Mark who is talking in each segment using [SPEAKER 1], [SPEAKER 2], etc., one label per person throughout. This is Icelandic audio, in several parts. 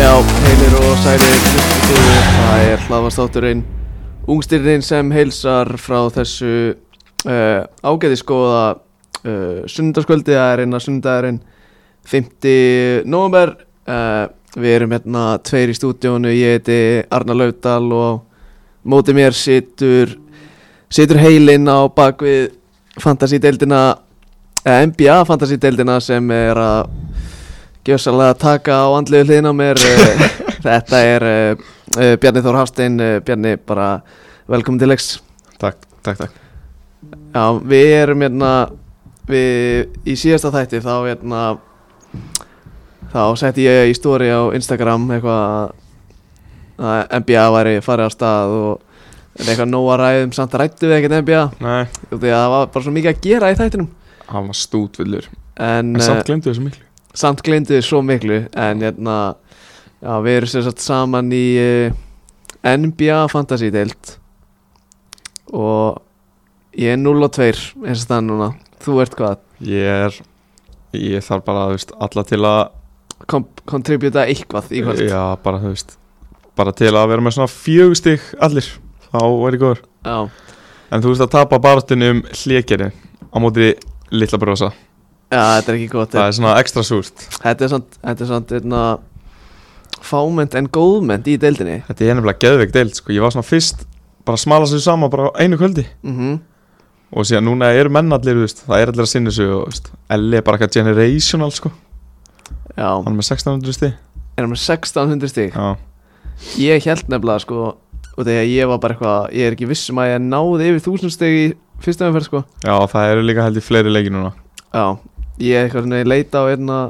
[SPEAKER 1] Já, heilir og sælir hlustuðu, það er hlaðvastátturinn Ungstirnin sem heilsar frá þessu uh, ágæðiskoða uh, sundarskvöldi, það er einna sundagurinn 5. november uh, Við erum hérna tveir í stúdíónu, ég heiti Arna Laudal og móti mér situr, situr heilinn á bakvið fantasídeildina, eh, NBA fantasídeildina sem er að gjössalega taka á andlegu hliðin á mér eh, Þetta er eh, eh, Bjarni Þór Hafstein eh, Bjarni bara velkomin til leiks
[SPEAKER 2] Takk, takk, takk
[SPEAKER 1] Já, við erum hérna við í síðasta þætti þá hérna þá setti ég í stóri á Instagram eitthvað að- að NBA væri farið á stað og en eitthvað nóg að ræðum samt rættu við ekkert NBA
[SPEAKER 2] Nei,
[SPEAKER 1] út af því að það var bara svo mikið að gera í þættinum
[SPEAKER 2] hann var stútvillur
[SPEAKER 1] en,
[SPEAKER 2] En
[SPEAKER 1] eh,
[SPEAKER 2] samt glemdu þessu miklu
[SPEAKER 1] samt gleyndu þið svo miklu en hérna já, við erum sér satt saman í uh, NBA Fantasy deild og ég er 0 og 2 eins og það er núna þú ert hvað,
[SPEAKER 2] Ég er, ég þarf bara, þú veist, alla til að
[SPEAKER 1] Kom kontributa eitthvað í kvöld
[SPEAKER 2] Já, bara, þú veist Bara til að vera með svona fjögstig allir Þá væri góður
[SPEAKER 1] já,
[SPEAKER 2] En þú veist að tapa baráttunum hljekerinn Á móti litla brosa
[SPEAKER 1] já, þetta er ekki gott
[SPEAKER 2] Það er svona ekstra súrt
[SPEAKER 1] þetta er samt, þetta er samt hérna, fámynd en góðmynd í deildinni
[SPEAKER 2] Þetta er nefnilega geðveik deild, sko Ég var svona fyrst bara að smala sig saman bara á einu kvöldi
[SPEAKER 1] mhm
[SPEAKER 2] Og síðan núna eru menn allir, þú veist Það er allir að sinna sig og, þú veist Elli er bara eitthvað generational, sko
[SPEAKER 1] Já,
[SPEAKER 2] Hann er með 1600 stig
[SPEAKER 1] erum við 1600 stík
[SPEAKER 2] Já,
[SPEAKER 1] Ég held nefnilega sko og þegar ég var bara eitthvað, ég er ekki vissum að ég náði yfir 1000 stík í fyrsta umferð sko
[SPEAKER 2] Já, það eru líka held í fleiri leiki núna
[SPEAKER 1] Já, ég eitthvað svona, ég leita á einna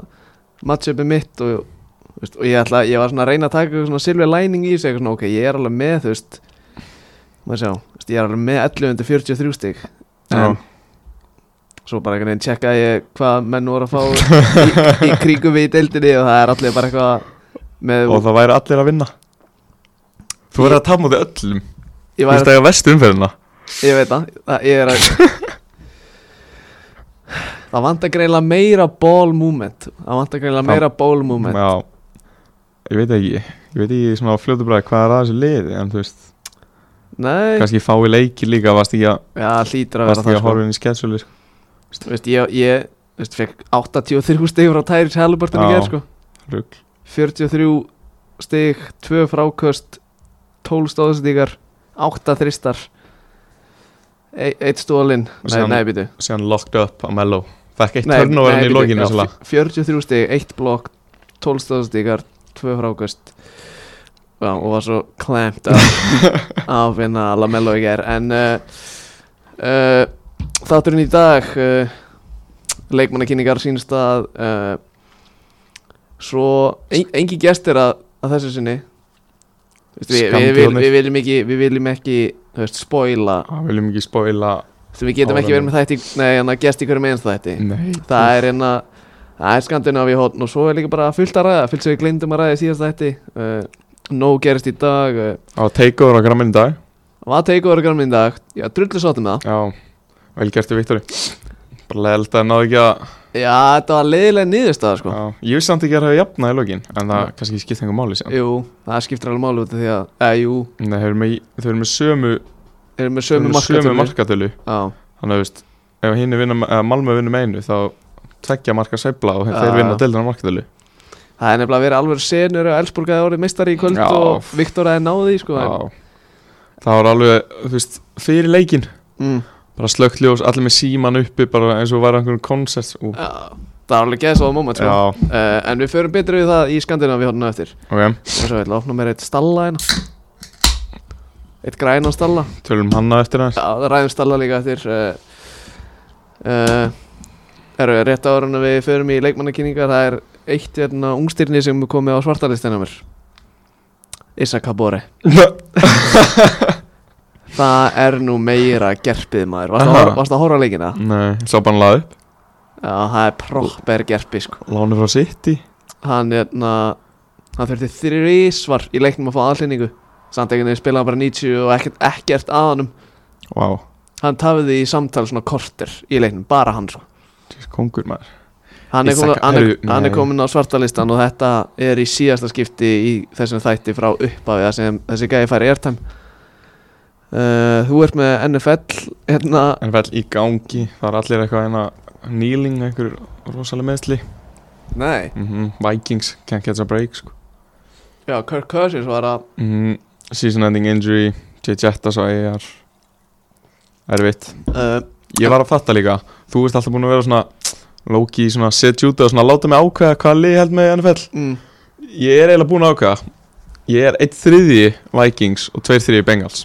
[SPEAKER 1] matchupi mitt og, þú veist, og ég, ætla, ég var svona að reyna að taka eitthvað svona silver lining í sig, eitthvað svona, ok, ég er alveg með, þú veist, maður sjá, þú veist, ég er alveg með 1143 stík, en svo bara einhvern veginn checka ég hvað menn voru að fá í, í kringum við í deildinni og það er allir bara eitthvað með,
[SPEAKER 2] Og það væri allir að vinna Þú verður að tapa mútið öllum
[SPEAKER 1] ég,
[SPEAKER 2] Þú veist
[SPEAKER 1] var,
[SPEAKER 2] að ég vestu umferðina
[SPEAKER 1] ég veit það, það- ég er að... Það vantar greinlega meira ball movement Það vantar greinlega meira ball movement
[SPEAKER 2] Já Ég veit ekki Ég veit ekki svona á fljótu bræði hvað er að þessu liði En þú veist
[SPEAKER 1] Nei
[SPEAKER 2] Kannski fái leiki líka Vast ekki að
[SPEAKER 1] Já, hlýtur að vera
[SPEAKER 2] Vast ekki
[SPEAKER 1] það
[SPEAKER 2] að
[SPEAKER 1] sko.
[SPEAKER 2] horfa inn í sketsölu sko.
[SPEAKER 1] Þú veist, ég, ég þú veist, fekk 83 stig frá Tyrese Halliburton í
[SPEAKER 2] Já.
[SPEAKER 1] gerð sko.
[SPEAKER 2] Rugl
[SPEAKER 1] 43 stig, 2 fráköst 12 stóðstíkar 8 þristar 1 stólin
[SPEAKER 2] Og
[SPEAKER 1] Nei,
[SPEAKER 2] síðan-
[SPEAKER 1] nei, býtu
[SPEAKER 2] Síðan locked up að mellow Fekk eitt
[SPEAKER 1] Nei,
[SPEAKER 2] törnóverðin
[SPEAKER 1] nei,
[SPEAKER 2] í
[SPEAKER 1] bíddu,
[SPEAKER 2] lokinu
[SPEAKER 1] já,
[SPEAKER 2] ja,
[SPEAKER 1] 43 stig, 1 blokk 12 stóðstíkar, 2 fráköst Já, og var svo klemmt af, af hérna Lamello í gerð en uh, uh, þátturinn í dag uh, leikmannakynningar sínst að uh, svo en, engi gestir að, að þessu sinni Vist, við, við, við,
[SPEAKER 2] Skammdjónir.
[SPEAKER 1] við viljum ekki við viljum ekki þú veist, spoila
[SPEAKER 2] Það viljum ekki spóila
[SPEAKER 1] Þú, við getum ekki verið með þætti nei, hérna, gest í hverjum einst þætti
[SPEAKER 2] Nei
[SPEAKER 1] það er hérna það er skandinu af í hóttn og svo er líka bara fullt að ræða fullt sem við glindum að ræða í síðast þætti uh, nóg gerist í dag uh,
[SPEAKER 2] Á takeover á grammin í dag
[SPEAKER 1] var teikuður grann í dag já, drullu sáttum með
[SPEAKER 2] Já Vel gertu Viktori Bara leðilt að náðu ekki að
[SPEAKER 1] það já, þetta var leiðilega niðurstaða sko
[SPEAKER 2] Já, ég vissi samt ekki að það hefur jafnað í lokin En það kannski skiptir einhver máli síðan
[SPEAKER 1] jú, það skiptir alveg máli út af því að eða jú,
[SPEAKER 2] Nei, þau eru með, þau eru með sömu,
[SPEAKER 1] erum við
[SPEAKER 2] þau eru
[SPEAKER 1] sömu
[SPEAKER 2] með sömu
[SPEAKER 1] markatölu
[SPEAKER 2] markatölu
[SPEAKER 1] já,
[SPEAKER 2] Þannig að þú veist, ef hinn vinna, eða Malmö vinnur með einu Þá tveggja marka sveifla og
[SPEAKER 1] Já.
[SPEAKER 2] þeir vinna deildina á markatölu
[SPEAKER 1] það er nefnilega verið alveg senur og Elsborg hefði orðið meistari í kvöld
[SPEAKER 2] Já.
[SPEAKER 1] og Viktor hefði náði sko en-
[SPEAKER 2] Já Það var alveg, þú veist, fyrir leikin
[SPEAKER 1] mm,
[SPEAKER 2] Bara slökkt ljós, allir með síman uppi Bara eins og væri einhvern konsert Ú,
[SPEAKER 1] já, það var alveg geðsóða moment sko
[SPEAKER 2] Já,
[SPEAKER 1] uh, en við förum betur við það í skandinu við hóttn eftir
[SPEAKER 2] ok,
[SPEAKER 1] og svo ég ætla að opna mér eitt stalla hérna eitt græn á stalla
[SPEAKER 2] tölum hanna eftir hans
[SPEAKER 1] já, það ræðum stalla líka eftir uh, uh, eru rétt ára en við förum í leikmannakynningar það er eitt hérna ungstyrni sem er komið á svartalistina mér Issa Kabore það er nú meira gerpið maður varst að,
[SPEAKER 2] Aha.
[SPEAKER 1] horfa- varstu að horfa á leikina
[SPEAKER 2] Nei, sá bara hann laði upp
[SPEAKER 1] já, það er proper gerpi sko
[SPEAKER 2] Lánu frá City
[SPEAKER 1] hann hérna hann þurfti þrísvar í leiknum að fá aðlýningu samt einhvern veginn spilaði hann bara 90 og ekkert, ekkert að honum
[SPEAKER 2] Vá,
[SPEAKER 1] hann tafiði í samtal svona korter í leiknum, bara hann sko
[SPEAKER 2] þessi kongur maður
[SPEAKER 1] Hann er, komin,
[SPEAKER 2] Ísaka-
[SPEAKER 1] hann, er,
[SPEAKER 2] Herru,
[SPEAKER 1] hann er
[SPEAKER 2] nei.
[SPEAKER 1] komin á svartalistan og þetta er í síðasta skipti í þessum þætti frá upphafi þar sem þessi gæði færi airtime uh, Þú ert með NFL hérna,
[SPEAKER 2] NFL í gangi, það er allir eitthvað hérna kneeling, einhver rosalega meðsli
[SPEAKER 1] nei,
[SPEAKER 2] mm Vikings, can't catch a break sko.
[SPEAKER 1] já, Kirk Cousins var að
[SPEAKER 2] mm Season ending injury J. Jetta svo er erfitt
[SPEAKER 1] uh,
[SPEAKER 2] Ég var að fatta líka, þú ert alltaf búin að vera svona Loki, svona set út og svona láta mig ákveða hvaða lið ég held með í NFL
[SPEAKER 1] mm,
[SPEAKER 2] Ég er eiginlega búin að ákveða Ég er eitt þriði Vikings og tveir þriði Bengals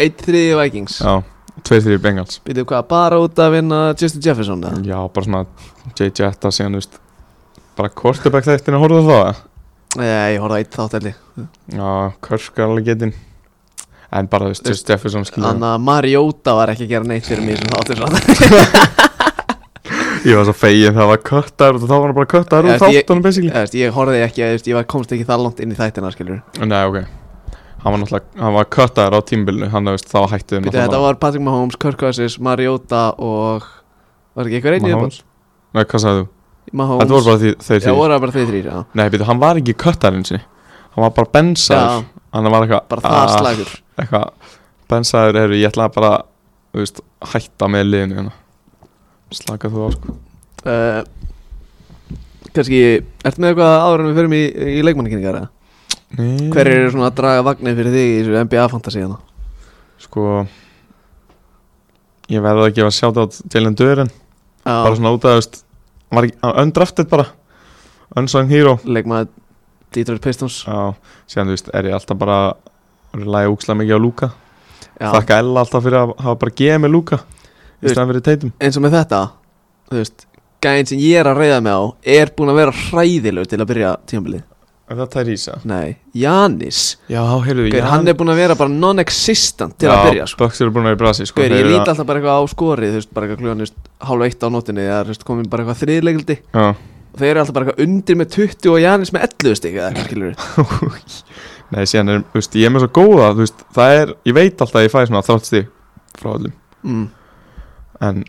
[SPEAKER 1] 1-3 Vikings ja.
[SPEAKER 2] Já, tveir þriði Bengals
[SPEAKER 1] Býtum hvað, bara út að vinna Justin Jefferson eða?
[SPEAKER 2] Já, bara svona J. Jetta síðan, þú veist Bara quarterback þættin að horfa það
[SPEAKER 1] Nei, ég horfði á eitt þátt heldig
[SPEAKER 2] Já, Kirk er alveg getinn En bara, þú veist, Just Jefferson skilur
[SPEAKER 1] Þannig að Mariota var ekki að gera neitt fyrir mig sem þáttur svo
[SPEAKER 2] Ég var svo fegin það var köttar og þá var hann bara köttar
[SPEAKER 1] Já,
[SPEAKER 2] og
[SPEAKER 1] ég-
[SPEAKER 2] þáttanum basically
[SPEAKER 1] Ég, ég horfði ekki, ég, ég var- komst ekki það langt inn í þættina skilur
[SPEAKER 2] Nei, ok Hann var náttúrulega, hann var köttar á tímbilinu Hann, þú veist, þá hætti þau
[SPEAKER 1] Býtum, þetta var Patrick Mahomes, Kirk Cousins, Mariota og Var ekki eitthvað reynið?
[SPEAKER 2] Mahomes Nei, hvað sagði þú?
[SPEAKER 1] Mahomes
[SPEAKER 2] Þetta voru bara því, þeir
[SPEAKER 1] Já,
[SPEAKER 2] því
[SPEAKER 1] voru það bara þeir þrýr, já
[SPEAKER 2] Nei, býttu, hann var ekki köttar eins og Hann var bara bensaður
[SPEAKER 1] Já,
[SPEAKER 2] Hann var eitthvað
[SPEAKER 1] bara það
[SPEAKER 2] ah,
[SPEAKER 1] slagur
[SPEAKER 2] Eitthvað Bensaður, heyrðu, ég ætla bara Þú veist, hætta með liðinu hérna. Slaka þú á, sko
[SPEAKER 1] uh, Kanski, ertu með eitthvað áður en við förum í, í leikmannakynningar eða?
[SPEAKER 2] Nei.
[SPEAKER 1] Hverjir eru svona að draga vagnir fyrir þig í þessu NBA fantasy hérna? hana?
[SPEAKER 2] Sko Ég verði að gefa sjátt át Jalen Duren Bara
[SPEAKER 1] Já,
[SPEAKER 2] svona út af þú veist, hann var ekki- hann var Undrafted bara Unsung hero
[SPEAKER 1] leikmann Detroit Pistons
[SPEAKER 2] Já, síðan þú veist er ég alltaf bara að Læja úkslega mikið á Luka
[SPEAKER 1] Já,
[SPEAKER 2] Þakka Ella alltaf fyrir að hafa bara gefið mig Luka
[SPEAKER 1] Þú
[SPEAKER 2] Í staðan fyrir Tatum
[SPEAKER 1] eins og með þetta Þú veist, gæðin sem ég er að reyða mig á Er búinn að vera hræðilegur til að byrja tímabilið
[SPEAKER 2] En það tæri Ísa
[SPEAKER 1] Nei, Janis
[SPEAKER 2] Já, heyrðu
[SPEAKER 1] Gaur, hann er búinn að vera bara non-existent til að byrja sko.
[SPEAKER 2] Böks eru búin að vera í brasi sko.
[SPEAKER 1] Gauður,
[SPEAKER 2] þeir
[SPEAKER 1] ég
[SPEAKER 2] eru
[SPEAKER 1] líti
[SPEAKER 2] að-
[SPEAKER 1] alltaf bara eitthvað á skorið, þú veist, bara eitthvað klugan, þú veist, hálfa eitt á nótinni eða, þú veist, komin bara eitthvað þriðleikildi
[SPEAKER 2] Já,
[SPEAKER 1] og þeir eru alltaf bara eitthvað undir með 20 og Janis með 11 stík eða eitthvað, skilur við
[SPEAKER 2] nei, síðan er, þú veist, ég er með svo góða Þú veist, það er, ég veit alltaf að ég fæ svona þátt stig frá öllum
[SPEAKER 1] mm.
[SPEAKER 2] En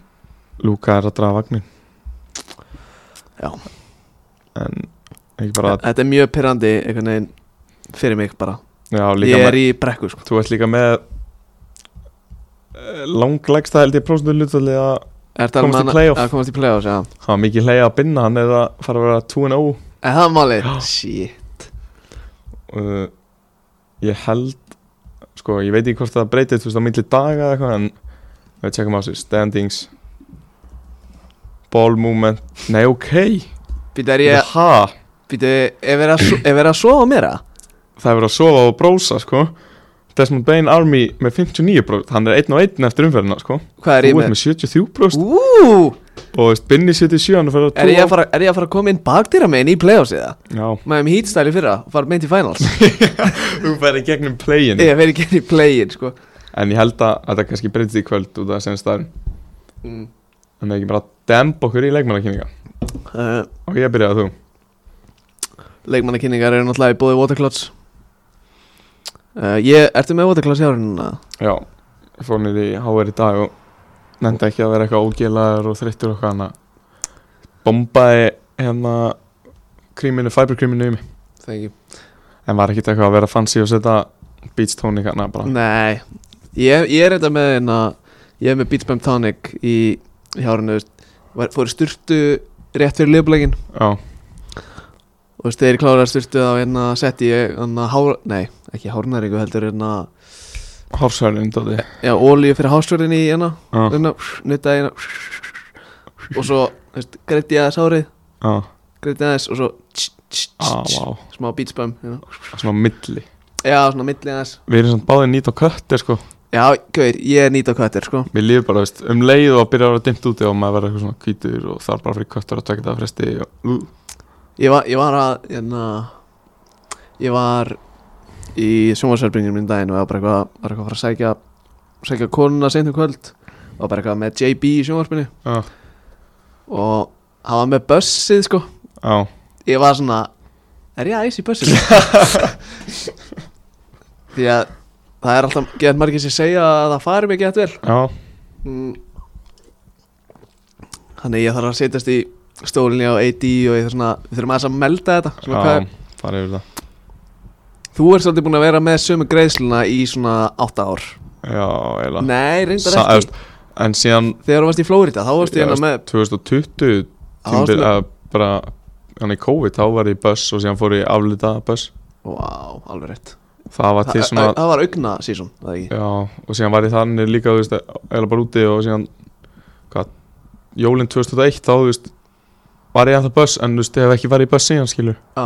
[SPEAKER 2] Luka er að draga vagnin
[SPEAKER 1] Já.
[SPEAKER 2] En ekki bara að,
[SPEAKER 1] Þetta er mjög pyrrandi einhvern veginn fyrir mig bara
[SPEAKER 2] Já, líka
[SPEAKER 1] Ég
[SPEAKER 2] með
[SPEAKER 1] er í brekku, sko
[SPEAKER 2] Þú ert líka með eh, Langlegsta held ég prósendur hlutvalli að
[SPEAKER 1] er það
[SPEAKER 2] Komast í playoff.
[SPEAKER 1] Að komast í playoff, já
[SPEAKER 2] hafa mikið hleyja að binna hann eða fara að vera oh. 2-0
[SPEAKER 1] En það er málið Shit
[SPEAKER 2] uh, Ég held Sko, ég veit ekki hvort það breytist Þú veist, á milli daga eða eitthvað En við tjekkum á þessu Standings Ball movement Nei, ok
[SPEAKER 1] Býtu, er ég,
[SPEAKER 2] Ha?
[SPEAKER 1] býtu, er verið að, so- er verið að sofa meira?
[SPEAKER 2] það er verið að sofa og brósa sko Desmond Bain Army með 59 bróst hann er 1 og 1 eftir umferðina sko
[SPEAKER 1] Hvað er
[SPEAKER 2] þú
[SPEAKER 1] ég
[SPEAKER 2] ert
[SPEAKER 1] með?
[SPEAKER 2] með 73 bróst
[SPEAKER 1] Ú,
[SPEAKER 2] og veist, Binni 77 hann er fyrir
[SPEAKER 1] er ég að fara, er ég að fara að koma inn bakdýra meginn í playoffs eða?
[SPEAKER 2] já
[SPEAKER 1] Maður með hítstæli fyrra og fara meint í finals
[SPEAKER 2] þú færi gegnum playin
[SPEAKER 1] Ég verið ekki inn í play-in, sko
[SPEAKER 2] en ég held að þetta kannski breytist í kvöld út af senst það er
[SPEAKER 1] mm.
[SPEAKER 2] en ekki bara demb okkur í leikmannakynninga
[SPEAKER 1] uh,
[SPEAKER 2] og ég byrjaði að þú
[SPEAKER 1] leikmannakynningar eru náttúrulega í bóði Waterclouds uh, ég, Ertu með Waterclouds í árununa?
[SPEAKER 2] já ég fór niður í HR í dag og nefndi ekki að vera eitthvað ógélaður og þreyttur og eitthvað hann bombaði hérna kríminu, fiberkríminu í mig
[SPEAKER 1] Thank you
[SPEAKER 2] En var ekkert eitthvað að vera fancy og setja beach tonic hana bara
[SPEAKER 1] Nei, ég, ég er þetta með hérna, Ég er með Beats Bam Tonic í, í árunu Fór í styrtu rétt fyrir liðblegin
[SPEAKER 2] Já,
[SPEAKER 1] Og þú veist, þegar ég kláraði styrtu þá hérna setti ég hérna hár, Nei, ekki hárnaringu heldur hérna
[SPEAKER 2] horsehörnin dóti
[SPEAKER 1] Já, ólíu fyrir hásvörðin í hérna
[SPEAKER 2] Já,
[SPEAKER 1] Hérna, nuttaði hérna Og svo, þú veist, greiti ég aðeins hárið
[SPEAKER 2] já,
[SPEAKER 1] Greiti aðeins og svo tss, tss,
[SPEAKER 2] á,
[SPEAKER 1] tss, tss,
[SPEAKER 2] á,
[SPEAKER 1] Smá Beats Bam hérna.
[SPEAKER 2] svona á milli
[SPEAKER 1] Já, svona millið aðeins
[SPEAKER 2] Við erum svona báðið nýtt á köttir sko
[SPEAKER 1] Já, gauður, ég er nýta köttur, sko
[SPEAKER 2] Við lifum bara, veist, um leið og að byrja að vera dimmt úti og maður verður eitthvað svona hvítur og þarf bara fyrir köttur að tvekja það fresti og, uh,
[SPEAKER 1] Ég var, ég var að, hérna Ég var í sjónvarsverbringin minn daginn og ég var bara eitthvað, var eitthvað að fara að sækja sækja konuna seint um kvöld og bara eitthvað með JB í sjónvarspinni
[SPEAKER 2] Já.
[SPEAKER 1] og hann var með bussið, sko
[SPEAKER 2] á
[SPEAKER 1] Ég var svona, er ég aðeins í bussið? Því að það er alltaf gett margir sem segja að það fari mig gett vel
[SPEAKER 2] Já,
[SPEAKER 1] Mm. Þannig ég þarf að setjast í stólinni á AD og ég þarf svona, við þurfum aðeins að melda þetta svona, hvað,
[SPEAKER 2] Já, farið yfir það
[SPEAKER 1] Þú ert svolítið búin að vera með sömu greiðsluna í svona 8 ár
[SPEAKER 2] Já, eiginlega
[SPEAKER 1] Nei, reyndar
[SPEAKER 2] Sa-
[SPEAKER 1] ekki
[SPEAKER 2] efst- En síðan
[SPEAKER 1] Þegar þú varst í Flórida, þá varst ég hérna
[SPEAKER 2] efst-
[SPEAKER 1] með
[SPEAKER 2] 2020
[SPEAKER 1] þá varstu
[SPEAKER 2] tímbil
[SPEAKER 1] með-
[SPEAKER 2] að bara hann í COVID þá var ég í buss og síðan fór ég í aflita buss
[SPEAKER 1] Vá, alveg rétt
[SPEAKER 2] það var til
[SPEAKER 1] Þa-
[SPEAKER 2] svona
[SPEAKER 1] Það það var augna season, það ekki
[SPEAKER 2] já, og síðan var ég þannig líka þú veist eða bara úti og síðan hvað, jólinn 2001 þá þú veist var ég ennþá buss en þú veist ég hef ekki farið í buss síðan skilur
[SPEAKER 1] Já,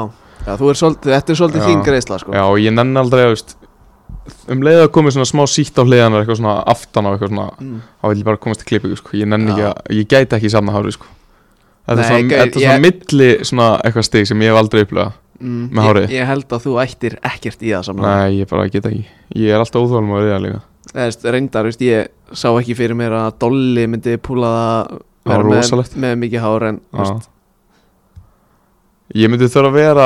[SPEAKER 1] já þú er svolítið, þetta er svolítið
[SPEAKER 2] Já.
[SPEAKER 1] þín greiðsla sko
[SPEAKER 2] já og ég nenn aldrei þú veist um leiða að koma svona smá sítt á hliðanar eitthvað svona aftan á eitthvað svona
[SPEAKER 1] Mm.
[SPEAKER 2] þá vil ég bara komast til klippingu sko. ég nenni ekki
[SPEAKER 1] Já.
[SPEAKER 2] að, ég gæti ekki samna hári sko. þetta
[SPEAKER 1] Nei,
[SPEAKER 2] er svona,
[SPEAKER 1] gau,
[SPEAKER 2] þetta er svona
[SPEAKER 1] ég-
[SPEAKER 2] milli svona eitthvað stig sem ég hef aldrei upplöða
[SPEAKER 1] Mm,
[SPEAKER 2] Með hárið.
[SPEAKER 1] ég, ég held að þú ættir ekkert í það saman
[SPEAKER 2] Nei, ég bara get ekki Ég er alltaf óþólum að reyða líka
[SPEAKER 1] Eðast, Reyndar, veist, ég sá ekki fyrir mér að Dolly myndi púla það
[SPEAKER 2] Það
[SPEAKER 1] vera
[SPEAKER 2] var
[SPEAKER 1] með,
[SPEAKER 2] rosalegt.
[SPEAKER 1] með mikið hár en þú veist,
[SPEAKER 2] Vist? Ég myndi þurfa að vera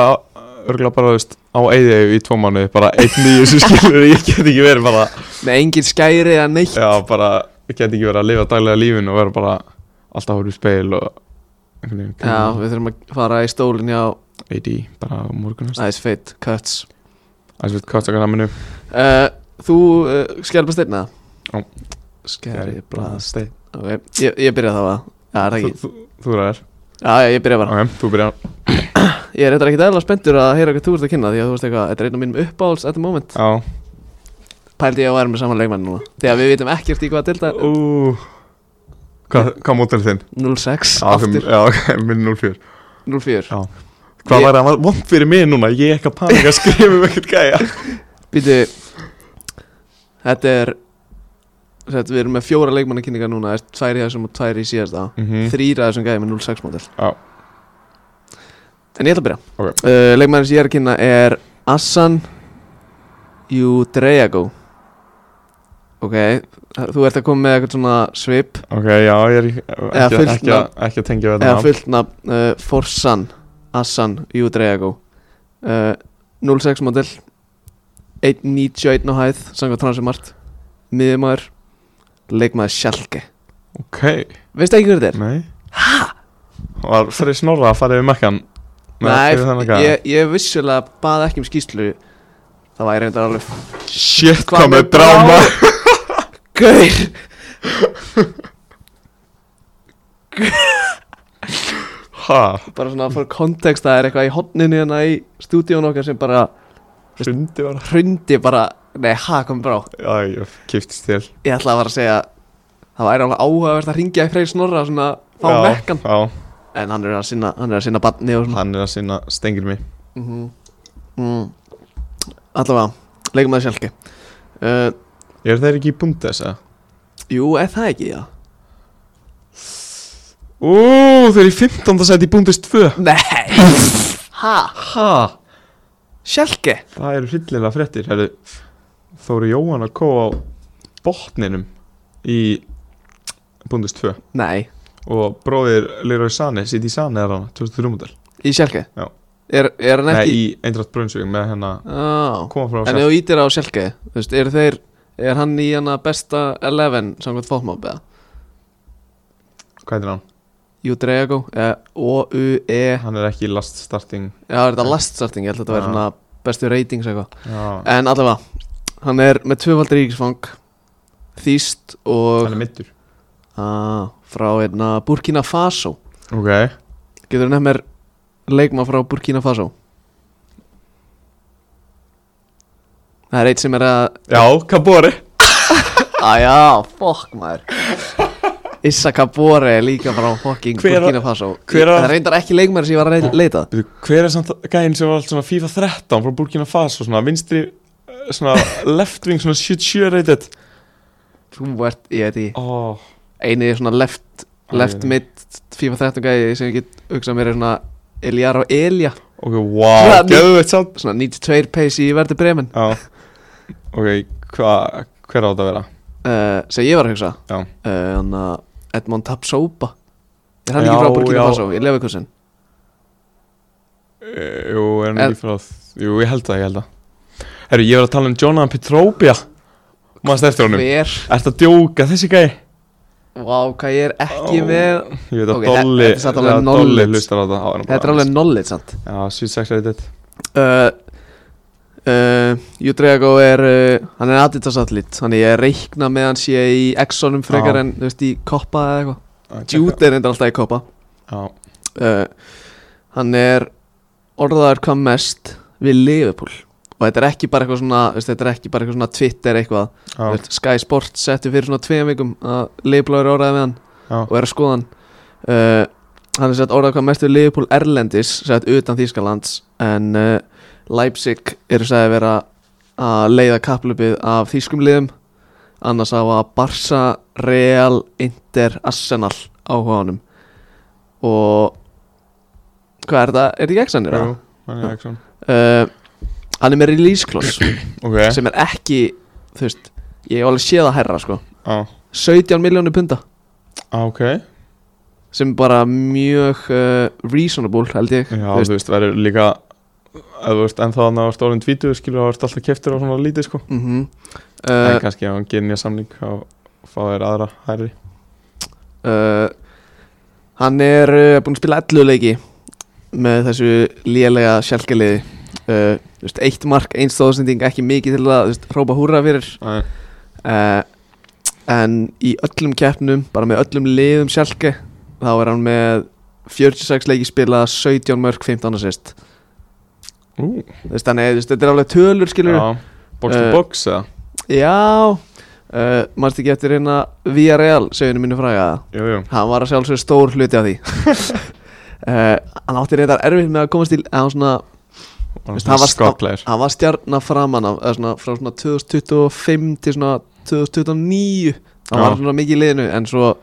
[SPEAKER 2] örgulega bara, þú veist, á eiðið í tvo mánuði bara einn nýju sem skilur ég get ekki verið bara,
[SPEAKER 1] með engin skæri eða neitt
[SPEAKER 2] já, bara ég get ekki verið að lifa daglega lífinu og vera bara alltaf að horfa í speil og einhvern veginn
[SPEAKER 1] Já, við þurfum að fara í stólinni á
[SPEAKER 2] AD, bara á morgun Það
[SPEAKER 1] Ice Fate Cuts
[SPEAKER 2] er svolítið kvartakar naminu
[SPEAKER 1] uh, Þú uh, skerpa steinna
[SPEAKER 2] Já.
[SPEAKER 1] Skerri blast Ok, ég, ég byrja þá að Já, er það ekki
[SPEAKER 2] Þú er þér
[SPEAKER 1] Já, já, ég byrja bara
[SPEAKER 2] Ok, þú byrjar
[SPEAKER 1] Ég er eitthvað ekki eðla spenntur að heyra hvað þú ert að kynna Því að þú veist eitthvað, þetta er einn af mínum uppáhalds at the moment
[SPEAKER 2] Já
[SPEAKER 1] Pældi ég að væri með saman leikmann núna Þegar við vitum ekkert í hvað delta
[SPEAKER 2] Ú Hvað, hvað mótel þinn?
[SPEAKER 1] 06,
[SPEAKER 2] Já,
[SPEAKER 1] aftur,
[SPEAKER 2] fimm- Já, ok, minn 04
[SPEAKER 1] 04
[SPEAKER 2] Já. Hvað
[SPEAKER 1] Ég-
[SPEAKER 2] var það vond fyrir mig núna? Ég er ekki að panika að skrifa um ekkert gæja
[SPEAKER 1] Býtu Þetta er Þetta við erum með fjóra leikmannakynningar núna þess- Tvær í þessum og tvær í síðasta
[SPEAKER 2] mm
[SPEAKER 1] Þrýra þessum gæði með 06 mótel
[SPEAKER 2] Já.
[SPEAKER 1] En ég ætla að byrja
[SPEAKER 2] Ok.
[SPEAKER 1] uh, Leikmannin sem ég er að kynna er Assan Udreyago Ok Þú ert að koma með eitthvað svona svip
[SPEAKER 2] Ok, já, ég er ekki,
[SPEAKER 1] Eða
[SPEAKER 2] ekki,
[SPEAKER 1] fullt
[SPEAKER 2] ekki, að- ekki að tengja við
[SPEAKER 1] eða
[SPEAKER 2] þetta
[SPEAKER 1] fullt nafn uh, Forsan Assan Udreyago uh, 06 model 1.91 á hæð sanga transumart miðumæður leikmaður Sjalke
[SPEAKER 2] Ok,
[SPEAKER 1] veistu ekki hver þetta er?
[SPEAKER 2] nei Hæ? Var fyrir snorra að fara yfir mekkan fyrir þennan gæja?
[SPEAKER 1] ég, ég vissulega bað ekki um skýslu það væri reyndar alveg
[SPEAKER 2] Shit,
[SPEAKER 1] Hvað
[SPEAKER 2] hvað með
[SPEAKER 1] með
[SPEAKER 2] dráma
[SPEAKER 1] Gaur
[SPEAKER 2] Ha,
[SPEAKER 1] bara svona fyrir kontekst það er eitthvað í hotninu hérna í stúdíun okkar sem bara
[SPEAKER 2] sundi var
[SPEAKER 1] hrundi bara nei, ha, kom bara á
[SPEAKER 2] Já, ég kiftist til
[SPEAKER 1] ég ætlaði bara að segja það væri alveg áhugavert að ringja í Freyr Snorra og svona fá
[SPEAKER 2] Já,
[SPEAKER 1] mekkan
[SPEAKER 2] Já,
[SPEAKER 1] en hann er að sinna, hann er að sinna barni og svona
[SPEAKER 2] hann er að sinna stengir mig
[SPEAKER 1] mm
[SPEAKER 2] Mhm.
[SPEAKER 1] mm. allavega leikum að sjálfki uh,
[SPEAKER 2] Er þeir ekki í Bundes, eða?
[SPEAKER 1] jú, er það ekki, já
[SPEAKER 2] Ú, þeir eru í 15. seti í Bundes 2
[SPEAKER 1] nei, ha,
[SPEAKER 2] Ha,
[SPEAKER 1] sjálfki
[SPEAKER 2] það eru hryllilega fréttir Heru, Þóri Jóhann að kóa á botninum í Bundus 2
[SPEAKER 1] nei,
[SPEAKER 2] og bróðir Leroy Sane, City Sane er hann 2003 mútel,
[SPEAKER 1] í sjálfki
[SPEAKER 2] Já.
[SPEAKER 1] er, er hann
[SPEAKER 2] nei
[SPEAKER 1] ekki
[SPEAKER 2] í Eindrætt Brunsvík með hennar
[SPEAKER 1] Á,
[SPEAKER 2] koma frá
[SPEAKER 1] en
[SPEAKER 2] sér,
[SPEAKER 1] ef þú ítir á sjálfki þú veist, eru þeir er hann í hana besta 11 samkvæmt fótmóp eða
[SPEAKER 2] hvað er hann?
[SPEAKER 1] Udrego, eh, O-U-E
[SPEAKER 2] Hann er ekki í last starting
[SPEAKER 1] Já, er þetta last starting, ég held að þetta væri
[SPEAKER 2] Já.
[SPEAKER 1] svona bestu ratings eitthvað
[SPEAKER 2] Já,
[SPEAKER 1] En allavega, hann er með tvöfald ríkisfang Þýst og
[SPEAKER 2] hann er middur
[SPEAKER 1] ah, frá hérna Burkina Faso
[SPEAKER 2] Ok,
[SPEAKER 1] Getur þú nefn mér leikma frá Burkina Faso? Það er eitt sem er að
[SPEAKER 2] já, Kabori
[SPEAKER 1] Æja, fokk maður Issa Kabore er líka frá fucking
[SPEAKER 2] Hver var-
[SPEAKER 1] Burkina Faso
[SPEAKER 2] hver var-
[SPEAKER 1] Það reyndar ekki leikmaður sem ég var að rey- leita
[SPEAKER 2] Bíddu, Hver er samt gæinn sem var allt svona FIFA 13 frá Burkina Faso, svona vinstri eh, svona left wing, svona 77 rated
[SPEAKER 1] Þú ert, ég veit ekki
[SPEAKER 2] Ó,
[SPEAKER 1] eini svona left
[SPEAKER 2] Æ,
[SPEAKER 1] left
[SPEAKER 2] nei.
[SPEAKER 1] mid FIFA 13 gæði sem ég get hugsað mér er svona Eliar og Elia
[SPEAKER 2] ok, wow,
[SPEAKER 1] Hvað-
[SPEAKER 2] geðveitt samt
[SPEAKER 1] svona 92 pace í verði bremen
[SPEAKER 2] Já Ok, hva, hver á þetta að vera?
[SPEAKER 1] uh, sem ég var að hugsa
[SPEAKER 2] Já.
[SPEAKER 1] uh, þannig að Edmond Tapsoba er hann ekki
[SPEAKER 2] Já,
[SPEAKER 1] frá Burkina
[SPEAKER 2] já.
[SPEAKER 1] Faso í Leverkusen
[SPEAKER 2] E, jú, er hann
[SPEAKER 1] Er-
[SPEAKER 2] ekki frá Jú, ég held það, ég held það Herru, ég var að tala um Jonathan Petróbia Manst eftir honum
[SPEAKER 1] hver
[SPEAKER 2] Ertu að djóka þessi gæi?
[SPEAKER 1] Vá, hvað ég er ekki
[SPEAKER 2] Ó.
[SPEAKER 1] með
[SPEAKER 2] Ég veit að
[SPEAKER 1] Ok, þe-
[SPEAKER 2] Dolly
[SPEAKER 1] þetta er samt alveg
[SPEAKER 2] eða
[SPEAKER 1] knowledge.
[SPEAKER 2] Dolly hlustar á þetta á,
[SPEAKER 1] Þetta er alveg knowledge sant
[SPEAKER 2] Já, Sweet Sex Rated
[SPEAKER 1] uh, uh, Júdreago er uh, hann er Adidas atlit þannig ég reikna með hann sé í Exxonum frekar
[SPEAKER 2] Já.
[SPEAKER 1] en þú veist í Koppa eða eitthvað
[SPEAKER 2] Að
[SPEAKER 1] Jude er enda alltaf í Koppa
[SPEAKER 2] Já,
[SPEAKER 1] uh, hann er orðaður hvað mest við Liverpool og þetta er ekki bara eitthvað svona þú veist, þetta er ekki bara eitthvað svona Twitter eitthvað
[SPEAKER 2] já,
[SPEAKER 1] Þú veist, Sky Sports setti fyrir svona tveim vikum að Liverpool eru orðaði með hann
[SPEAKER 2] já
[SPEAKER 1] og er að skoða hann uh, hann er sett orðað hvað mest við Liverpool Erlendis sett utan Þýskalands en uh, Leipzig eru sagði að vera að leiða kapplupið af þýskum liðum annars á að Barca, Real, Inter, Arsenal áhuga honum og hvað er þetta? Er þetta ekki Exxonir?
[SPEAKER 2] Jú, hann er Jackson
[SPEAKER 1] Uh, hann er með release clause
[SPEAKER 2] Ok,
[SPEAKER 1] sem er ekki, þú veist ég hef alveg séð að herra sko
[SPEAKER 2] já,
[SPEAKER 1] 17 miljónu punda
[SPEAKER 2] já,
[SPEAKER 1] Ah,
[SPEAKER 2] ok
[SPEAKER 1] sem er bara mjög uh, reasonable held ég
[SPEAKER 2] Já,
[SPEAKER 1] Þú veist,
[SPEAKER 2] þú veist, verður líka að þú veist, en þá þannig að þú ert orðin tvítuð skilur, þá ert alltaf keftur á svona lítið sko
[SPEAKER 1] mhm.
[SPEAKER 2] En
[SPEAKER 1] uh,
[SPEAKER 2] kannski ef hann gerir nýja samling þá fá þér aðra hærri
[SPEAKER 1] uh, hann er uh, búinn að spila 11 leiki með þessu lélega sjálfgeliði uh, þú veist, eitt mark, eins stóðsending ekki mikið til að þú veist, hrópa húra fyrir
[SPEAKER 2] Æ,
[SPEAKER 1] uh, en í öllum keppnum bara með öllum liðum sjálfge þá er hann með 46 leiki spila 17 mörg 15 assist
[SPEAKER 2] Ú,
[SPEAKER 1] Þú veist, þannig, þú veist, þetta er alveg tölur skilur
[SPEAKER 2] já, box to
[SPEAKER 1] Eh,
[SPEAKER 2] box eða
[SPEAKER 1] Já uh, Manstu ekki eftir hérna Villarreal Seginu mínu fræga
[SPEAKER 2] Jú, jú,
[SPEAKER 1] Hann var að sjálfsög stór hluti af því uh, Hann átti reyndar erfitt með að komast til Hann, svona,
[SPEAKER 2] hann
[SPEAKER 1] veist, hann var-
[SPEAKER 2] var skotleir
[SPEAKER 1] hann var stjarnar framan af, eða svona, Frá svona 2025 til svona 2029 Hann
[SPEAKER 2] Já.
[SPEAKER 1] var svona mikið í liðinu En svo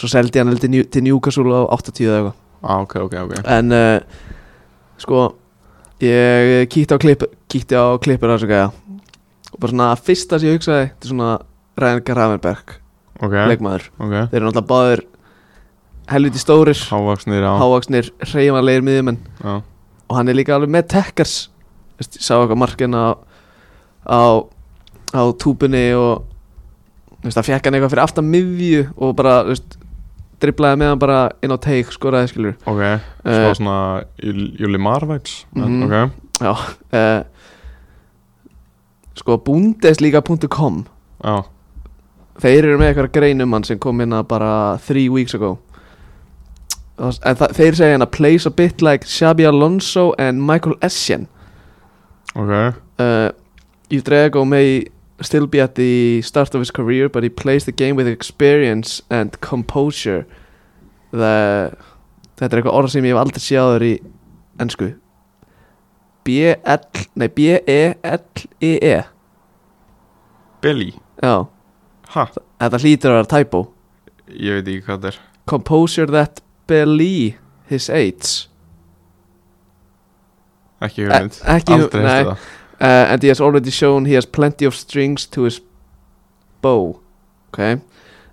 [SPEAKER 1] Svo seldi hann til, Njú- til Newcastle á 80 eða eitthvað
[SPEAKER 2] Á, ok, ok, ok
[SPEAKER 1] En uh, Sko Ég kíkti á klipp Kíkti á klippur þessu gæja Og bara svona Fyrsta sem ég hugsaði Þetta er svona Rængar Ravenberg
[SPEAKER 2] Ok,
[SPEAKER 1] leikmaður
[SPEAKER 2] ok
[SPEAKER 1] Þeir eru náttúrulega báðir helviti stórir,
[SPEAKER 2] Hávaksnir, já,
[SPEAKER 1] hávaksnir, hreyfanlegir miðjumenn
[SPEAKER 2] já
[SPEAKER 1] og hann er líka alveg með tekkars Ég sá eitthvað markinn á á, á túpunni og þú veist, það fekk hann eitthvað fyrir aftan miðju og bara þú veist, driblaði með hann bara inn á teik skoraði skilur
[SPEAKER 2] Ok,
[SPEAKER 1] Eh.
[SPEAKER 2] svo svona Júli Júli Marvæts
[SPEAKER 1] Mhm.
[SPEAKER 2] Eh, Ok,
[SPEAKER 1] uh, sko bundesliga.com
[SPEAKER 2] já,
[SPEAKER 1] Þeir eru með eitthvað grein um hann sem kom inn að bara three weeks ago Og- En það, þeir segja hann að plays a bit like Xabi Alonso and Michael Essien
[SPEAKER 2] ok
[SPEAKER 1] uh, Yudrego may still be at the start of his career but he plays the game with experience and composure The, Þetta er eitthvað orð sem ég hef aldrei séð áður í ennsku B-L, nei E B-E-L-E-E
[SPEAKER 2] Billy,
[SPEAKER 1] E. Já,
[SPEAKER 2] ha,
[SPEAKER 1] þetta hlýtur að vera typo
[SPEAKER 2] ég veit ekki hvað þetta er
[SPEAKER 1] composer that belie his age
[SPEAKER 2] Ekki hugmynd,
[SPEAKER 1] Eh, ekki hugmynd,
[SPEAKER 2] aldrei
[SPEAKER 1] nei.
[SPEAKER 2] hefði það
[SPEAKER 1] uh, and he has already shown he has plenty of strings to his bow okay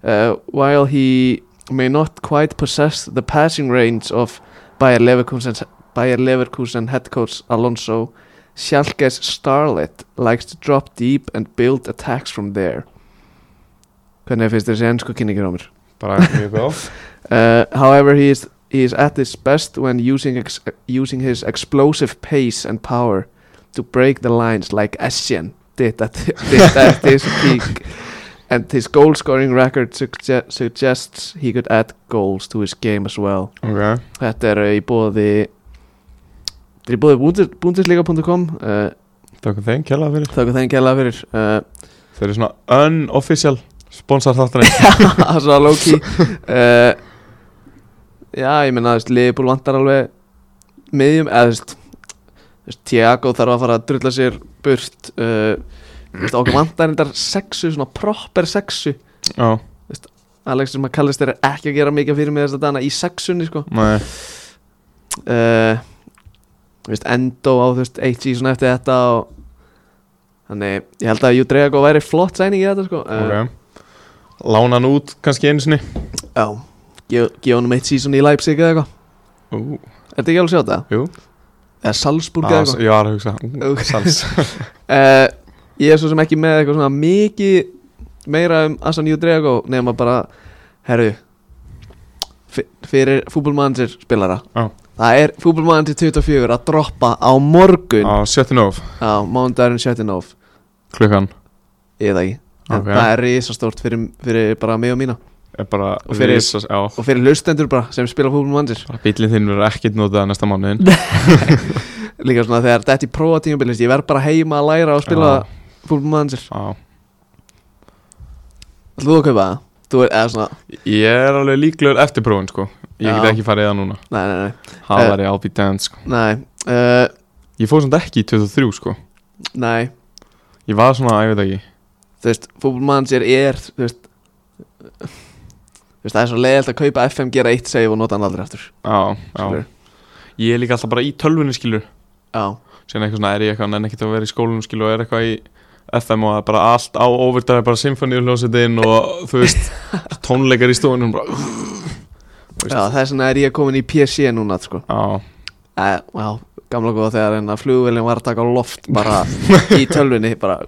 [SPEAKER 1] uh, while he may not quite possess the passing range of Bayer Leverkusen Bayer Leverkusen head coach Alonso Schalke's starlet likes to drop deep and build attacks from there hvernig finnst þér þessi ennsku kynningir á mér
[SPEAKER 2] Bara mjög góð
[SPEAKER 1] Uh, however, he is he is at his best when using ex using his explosive pace and power to break the lines like Essien did at, did at his peak. And his goal scoring record sugge suggests he could add goals to his game as well.
[SPEAKER 2] Ok,
[SPEAKER 1] Þetta er í bóði Þetta er í bóði bundes- bundesliga.com uh,
[SPEAKER 2] takk þeim, kjalla fyrir
[SPEAKER 1] Þakka þeim kæla fyrir uh,
[SPEAKER 2] Þeir eru svona unofficial sponsor þáttarins
[SPEAKER 1] Það er svo low-key uh, Já, ég meina, þú veist, Liverpool vantar alveg miðjum, eða þú veist þú veist, Thiago þarf að fara að drulla sér burt uh, þú veist, okkur vantar endar sexu, svona proper sexu
[SPEAKER 2] Já,
[SPEAKER 1] Alexis McAllister er ekki að gera mikið fyrir mig þess að dana í sexunni, sko
[SPEAKER 2] nei,
[SPEAKER 1] uh, þú veist, Endo á, þú veist, eitt síðan eftir þetta og þannig, ég held að Judrego væri flott sæning í þetta, sko uh,
[SPEAKER 2] ok Lána hann út kannski einu sinni
[SPEAKER 1] Já, gef gef honum eitt síðan í Leipzig eða eitthvað
[SPEAKER 2] Ú,
[SPEAKER 1] Er þetta ekki alveg sjátt það?
[SPEAKER 2] Jú. Ah,
[SPEAKER 1] Eða Salzburg eða
[SPEAKER 2] að,
[SPEAKER 1] eitthvað
[SPEAKER 2] Ég var að hugsa, ú,
[SPEAKER 1] Ok.
[SPEAKER 2] sals
[SPEAKER 1] uh, Ég er svo sem ekki með eitthvað svona mikið meira um Asan Judrego nema bara Herru f- Fyrir fútbolmanager spilara
[SPEAKER 2] Já.
[SPEAKER 1] Það er fútbolmanager 24 að droppa á morgun
[SPEAKER 2] á 17 of
[SPEAKER 1] Á mánudagurinn 17. of
[SPEAKER 2] klukkan
[SPEAKER 1] Ég veit það ekki En
[SPEAKER 2] Ok.
[SPEAKER 1] það er risastórt fyrir, fyrir bara mig og mína
[SPEAKER 2] er bara
[SPEAKER 1] Og fyrir-
[SPEAKER 2] risas- já,
[SPEAKER 1] Og fyrir lustendur bara sem spila fútbolmanager
[SPEAKER 2] bara bílinn þinn verður ekkert notaða næsta mánuðin
[SPEAKER 1] Líka svona þegar þetta er prófa tímabilist Ég verð bara heima að læra að spila
[SPEAKER 2] Já.
[SPEAKER 1] fútbolmanager
[SPEAKER 2] Já.
[SPEAKER 1] Ætlum þú að kaupa það? Þú er, eða svona,
[SPEAKER 2] ég er alveg líklegur eftir prófin sko ég
[SPEAKER 1] Já.
[SPEAKER 2] get ekki farið það núna
[SPEAKER 1] nei, nei,
[SPEAKER 2] það
[SPEAKER 1] Eh.
[SPEAKER 2] var ég alveg dance sko
[SPEAKER 1] nei Nei, uh,
[SPEAKER 2] ég fór samt ekki í 23 sko
[SPEAKER 1] nei
[SPEAKER 2] ég var svona, ég veit ekki
[SPEAKER 1] þú veist, fútbolmanager er þú veist þú veist, það er svo leiðilt að kaupa FMG reitt save og nota hann aldrei aftur
[SPEAKER 2] já, já.
[SPEAKER 1] skilurðu.
[SPEAKER 2] ég er líka alltaf bara í tölvunni skilur
[SPEAKER 1] já,
[SPEAKER 2] síðan eitthvað svona er ég eitthvað nenn ekkert að vera í skólanum skilur og er eitthvað í FM og það er bara allt á overdrive bara symfóníuljósetinn og þú veist tónleikar í stofunum bara
[SPEAKER 1] já það er svona er ég komin í PC núna, sko
[SPEAKER 2] já,
[SPEAKER 1] e, já, gamla góða þegar en að flugvélum var að taka á loft bara í tölvunni bara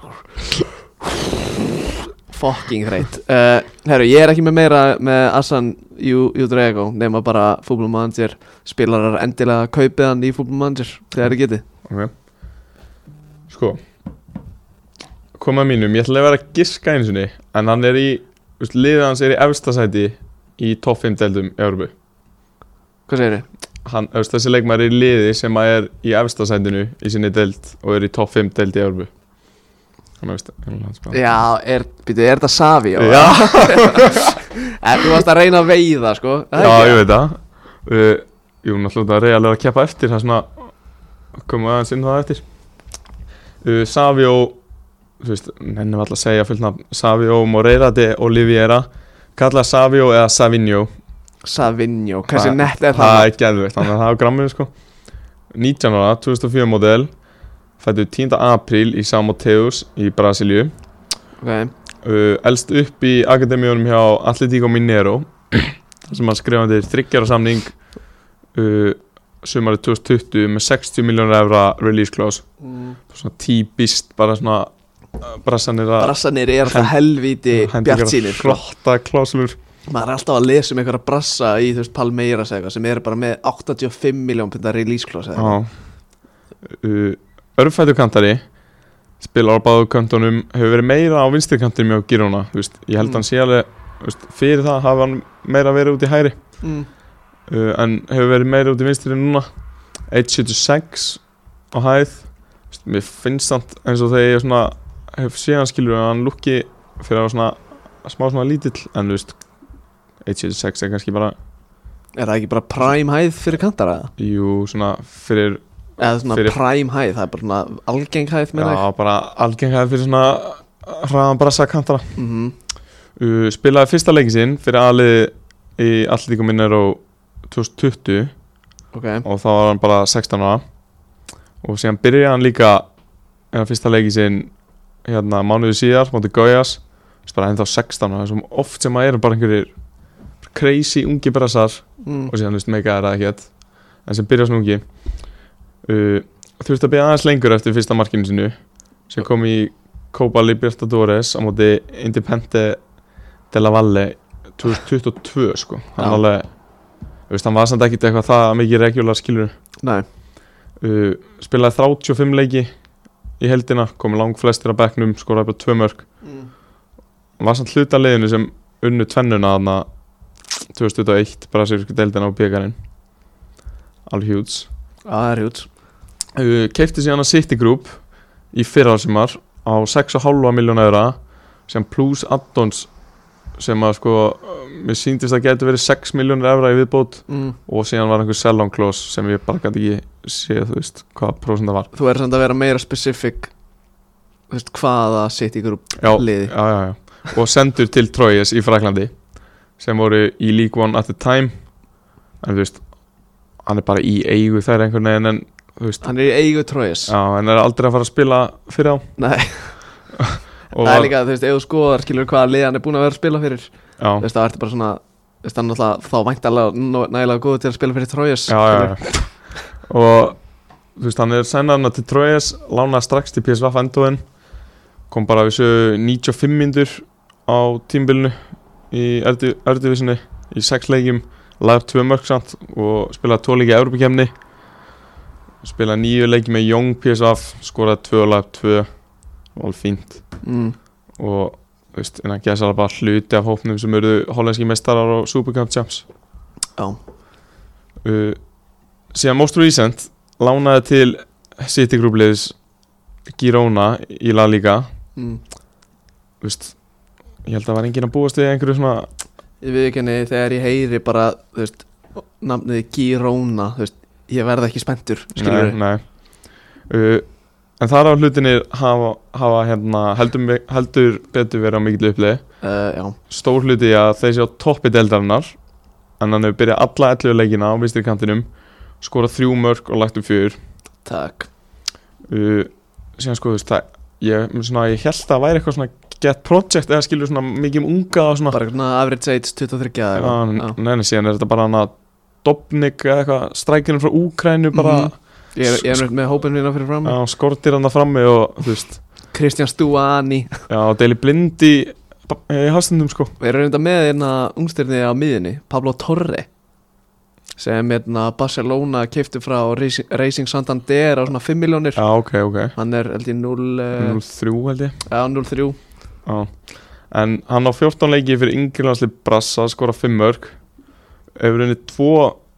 [SPEAKER 1] fucking reitt uh, herru, ég er ekki með meira með Assan Júdrego nema bara fútbolmanager spilarar endilega kaupið hann í fútbolmanager þegar þið getið
[SPEAKER 2] ok sko koma að mínum, ég ætla að vera að giska eins og en hann er í, þú veist, liðið hans er í efstasæti í topp 5 deildum í Európu
[SPEAKER 1] hvað segirðu?
[SPEAKER 2] hann, þú veist, þessi leikmar er í liði sem að er í efstasætinu í sinni deild og er í topp 5 deild í Európu hann er veist hann er
[SPEAKER 1] Já, er, býtu, er þetta Savi? Já,
[SPEAKER 2] sko. Já.
[SPEAKER 1] En þú varst að reyna að veiða, sko er það
[SPEAKER 2] Já,
[SPEAKER 1] ekki?
[SPEAKER 2] ég veit það uh, Jú, náttúrulega reyðarlega að keppa eftir Það er svona Komum aðeins inn á það eftir uh, Savio Þú veist, henni var alltaf að segja fullt nafn Savio Moreira de Oliveira Kallað Savio eða Savinho
[SPEAKER 1] Savinho, hversu
[SPEAKER 2] Það-
[SPEAKER 1] nett er
[SPEAKER 2] Það
[SPEAKER 1] það?
[SPEAKER 2] er geðveikt, þannig að það er á gramminu sko 19 ára, 2004 model Fættu 10. apríl í São Mateus í Brasilíu
[SPEAKER 1] Okay.
[SPEAKER 2] uh, elst upp í akademíunum hjá Atletico Mineiro þar sem hann skrifaði þryggjara samning uh, sumarið 2020 með 60 miljónur evra release clause
[SPEAKER 1] Mm.
[SPEAKER 2] svona típist bara svona uh, brassanir að
[SPEAKER 1] Brassanir er alltaf helvíti bjartsýnir sko.
[SPEAKER 2] hlotta klásulur
[SPEAKER 1] Maður er alltaf að lesa um einhverja brassa í þú veist Palmeiras eða eitthvað sem eru bara með 85 miljón pinda release clause eða eitthvað.
[SPEAKER 2] uh, örfættu Uh, kantari spilar á báðu kantunum hefur verið meira á vinstri kantinum hjá Girona þú veist, ég held
[SPEAKER 1] Mm.
[SPEAKER 2] hann sé alveg þú veist, fyrir það hafa hann meira verið út í hægri
[SPEAKER 1] mm.
[SPEAKER 2] uh, en hefur verið meira út í vinstri núna 1.76 á hæð Vist, mér finnst hann eins og þegar ég svona hef séð hann skilur að hann lukki fyrir að vera svona smá svona lítill en þú veist 1.76 er kannski bara
[SPEAKER 1] Er það ekki bara prime hæð fyrir kantara? eða?
[SPEAKER 2] jú svona fyrir
[SPEAKER 1] Eða svona
[SPEAKER 2] Fyrir-
[SPEAKER 1] prime hæð, það er bara svona algeng hæð með
[SPEAKER 2] já bara algengæði fyrir svona hraðan brassa kantara
[SPEAKER 1] það mm -hmm.
[SPEAKER 2] uh, spilaði fyrsta leikin sinn fyrir aðlið í alltíku minnir á 2020
[SPEAKER 1] Ok,
[SPEAKER 2] og þá var hann bara 16 ára og síðan byrjaði hann líka eða fyrsta leiki sinn hérna mánuðu síðar, móti Gaujas bara ennþá 16 ára, þessum oft sem að eru bara einhverjir crazy ungi brassar
[SPEAKER 1] mm.
[SPEAKER 2] og síðan þú veist meika er það ekkert en sem byrja svona ungi uh, þurfti að byrja aðeins lengur eftir fyrsta markinu sinu sem kom í Copa Libertadores á móti Independe de la Valle 2022 sko hann
[SPEAKER 1] Já.
[SPEAKER 2] alveg, þú veist hann var samt ekkert eitthvað það mikið regular skilur
[SPEAKER 1] Nei,
[SPEAKER 2] uh, spilaði 35 leiki í heldina, komið langflestir að bekknum skoraði bara tvö mörg
[SPEAKER 1] mm.
[SPEAKER 2] hann var samt hluta leiðinu sem unnu tvennuna þarna 2021 bara sér sko deildina á byggarinn alveg hjúts
[SPEAKER 1] Já, það er hjúts
[SPEAKER 2] uh, keipti síðan að City Group í fyrrhalsumar á 6,5 miljón eura sem pluss addons sem að sko uh, mér síndist að getur verið 6 miljónir eura í viðbót
[SPEAKER 1] mm.
[SPEAKER 2] og síðan var einhver sell-on clause sem ég bara gæti ekki séð þú veist hvað prósent það var
[SPEAKER 1] þú er samt að vera meira specific þú veist, hvaða sitt í grúp
[SPEAKER 2] já,
[SPEAKER 1] liði.
[SPEAKER 2] já, já, já. og sendur til Troyes í Fraklandi sem voru í League One at the time en þú veist hann er bara í eigu þær einhvern veginn en þú veist,
[SPEAKER 1] hann er í eigu tróis
[SPEAKER 2] já, hann er aldrei að fara að spila fyrir á
[SPEAKER 1] Nei,
[SPEAKER 2] og
[SPEAKER 1] það er
[SPEAKER 2] var-
[SPEAKER 1] líka, þú veist, ef þú skoðar skilur hvaða lið hann er búin að vera að spila fyrir þú
[SPEAKER 2] já,
[SPEAKER 1] veist, það ertu bara svona þú veist, hann náttúrulega þá væntalega nó- nægilega góð til að spila fyrir tróis
[SPEAKER 2] já, já, já. og þú veist, hann er sendan til Troyes lánað strax til PSV Eindhoven kom bara við sögu 95 myndur á tímbilinu í í Erdivisinni í sex leikjum, lagði tvö mörg samt og spilaði tvo leiki í Evropakemni spilaði nýju leiki með Young PSAF, skoraði tvö og lagði tvö og alveg fínt
[SPEAKER 1] mm.
[SPEAKER 2] og þú veist, en að gæsa bara hluti af hópnum sem eru hollenski mestarar og Supercup champs
[SPEAKER 1] Já.
[SPEAKER 2] uh, síðan Most Recent lánaði til City Group liðs Girona í La Liga
[SPEAKER 1] Mm.
[SPEAKER 2] þú veist, ég held að það var enginn að búast við einhverju svona
[SPEAKER 1] Ég viðkenni þegar ég heyri bara þú veist, nafnið Girona þú veist, ég verð ekki spenntur skilur
[SPEAKER 2] nei, nei. Uh, en þar á hlutinir hafa, hafa hérna, heldur, heldur betur verið á mikil upplið
[SPEAKER 1] uh, Já,
[SPEAKER 2] stór hluti í að þeir séu á toppi deildarinnar en hann hefur byrjað alla 11 leikina á vinstri kantinum skorað þrjú mörg og lagt upp fjör
[SPEAKER 1] takk
[SPEAKER 2] uh, síðan sko þú veist það ég, svona, ég held að það væri eitthvað svona get project eða skilur svona mikið um unga og svona
[SPEAKER 1] Bara svona average age 23 eða
[SPEAKER 2] Já,
[SPEAKER 1] eitthvað.
[SPEAKER 2] en- nei, nei, síðan er þetta bara hann að Dobnik eða eitthvað, strækjunum frá Úkrænu bara, mm
[SPEAKER 1] Mhm. Ég er, ég er með hópin hérna fyrir fram
[SPEAKER 2] -hmm. skortir hann það frammi og þú veist,
[SPEAKER 1] Kristján Stúani
[SPEAKER 2] já, og deilir blindi í hafstundum sko
[SPEAKER 1] Við erum reynda með hérna ungstyrni á miðinni Pablo Torre sem hérna Barcelona keipti frá Racing Racing Santander á svona 5 miljónir
[SPEAKER 2] Já, ok, ok,
[SPEAKER 1] Hann er held ég 0 eh,
[SPEAKER 2] 0-3 held ég
[SPEAKER 1] eða 0-3
[SPEAKER 2] Já, en hann á 14 leiki fyrir yngirlandsli Brassa skora 5 mörg hefur henni 2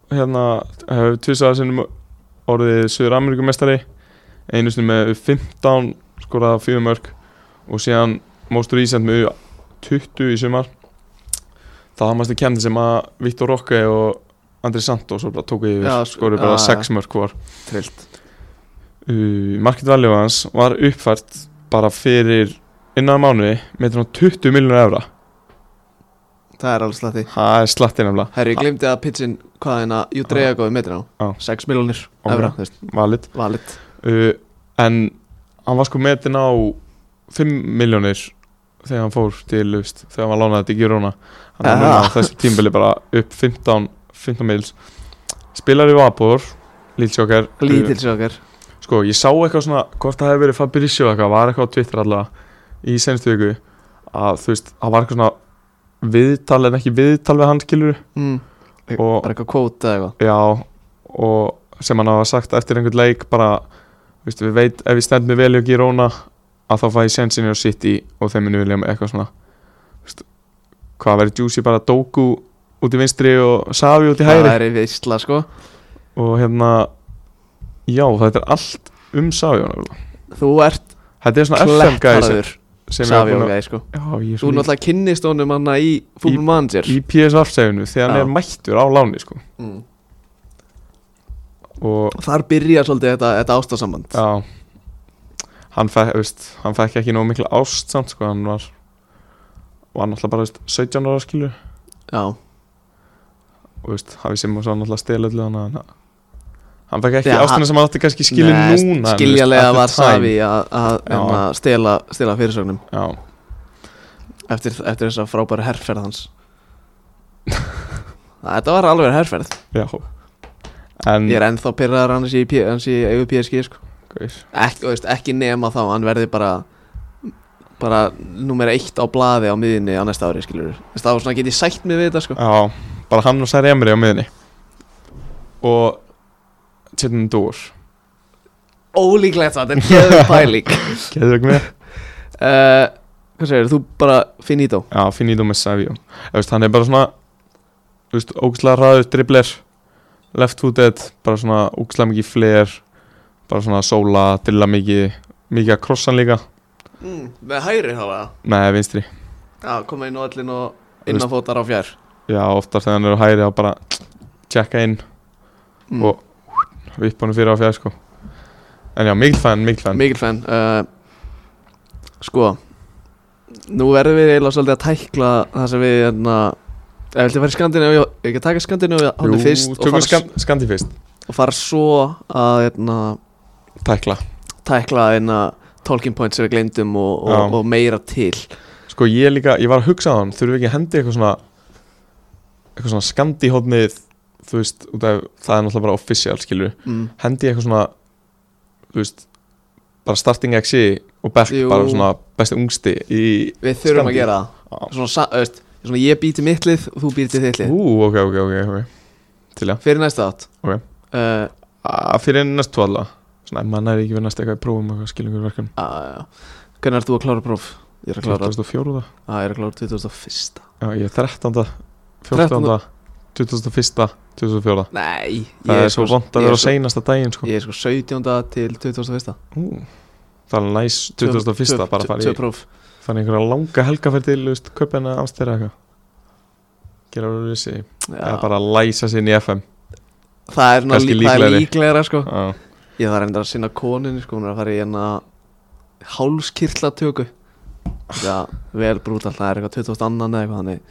[SPEAKER 2] hérna, hefur tvisaða sinnum orðið Suður Ameríkumestari einu sinni með 15 skoraða 4 mörg og síðan móstur ísend með 20 í sumar það hafði mæstu kendi sem að Viktor Rokke og Andri Santos og bara tóku yfir,
[SPEAKER 1] Já, sko-
[SPEAKER 2] skoruðu bara
[SPEAKER 1] já,
[SPEAKER 2] 6 mörg hvar
[SPEAKER 1] Trillt
[SPEAKER 2] uh, market value hans var uppfært bara fyrir innan mánuði með 20 miljónur evra
[SPEAKER 1] Það er alveg slatti
[SPEAKER 2] það er slatti nefnilega,
[SPEAKER 1] Herri, ég glemdi að pitchin hvað hérna Júdrega góði metin
[SPEAKER 2] Já.
[SPEAKER 1] á 6 miljónir
[SPEAKER 2] Ok.
[SPEAKER 1] evra, þú veist,
[SPEAKER 2] valit
[SPEAKER 1] valit
[SPEAKER 2] uh, en hann var sko metin á 5 miljónir þegar hann fór til lust, þegar hann lánaði til Girona hann er
[SPEAKER 1] Aha.
[SPEAKER 2] núna á þessu tímbili bara upp 15, 15 mils spilar í Vapor Lítsjókar
[SPEAKER 1] Lítil sjókar
[SPEAKER 2] sko, ég sá eitthvað svona hvort það hefði verið Fabrizio eitthvað, var eitthvað á Twitter allavega í senstu viku að þú veist, það var eitthvað svona viðtal en ekki viðtal við hann skilur
[SPEAKER 1] mm.
[SPEAKER 2] Og-
[SPEAKER 1] Bara eitthvað kvóta eða eitthvað
[SPEAKER 2] já, og sem hann hafa sagt eftir einhvern leik bara, þú veist, við veit ef ég stend mig vel í Girona að þá fæ ég sensinni á City og þeim minu vilja mig eitthvað svona þú veist, hvað verið Juicy bara Doku út í vinstri og Savi út í hægri
[SPEAKER 1] Það er í veistla, sko
[SPEAKER 2] og hérna já, þetta er allt um Savi þetta
[SPEAKER 1] Þú ert
[SPEAKER 2] er svona FM gæði
[SPEAKER 1] klettarður
[SPEAKER 2] sem
[SPEAKER 1] Savi
[SPEAKER 2] er
[SPEAKER 1] og
[SPEAKER 2] búin að
[SPEAKER 1] gæði, sko
[SPEAKER 2] Já, ég er
[SPEAKER 1] Þú
[SPEAKER 2] svona
[SPEAKER 1] náttúrulega kynnist honum hann í Fútbol Manager
[SPEAKER 2] í PSV-seginu þegar hann
[SPEAKER 1] Já.
[SPEAKER 2] er mættur á láni sko.
[SPEAKER 1] mm.
[SPEAKER 2] og
[SPEAKER 1] Þar byrja svolítið þetta, þetta ástasamband
[SPEAKER 2] já hann fekk, veist, hann fekk ekki nóg mikla ást samt sko, hann var var náttúrulega bara veist, 17 ára skilur
[SPEAKER 1] Já,
[SPEAKER 2] og veist, hafi sem og svo náttúrulega stil öllu hann hann, hann fekk ekki
[SPEAKER 1] Þegar
[SPEAKER 2] ástina sem hann átti kannski skilin
[SPEAKER 1] Nei,
[SPEAKER 2] núna en,
[SPEAKER 1] Skiljanlega
[SPEAKER 2] veist,
[SPEAKER 1] var
[SPEAKER 2] at the time.
[SPEAKER 1] Savi að- að
[SPEAKER 2] Já.
[SPEAKER 1] hérna, stela, stela fyrirsögnum
[SPEAKER 2] já,
[SPEAKER 1] eftir, eftir þessa frábæra herrferð hans Þetta var alveg herrferð
[SPEAKER 2] já en
[SPEAKER 1] Ég er
[SPEAKER 2] Mm.
[SPEAKER 1] ennþá pyrraður hans í, P- hans í eigu PSG sko.
[SPEAKER 2] gaur,
[SPEAKER 1] Ek, þú veist, Ekki nema þá, hann verði bara bara nummer eitt á blaði á miðinni á næsta ári skilur Þess, Það var svona get ég sætt mig við þetta sko.
[SPEAKER 2] já, bara hann og Særi Emri á miðinni og Tjötnum Dór
[SPEAKER 1] Ólíklegt það, þetta er geður pæling
[SPEAKER 2] getur ekki með
[SPEAKER 1] uh, Hvað segir þú? Bara finito
[SPEAKER 2] Já, finito með Savio Þú veist, hann er bara svona Þú veist, ógæslega hraður dribbler Left footed, bara svona ógæslega mikið flair Bara svona sóla, drilla mikið Mikið að krossan líka
[SPEAKER 1] mm, Með hægri hafa
[SPEAKER 2] Nei, vinstri
[SPEAKER 1] Já, koma inn á öllin og innanfótar á fjær
[SPEAKER 2] Já, oftar þegar hann er á hægri þá bara Tjekka inn,
[SPEAKER 1] mm.
[SPEAKER 2] Og- upp honum fyrir á fjær sko En já, mikil fan, mikil fan
[SPEAKER 1] Mikil fenn uh, Sko Nú verðum við eiginlega svolítið að tækla það sem við hérna Ef viltu fara í Skandinavíu Ég ekki að taka Skandinavíu hóndi fyrst og
[SPEAKER 2] tökum
[SPEAKER 1] fara,
[SPEAKER 2] skand, skandi fyrst
[SPEAKER 1] og fara svo að hérna,
[SPEAKER 2] Tækla
[SPEAKER 1] tækla hérna, talking points sem við glemdum og,
[SPEAKER 2] Já.
[SPEAKER 1] og, og meira til
[SPEAKER 2] Sko ég líka, ég var að hugsa á hann Þurfum við ekki að hendi eitthvað svona Eitthvað svona skandi hóðnið Þú veist, út af, það er náttúrulega bara official skilur
[SPEAKER 1] mm.
[SPEAKER 2] hendi ég eitthvað svona þú veist, bara starting XI og back
[SPEAKER 1] Jú.
[SPEAKER 2] bara svona besti ungsti í
[SPEAKER 1] Við þurfum
[SPEAKER 2] Skandi.
[SPEAKER 1] að gera það
[SPEAKER 2] Já.
[SPEAKER 1] Svona, sa- þú veist, svona ég býti mittlið og þú býti þittlið
[SPEAKER 2] Ú, ok, ok, ok, ok Til já
[SPEAKER 1] Fyrir næsta átt
[SPEAKER 2] Ok.
[SPEAKER 1] uh,
[SPEAKER 2] Að Fyrir næst tvo alla Svona, ef mann er ekki við næst eitthvað í prófum og skilum ykkur verkan
[SPEAKER 1] að, uh, Hvernig ert þú að klára próf? Ég er að klára,
[SPEAKER 2] 2004
[SPEAKER 1] að, ég er að klára 2001
[SPEAKER 2] Já, ég er 13. 14. 2001. 2004
[SPEAKER 1] Nei ég
[SPEAKER 2] Það
[SPEAKER 1] er
[SPEAKER 2] er svo
[SPEAKER 1] sko-
[SPEAKER 2] vond
[SPEAKER 1] ég
[SPEAKER 2] að
[SPEAKER 1] er
[SPEAKER 2] vera
[SPEAKER 1] sko-
[SPEAKER 2] seinasta daginn sko.
[SPEAKER 1] Ég er sko 17. til 21.
[SPEAKER 2] Ú, Það er alveg næs 2001. bara að fara
[SPEAKER 1] Tvö
[SPEAKER 2] í
[SPEAKER 1] próf
[SPEAKER 2] Þannig einhverja langa helgaferð til þú veist, Kaupa henni amstæra eitthvað Gera úr þessi Eða
[SPEAKER 1] Já,
[SPEAKER 2] bara læsa sér inn í FM
[SPEAKER 1] Það er, ná,
[SPEAKER 2] kannski
[SPEAKER 1] lí, það er
[SPEAKER 2] líklegri.
[SPEAKER 1] líklegra sko
[SPEAKER 2] Já,
[SPEAKER 1] Ég þarf enda að sinna koninni sko Hún er að fara í hérna Hálskirtlatöku Já, vel brútal Það er eitthvað 22. eða eitthvað þannig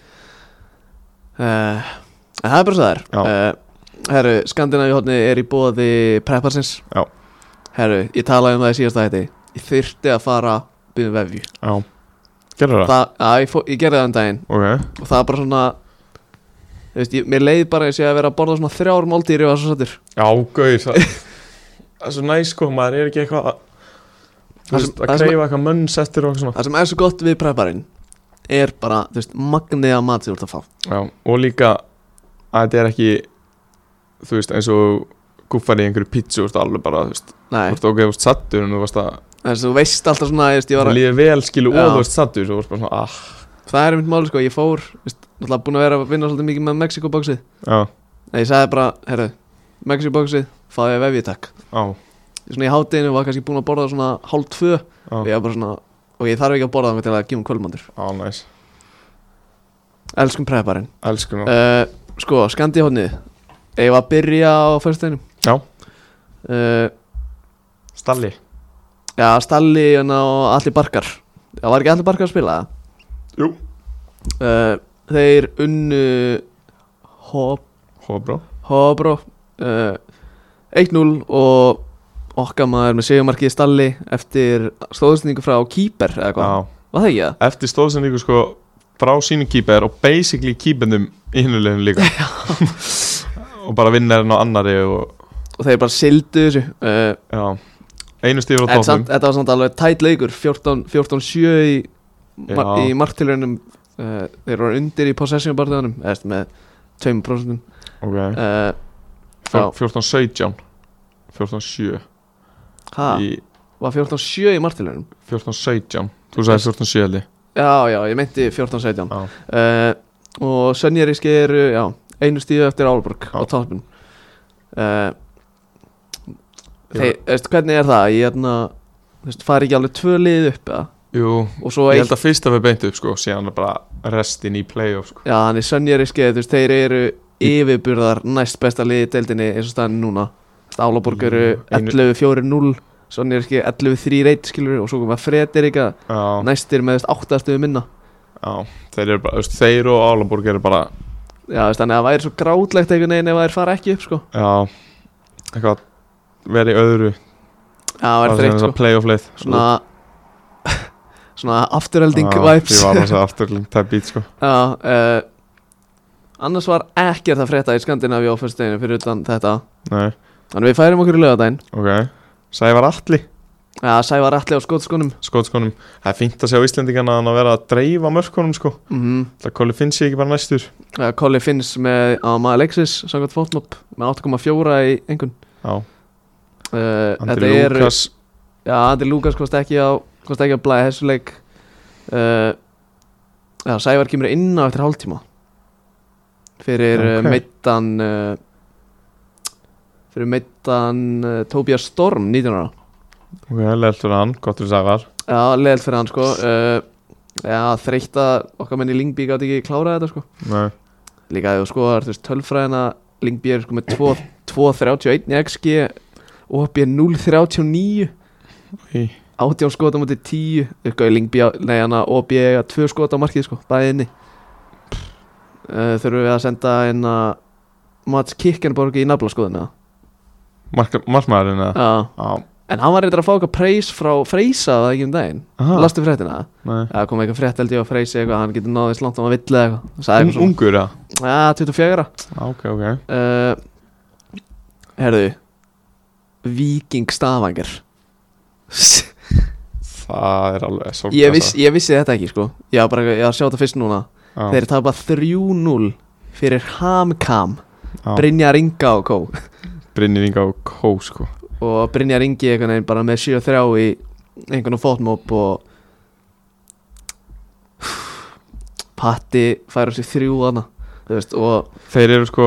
[SPEAKER 1] uh, En það er bara svo
[SPEAKER 2] Já.
[SPEAKER 1] það er uh, Herru, Skandinavíu hodni er í bóði Prepparsins
[SPEAKER 2] Já.
[SPEAKER 1] Herru, ég talaði um það í síðasta hætti Ég þyrfti að fara byrjum vefju
[SPEAKER 2] já Gerðu það?
[SPEAKER 1] Það, að, ég, fó, ég gerði það um daginn
[SPEAKER 2] Ok,
[SPEAKER 1] og það er bara svona þú veist, ég, mér leið bara eins og ég að vera að borða svona þrjár máltíðir og það svo sattur
[SPEAKER 2] já, gauð Það það er svo næs sko, maður er ekki eitthvað að Þú
[SPEAKER 1] Það sem-
[SPEAKER 2] veist, að
[SPEAKER 1] það sem-
[SPEAKER 2] kreifa eitthvað mönns eftir og eitthvað svona
[SPEAKER 1] það sem er svo gott við prepparinn er bara, þú veist, magnið að mat sem þú ert að fá
[SPEAKER 2] Já, og líka að þetta er ekki þú veist, eins og guffar í einhverju pítsu, þú veist, alveg bara þú veist, þú
[SPEAKER 1] nei,
[SPEAKER 2] veist, ok, þú veist, sattur en þú veist að,
[SPEAKER 1] þess að þú veist alltaf svona þú veist, ég var,
[SPEAKER 2] það
[SPEAKER 1] að-
[SPEAKER 2] líður vel skilu
[SPEAKER 1] Já.
[SPEAKER 2] og þú veist sattur, þú veist bara svona, ah
[SPEAKER 1] það er mitt mál, sko, ég fór þú veist, náttúrulega búin að vera að vinna svolítið mikið með Mexiko-bóksið
[SPEAKER 2] Já,
[SPEAKER 1] en ég sagði bara, herru, Mexiko-bóksið fáði ég vefið takk
[SPEAKER 2] á,
[SPEAKER 1] svona í hátinu var kannski búin að borða svona hálf tvö
[SPEAKER 2] á,
[SPEAKER 1] og ég var bara svona, og ég þarf ekki að borða það til að gefa um kvöldmandur
[SPEAKER 2] á, næs
[SPEAKER 1] elskum prepparinn
[SPEAKER 2] Elskum það,
[SPEAKER 1] uh, Sko, skandi hodnið Ég var að byrja á föstudeginum
[SPEAKER 2] Já.
[SPEAKER 1] uh,
[SPEAKER 2] Stalli
[SPEAKER 1] Já, Stalli hérna, og allir barkar Það var ekki allir barkar að spila það?
[SPEAKER 2] Jú.
[SPEAKER 1] uh, Þeir unnu Hob-
[SPEAKER 2] Hóbró
[SPEAKER 1] Hobro uh, 1-0 og okkar maður með segumarkið Stalli eftir stóðsningu frá Kýper eða hvað,
[SPEAKER 2] Já,
[SPEAKER 1] var það ekki það?
[SPEAKER 2] eftir stóðsendingu sko frá sínum kýper og basically kýpendum í hinulegum líka og bara vinnarinn á annari og,
[SPEAKER 1] Og þeir bara sildu þessu uh,
[SPEAKER 2] já einu stífur á
[SPEAKER 1] En samt,
[SPEAKER 2] tófnum
[SPEAKER 1] þetta var samt alveg tætt leikur 14 14-7 í, mar
[SPEAKER 2] Já.
[SPEAKER 1] í martilunum uh, Þeir voru undir í possession barðunum Eða með 2%
[SPEAKER 2] Ok,
[SPEAKER 1] uh, já.
[SPEAKER 2] 14-17 14-7
[SPEAKER 1] Ha,
[SPEAKER 2] í
[SPEAKER 1] var 14-7 í martilunum
[SPEAKER 2] 14-17 Þú sagði 14-7 held ég
[SPEAKER 1] Já, já, ég meinti 14-17
[SPEAKER 2] Já.
[SPEAKER 1] uh, Og Sönjaríski eru, já, einu stíðu eftir Álborg á
[SPEAKER 2] Já.
[SPEAKER 1] toppin uh,
[SPEAKER 2] Ég-
[SPEAKER 1] Þeir, veist, hvernig er það? Ég erna, veist, fari ekki alveg tvö lið upp eða?
[SPEAKER 2] Jú,
[SPEAKER 1] Og svo
[SPEAKER 2] ég
[SPEAKER 1] eitt
[SPEAKER 2] held að fyrsta við beint upp sko Síðan er bara restin í playoff sko
[SPEAKER 1] Já, þannig Sönjaríski, þú veist, þeir eru yfirburðar næst besta liði í deildinni eins og staðan er núna Álaborg eru
[SPEAKER 2] Já, einu-
[SPEAKER 1] 11-4-0 Sönjaríski 11-3-1 skilur og svo koma Frederika
[SPEAKER 2] Já,
[SPEAKER 1] næstir með þú veist, 8 stuðu minna
[SPEAKER 2] já Þeir eru bara, þú veist, þeir og Álaborg eru bara
[SPEAKER 1] Já, þú veist, þannig að það væri svo grátlegt einhvern veginn ef það er fara ekki upp, sko
[SPEAKER 2] Já, eitthvað Verið í öðru
[SPEAKER 1] Já, það væri þreytt, sko
[SPEAKER 2] Playoff leið
[SPEAKER 1] Svona Svona afturhelding
[SPEAKER 2] Já,
[SPEAKER 1] vibes
[SPEAKER 2] Ég Ah, var
[SPEAKER 1] Já,
[SPEAKER 2] að segja afturling type beat sko
[SPEAKER 1] uh, annars var ekkert að frétta í Skandinavíu á fyrsteinu fyrir utan þetta
[SPEAKER 2] Nei,
[SPEAKER 1] Þannig við færum okkur í lögadaginn
[SPEAKER 2] ok Sævar Atli
[SPEAKER 1] Já, Sævar Atli á skótskonum
[SPEAKER 2] Skotskónum Það er fínt að sjá Íslendingana að vera að dreifa mörkunum sko
[SPEAKER 1] Mhm
[SPEAKER 2] Það Kolli finnst ég ekki bara næstur
[SPEAKER 1] Uh, Colli Finns með á maður Alexis samkvæmt fótnopp með 8,4 í engun
[SPEAKER 2] Já,
[SPEAKER 1] uh,
[SPEAKER 2] Andri Lukas
[SPEAKER 1] Já, Andri Lukas kosti ekki á kosti ekki að blæða þessu leik uh, Já, Sævar kemur inn á eftir hálftíma fyrir okay.
[SPEAKER 2] Ok.
[SPEAKER 1] meittan uh, fyrir meittan uh, Tobias Storm 19 ára
[SPEAKER 2] Ok, leðalt fyrir hann, gott fyrir Sævar
[SPEAKER 1] Já, leðilt fyrir hann sko uh, Já, þreytt að okkar menni Lingby gátt ekki klárað þetta sko
[SPEAKER 2] Nei
[SPEAKER 1] líka ef þú skoðar þú veist tölfræðina Lingby er sko með 2 2.31 í XG OP er 0.39
[SPEAKER 2] Í.
[SPEAKER 1] 18 skot á mútið 10 eitthvað Lingby á- nei hana OP eiga 2 skot á markið sko bæðinni uh, þurfum við að senda hérna Mats Kikkenborg í nafla skoðina
[SPEAKER 2] Markmaðurinn eða?
[SPEAKER 1] uh,
[SPEAKER 2] Já
[SPEAKER 1] en hann var reyndar að fá eitthvað preys frá Freysa það ekki um daginn
[SPEAKER 2] Aha,
[SPEAKER 1] lastu fréttina
[SPEAKER 2] nei.
[SPEAKER 1] það kom eitthvað frétt held ég á Freysi eitthvað hann getur náðist langt á hann vill eða eitthvað sagði
[SPEAKER 2] Un,
[SPEAKER 1] eitthvað svona
[SPEAKER 2] Ungur eða?
[SPEAKER 1] ja, 24
[SPEAKER 2] Já, Ok, ok
[SPEAKER 1] uh, Herðu Víking Stavanger
[SPEAKER 2] Það er alveg sorglega
[SPEAKER 1] ég, viss, ég vissi þetta ekki sko Ég var bara ég var að sjá þetta fyrst núna
[SPEAKER 2] já,
[SPEAKER 1] Þeir tapa 3-0 fyrir Hamkam
[SPEAKER 2] já.
[SPEAKER 1] Brynjar Inga og Kó
[SPEAKER 2] Brynir Inga og Kó sko
[SPEAKER 1] og Brynjar Ingi einhvern veginn bara með 7-3 í einhvern fótmóp og Patti færa sér þrjú þarna þú veist, og
[SPEAKER 2] Þeir eru sko,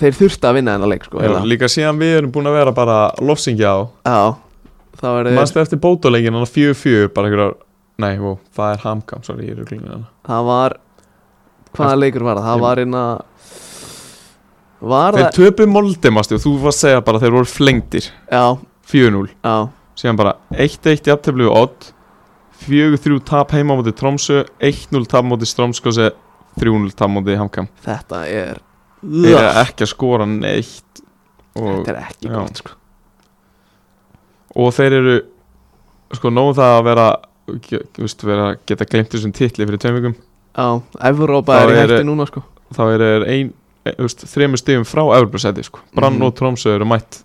[SPEAKER 1] þeir þurftu að vinna þennan leik sko,
[SPEAKER 2] já,
[SPEAKER 1] eiginlega.
[SPEAKER 2] líka síðan við erum búin að vera bara lofsingja á
[SPEAKER 1] já, þá er þeir
[SPEAKER 2] Manstu eftir bótalegin, hann fjögur fjögur bara einhverjar Nei, vó, það er hamkam, sorry, ég er hérna. glingin hana
[SPEAKER 1] það var hvaða leikur var það,
[SPEAKER 2] Ég-
[SPEAKER 1] það var einna var
[SPEAKER 2] Þeir
[SPEAKER 1] það
[SPEAKER 2] töpu moldi, mástu, þú var að segja bara að þeir voru flengdir
[SPEAKER 1] já,
[SPEAKER 2] 4-0
[SPEAKER 1] já,
[SPEAKER 2] síðan bara 1-1 jafntefli við Odd 4-3 tap heima á móti Tromsö 1-0 tap á móti Stromskose 3-0 tap á móti Hamkam
[SPEAKER 1] þetta er
[SPEAKER 2] þeir eru ekki að skora neitt og,
[SPEAKER 1] þetta er ekki
[SPEAKER 2] já.
[SPEAKER 1] gott sko.
[SPEAKER 2] og þeir eru sko nóg það að vera ge- þú veist, vera, geta glemt þessum titli fyrir tveim vikum
[SPEAKER 1] já, Evrópa
[SPEAKER 2] Þá
[SPEAKER 1] er í
[SPEAKER 2] eru-
[SPEAKER 1] hætti núna sko.
[SPEAKER 2] þá eru þeir ein, e, þú veist, þremur stigum frá Evropasæti sko. Brann
[SPEAKER 1] Mhm.
[SPEAKER 2] og Tromsö eru mætt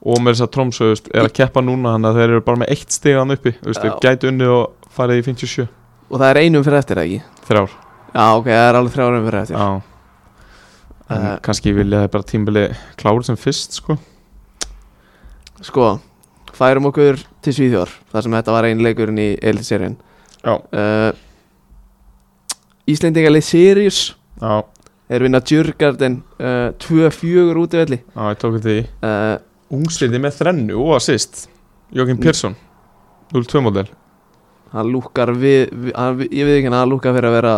[SPEAKER 2] og með þess að Tromsö þú veist, er að keppa núna þannig að þeir eru bara með eitt stigan uppi þú veist, þeir
[SPEAKER 1] Já.
[SPEAKER 2] gætu unni og farið í 57
[SPEAKER 1] og það er einum fyrir eftir ekki
[SPEAKER 2] þrjár
[SPEAKER 1] já, ok, það er alveg þrjárum fyrir eftir
[SPEAKER 2] Já En
[SPEAKER 1] Eh.
[SPEAKER 2] kannski vilja þeir bara tímbili klára sem fyrst sko
[SPEAKER 1] Sko, færum okkur til Svíþjór þar sem þetta var einn leikurinn í Elitserien
[SPEAKER 2] Já.
[SPEAKER 1] uh, Íslendingalið Sirius
[SPEAKER 2] Já,
[SPEAKER 1] er vinna Djurgarden uh, 2-4 útivelli
[SPEAKER 2] já ég tók þetta í
[SPEAKER 1] uh,
[SPEAKER 2] Ungsliði með þrennu og assist Jókin
[SPEAKER 1] Mm.
[SPEAKER 2] Pérsson 0-2 model
[SPEAKER 1] hann lúkar við, við hann, ég veit ekki hann hann lúkar fyrir að vera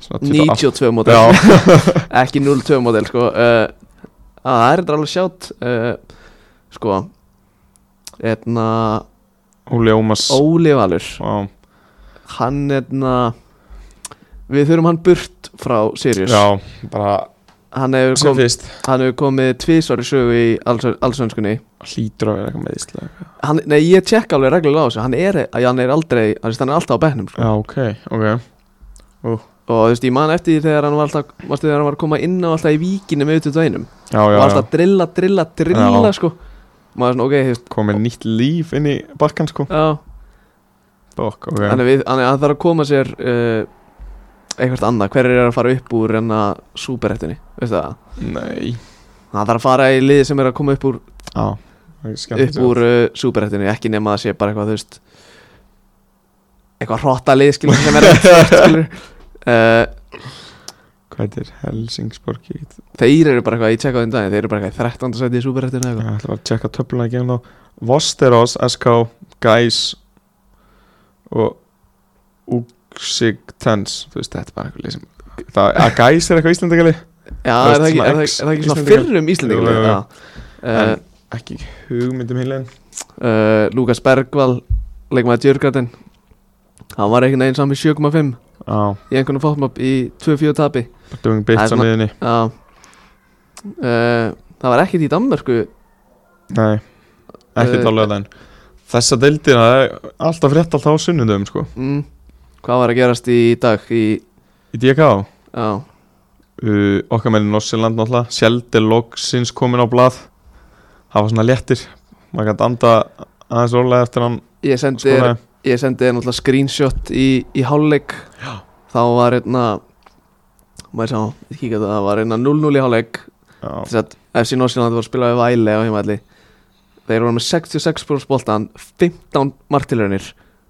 [SPEAKER 2] Svona typa
[SPEAKER 1] 92
[SPEAKER 2] allt-
[SPEAKER 1] mótel
[SPEAKER 2] Já,
[SPEAKER 1] ekki 0-2 mótel sko. uh, að það er þetta alveg sjátt uh, sko etna,
[SPEAKER 2] Óli Ómas
[SPEAKER 1] Óli Valur
[SPEAKER 2] Já,
[SPEAKER 1] hann etna, við þurfum hann burt frá Sirius
[SPEAKER 2] já, bara
[SPEAKER 1] hann hefur,
[SPEAKER 2] sem
[SPEAKER 1] kom,
[SPEAKER 2] fyrst
[SPEAKER 1] hann hefur komið tvísvar í sögu í alls- allsvenskunni
[SPEAKER 2] Hlýtur að vera eitthvað meðislega
[SPEAKER 1] hann, Nei, ég tek alveg reglulega á þessu Hann er, að hann er aldrei, hann er alltaf á bekknum sko.
[SPEAKER 2] Já, ok, ok
[SPEAKER 1] Og þú veist, ég man eftir því þegar hann var alltaf varstu, Þegar hann var að koma inn á alltaf í víkinu með auðvitað einum
[SPEAKER 2] Já, já,
[SPEAKER 1] Og
[SPEAKER 2] já,
[SPEAKER 1] alltaf að drilla, drilla, drilla
[SPEAKER 2] Já.
[SPEAKER 1] sko. Maður er svona, ok, þú veist
[SPEAKER 2] komið nýtt líf inn í bakkan sko
[SPEAKER 1] já,
[SPEAKER 2] Bok, ok
[SPEAKER 1] Þannig að við- þannig að hann þarf að koma sér uh, Eitthvað annað, hver er að fara upp úr En að súperhettunni, veistu það
[SPEAKER 2] Nei
[SPEAKER 1] Hann þarf að fara í liði sem er að koma upp úr
[SPEAKER 2] Já, það er skemmt
[SPEAKER 1] upp úr uh, súperhættinu ekki nema að sé bara eitthvað þú veist eitthvað hróttalið skilur sem er rétt svart, skilur. uh,
[SPEAKER 2] Hvað heitir Helsingsborg? Ég get
[SPEAKER 1] þeir eru bara eitthvað ég tjekka á þeim daginn þeir eru bara eitthvað í 13. seti í súperhættinu
[SPEAKER 2] Ég
[SPEAKER 1] eitthvað
[SPEAKER 2] ætla bara að tjekka töfluna ekki en þá Vosteros, SK, Gæs og Uxigtens Þú veist, þetta er bara eitthvað lið sem það, Að Gæs er eitthvað íslendingali
[SPEAKER 1] já
[SPEAKER 2] Þú
[SPEAKER 1] er það
[SPEAKER 2] veist,
[SPEAKER 1] ekki,
[SPEAKER 2] svona
[SPEAKER 1] er það,
[SPEAKER 2] ex-
[SPEAKER 1] ekki- er það ekki svona
[SPEAKER 2] Íslendingar?
[SPEAKER 1] fyrrum Íslendingar
[SPEAKER 2] Jú, jú, jú.
[SPEAKER 1] já, uh,
[SPEAKER 2] En- Ekki
[SPEAKER 1] um
[SPEAKER 2] hugmyndum hinlegin
[SPEAKER 1] uh, Lukas Bergvall leikmaði Djurgarden hann var einhvern veginn saman í 7,5
[SPEAKER 2] Já,
[SPEAKER 1] í einhvern fótmap í 2-4 tapi
[SPEAKER 2] bara doing
[SPEAKER 1] Það er
[SPEAKER 2] bits á
[SPEAKER 1] svona-
[SPEAKER 2] miðinni
[SPEAKER 1] já uh, það var ekkert í Danmörku
[SPEAKER 2] Nei, ekki
[SPEAKER 1] Eh,
[SPEAKER 2] þá lögðan Þessa deildir, það er alltaf frétt alltaf á sunnudum sko
[SPEAKER 1] mm, hvað var að gerast í dag í
[SPEAKER 2] Í DK,
[SPEAKER 1] já
[SPEAKER 2] uh, okkar meðin Norsjöland náttúrulega Sjeldi loksins komin á blað Það var svona léttir Maður gæti anda aðeins rólega eftir hann
[SPEAKER 1] Ég sendi þér
[SPEAKER 2] skonaði
[SPEAKER 1] ég sendi þér náttúrulega screenshot í, í hálfleik þá var einna maður sá, kíkja þetta, það var einna 0-0 í hálfleik
[SPEAKER 2] Já,
[SPEAKER 1] þess að FC Norsjöland var að spila við Væle á heimaðli þeir voru með 66 brúrs boltan 15 martilunir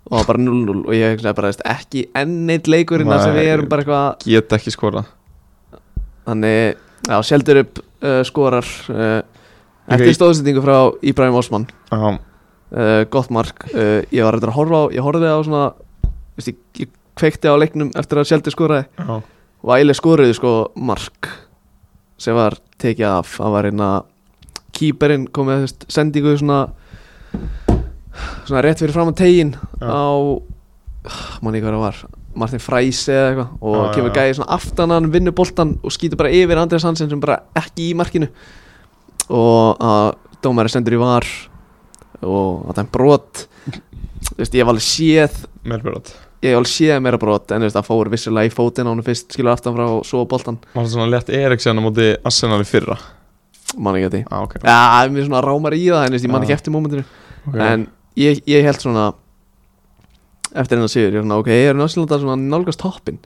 [SPEAKER 1] og það var bara 0-0 og ég hugsaði bara veist, ekki enn eitt leikurinn þar sem við
[SPEAKER 2] Nei.
[SPEAKER 1] erum bara eitthvað
[SPEAKER 2] get ekki skorað
[SPEAKER 1] þannig, já, sjeldur upp uh, skorar uh,
[SPEAKER 2] Líka í-
[SPEAKER 1] eftir stóðsendingu frá Íbrahim Osman
[SPEAKER 2] Já,
[SPEAKER 1] uh, gott mark uh, ég var reyndar að horfa á, ég horfði á svona veist, ég, ég kveikti á leiknum eftir að sjaldi skoraði
[SPEAKER 2] já,
[SPEAKER 1] og ægileg skoraði sko mark sem var tekið af það var hérna, einna kýperinn komið veist, sendingu svona svona rétt fyrir fram á tegin
[SPEAKER 2] Já.
[SPEAKER 1] á mann ekki hvað það var Martin Fræse eða eitthvað og
[SPEAKER 2] Já,
[SPEAKER 1] kemur
[SPEAKER 2] já,
[SPEAKER 1] gæði svona aftan hann vinnur boltan og skýtur bara yfir Andrés Hansen sem bara ekki í markinu og að dómæri sendur í var og að það er brot Þú veist, ég hef alveg séð
[SPEAKER 2] meirbrot
[SPEAKER 1] ég hef alveg séð meira brot en þú veist, það fór vissulega í fótinn á hann fyrst skilur aftan frá og svo á boltan
[SPEAKER 2] Var það svona létt Eriksen á móti Arsenal í fyrra
[SPEAKER 1] man ekki að því
[SPEAKER 2] Já, ok,
[SPEAKER 1] Já, það er mér svona rámar í það en þú veist, ég man
[SPEAKER 2] Já.
[SPEAKER 1] ekki eftir mómentinu
[SPEAKER 2] ok
[SPEAKER 1] en ég, ég held svona eftir hennar sigur, ég er svona ok, ég er náttúrulega svona nálgast toppin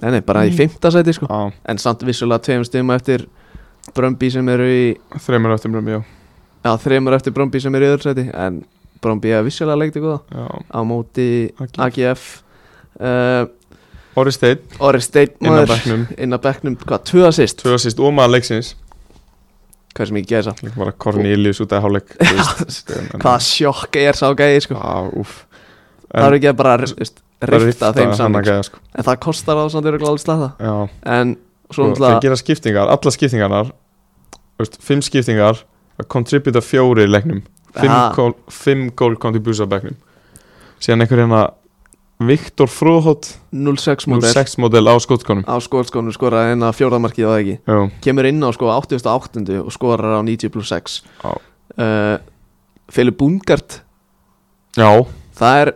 [SPEAKER 1] Nei, nei, bara í
[SPEAKER 3] Mm.
[SPEAKER 1] fimmta sæti sko
[SPEAKER 2] á
[SPEAKER 1] En samt vissulega tveim stíma eftir Brömbi sem eru í
[SPEAKER 2] þreymur öttum blömi, já.
[SPEAKER 1] Já, þreimur eftir Brömbi sem eru í öðru sæti En Brömbi er vissulega leikti góða
[SPEAKER 2] já.
[SPEAKER 1] Á móti
[SPEAKER 2] AG.
[SPEAKER 1] AGF uh,
[SPEAKER 2] Orri Steinn
[SPEAKER 1] Orri Steinn
[SPEAKER 2] inn á
[SPEAKER 1] maður,
[SPEAKER 2] bekknum,
[SPEAKER 1] Inn að bekknum, hvað, tvö assist
[SPEAKER 2] tvö assist og maður leiksins.
[SPEAKER 1] Hvað sem ég geði samt
[SPEAKER 2] Líka bara Cornelius út af hálfleik, þú veist. en- en-
[SPEAKER 1] Hvaða sjokk er sá gæði sko
[SPEAKER 2] Já, úff.
[SPEAKER 1] Það eru ekki að bara þú veist, rifta þeim saman
[SPEAKER 2] Gæða, sko.
[SPEAKER 1] En það kostar á samt örugglega alveg slata
[SPEAKER 2] Já,
[SPEAKER 1] En
[SPEAKER 2] sko,
[SPEAKER 1] svo
[SPEAKER 2] þeir
[SPEAKER 1] náttúrulega
[SPEAKER 2] gera skiptingar, alla skiptingarnar, þú veist, fimm skiptingar, að kontributa fjóri í leiknum. Fimm,
[SPEAKER 1] Ah.
[SPEAKER 2] gól, fimm gól kom til búsa bekknum. Síðan einhver hérna, Viktor Fróhótt,
[SPEAKER 1] 0-6 mótel
[SPEAKER 2] 06 model á skotkonum.
[SPEAKER 1] á skótskónu skoraði inn á fjórðamarkið og ekki
[SPEAKER 2] Já,
[SPEAKER 1] kemur inn á sko 88. og skorar á 90 plus 6
[SPEAKER 2] Já.
[SPEAKER 1] uh, Filip Bungart
[SPEAKER 2] já.
[SPEAKER 1] það er,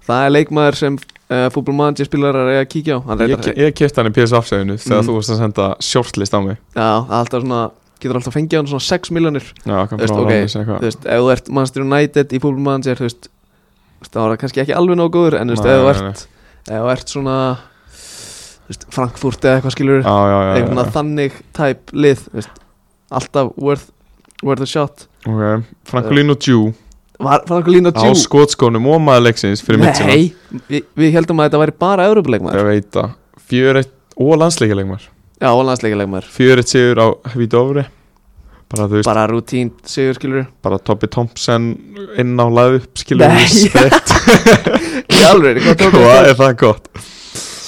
[SPEAKER 1] það er leikmaður sem uh, fútbolmann spilarar er að kíkja á hann
[SPEAKER 2] Ég,
[SPEAKER 1] reyndar-
[SPEAKER 2] ég kefti hann í PSV-afsæðinu þegar
[SPEAKER 1] Mm.
[SPEAKER 2] þú varst að senda shortlist á mig
[SPEAKER 1] já, alltaf svona getur alltaf fengið hann svona 6 miljonir
[SPEAKER 2] Já,
[SPEAKER 1] Þú
[SPEAKER 2] hann
[SPEAKER 1] veist,
[SPEAKER 2] bara
[SPEAKER 1] ok,
[SPEAKER 2] okay. ráðið sér
[SPEAKER 1] þú
[SPEAKER 2] eitthvað
[SPEAKER 1] veist, ef þú ert Manchester United í fútbolmann þú veist, þú veist, það var það kannski ekki alveg nóg góður en þú veist,
[SPEAKER 2] Nei,
[SPEAKER 1] ef þú
[SPEAKER 2] nei,
[SPEAKER 1] ert, ef þú ert svona þú veist, Frankfurt eða eitthvað skilur
[SPEAKER 2] Já, já, já, já,
[SPEAKER 1] einhvern að þannig type lið þú veist, alltaf worth, worth a shot
[SPEAKER 2] já. Ok, Franklin og Jew
[SPEAKER 1] Var, var eitthvað lína
[SPEAKER 2] á skotskónum og maður leiksins fyrir mitt sinna
[SPEAKER 1] Nei, við, við heldum að þetta væri bara Európa-leikmaður
[SPEAKER 2] Ég veit það Fjöreitt og landsleikaleikmar
[SPEAKER 1] Já, og landsleikaleikmaður
[SPEAKER 2] Fjöreitt sigur á Hvítófri Bara þú veist,
[SPEAKER 1] Bara rutín, sigur skilur
[SPEAKER 2] bara Tobby Thompson inn á lagðu upp skilur
[SPEAKER 1] Nei.
[SPEAKER 2] respekt
[SPEAKER 1] Í alveg, hvað tók
[SPEAKER 2] Hvað Sko, er það gott?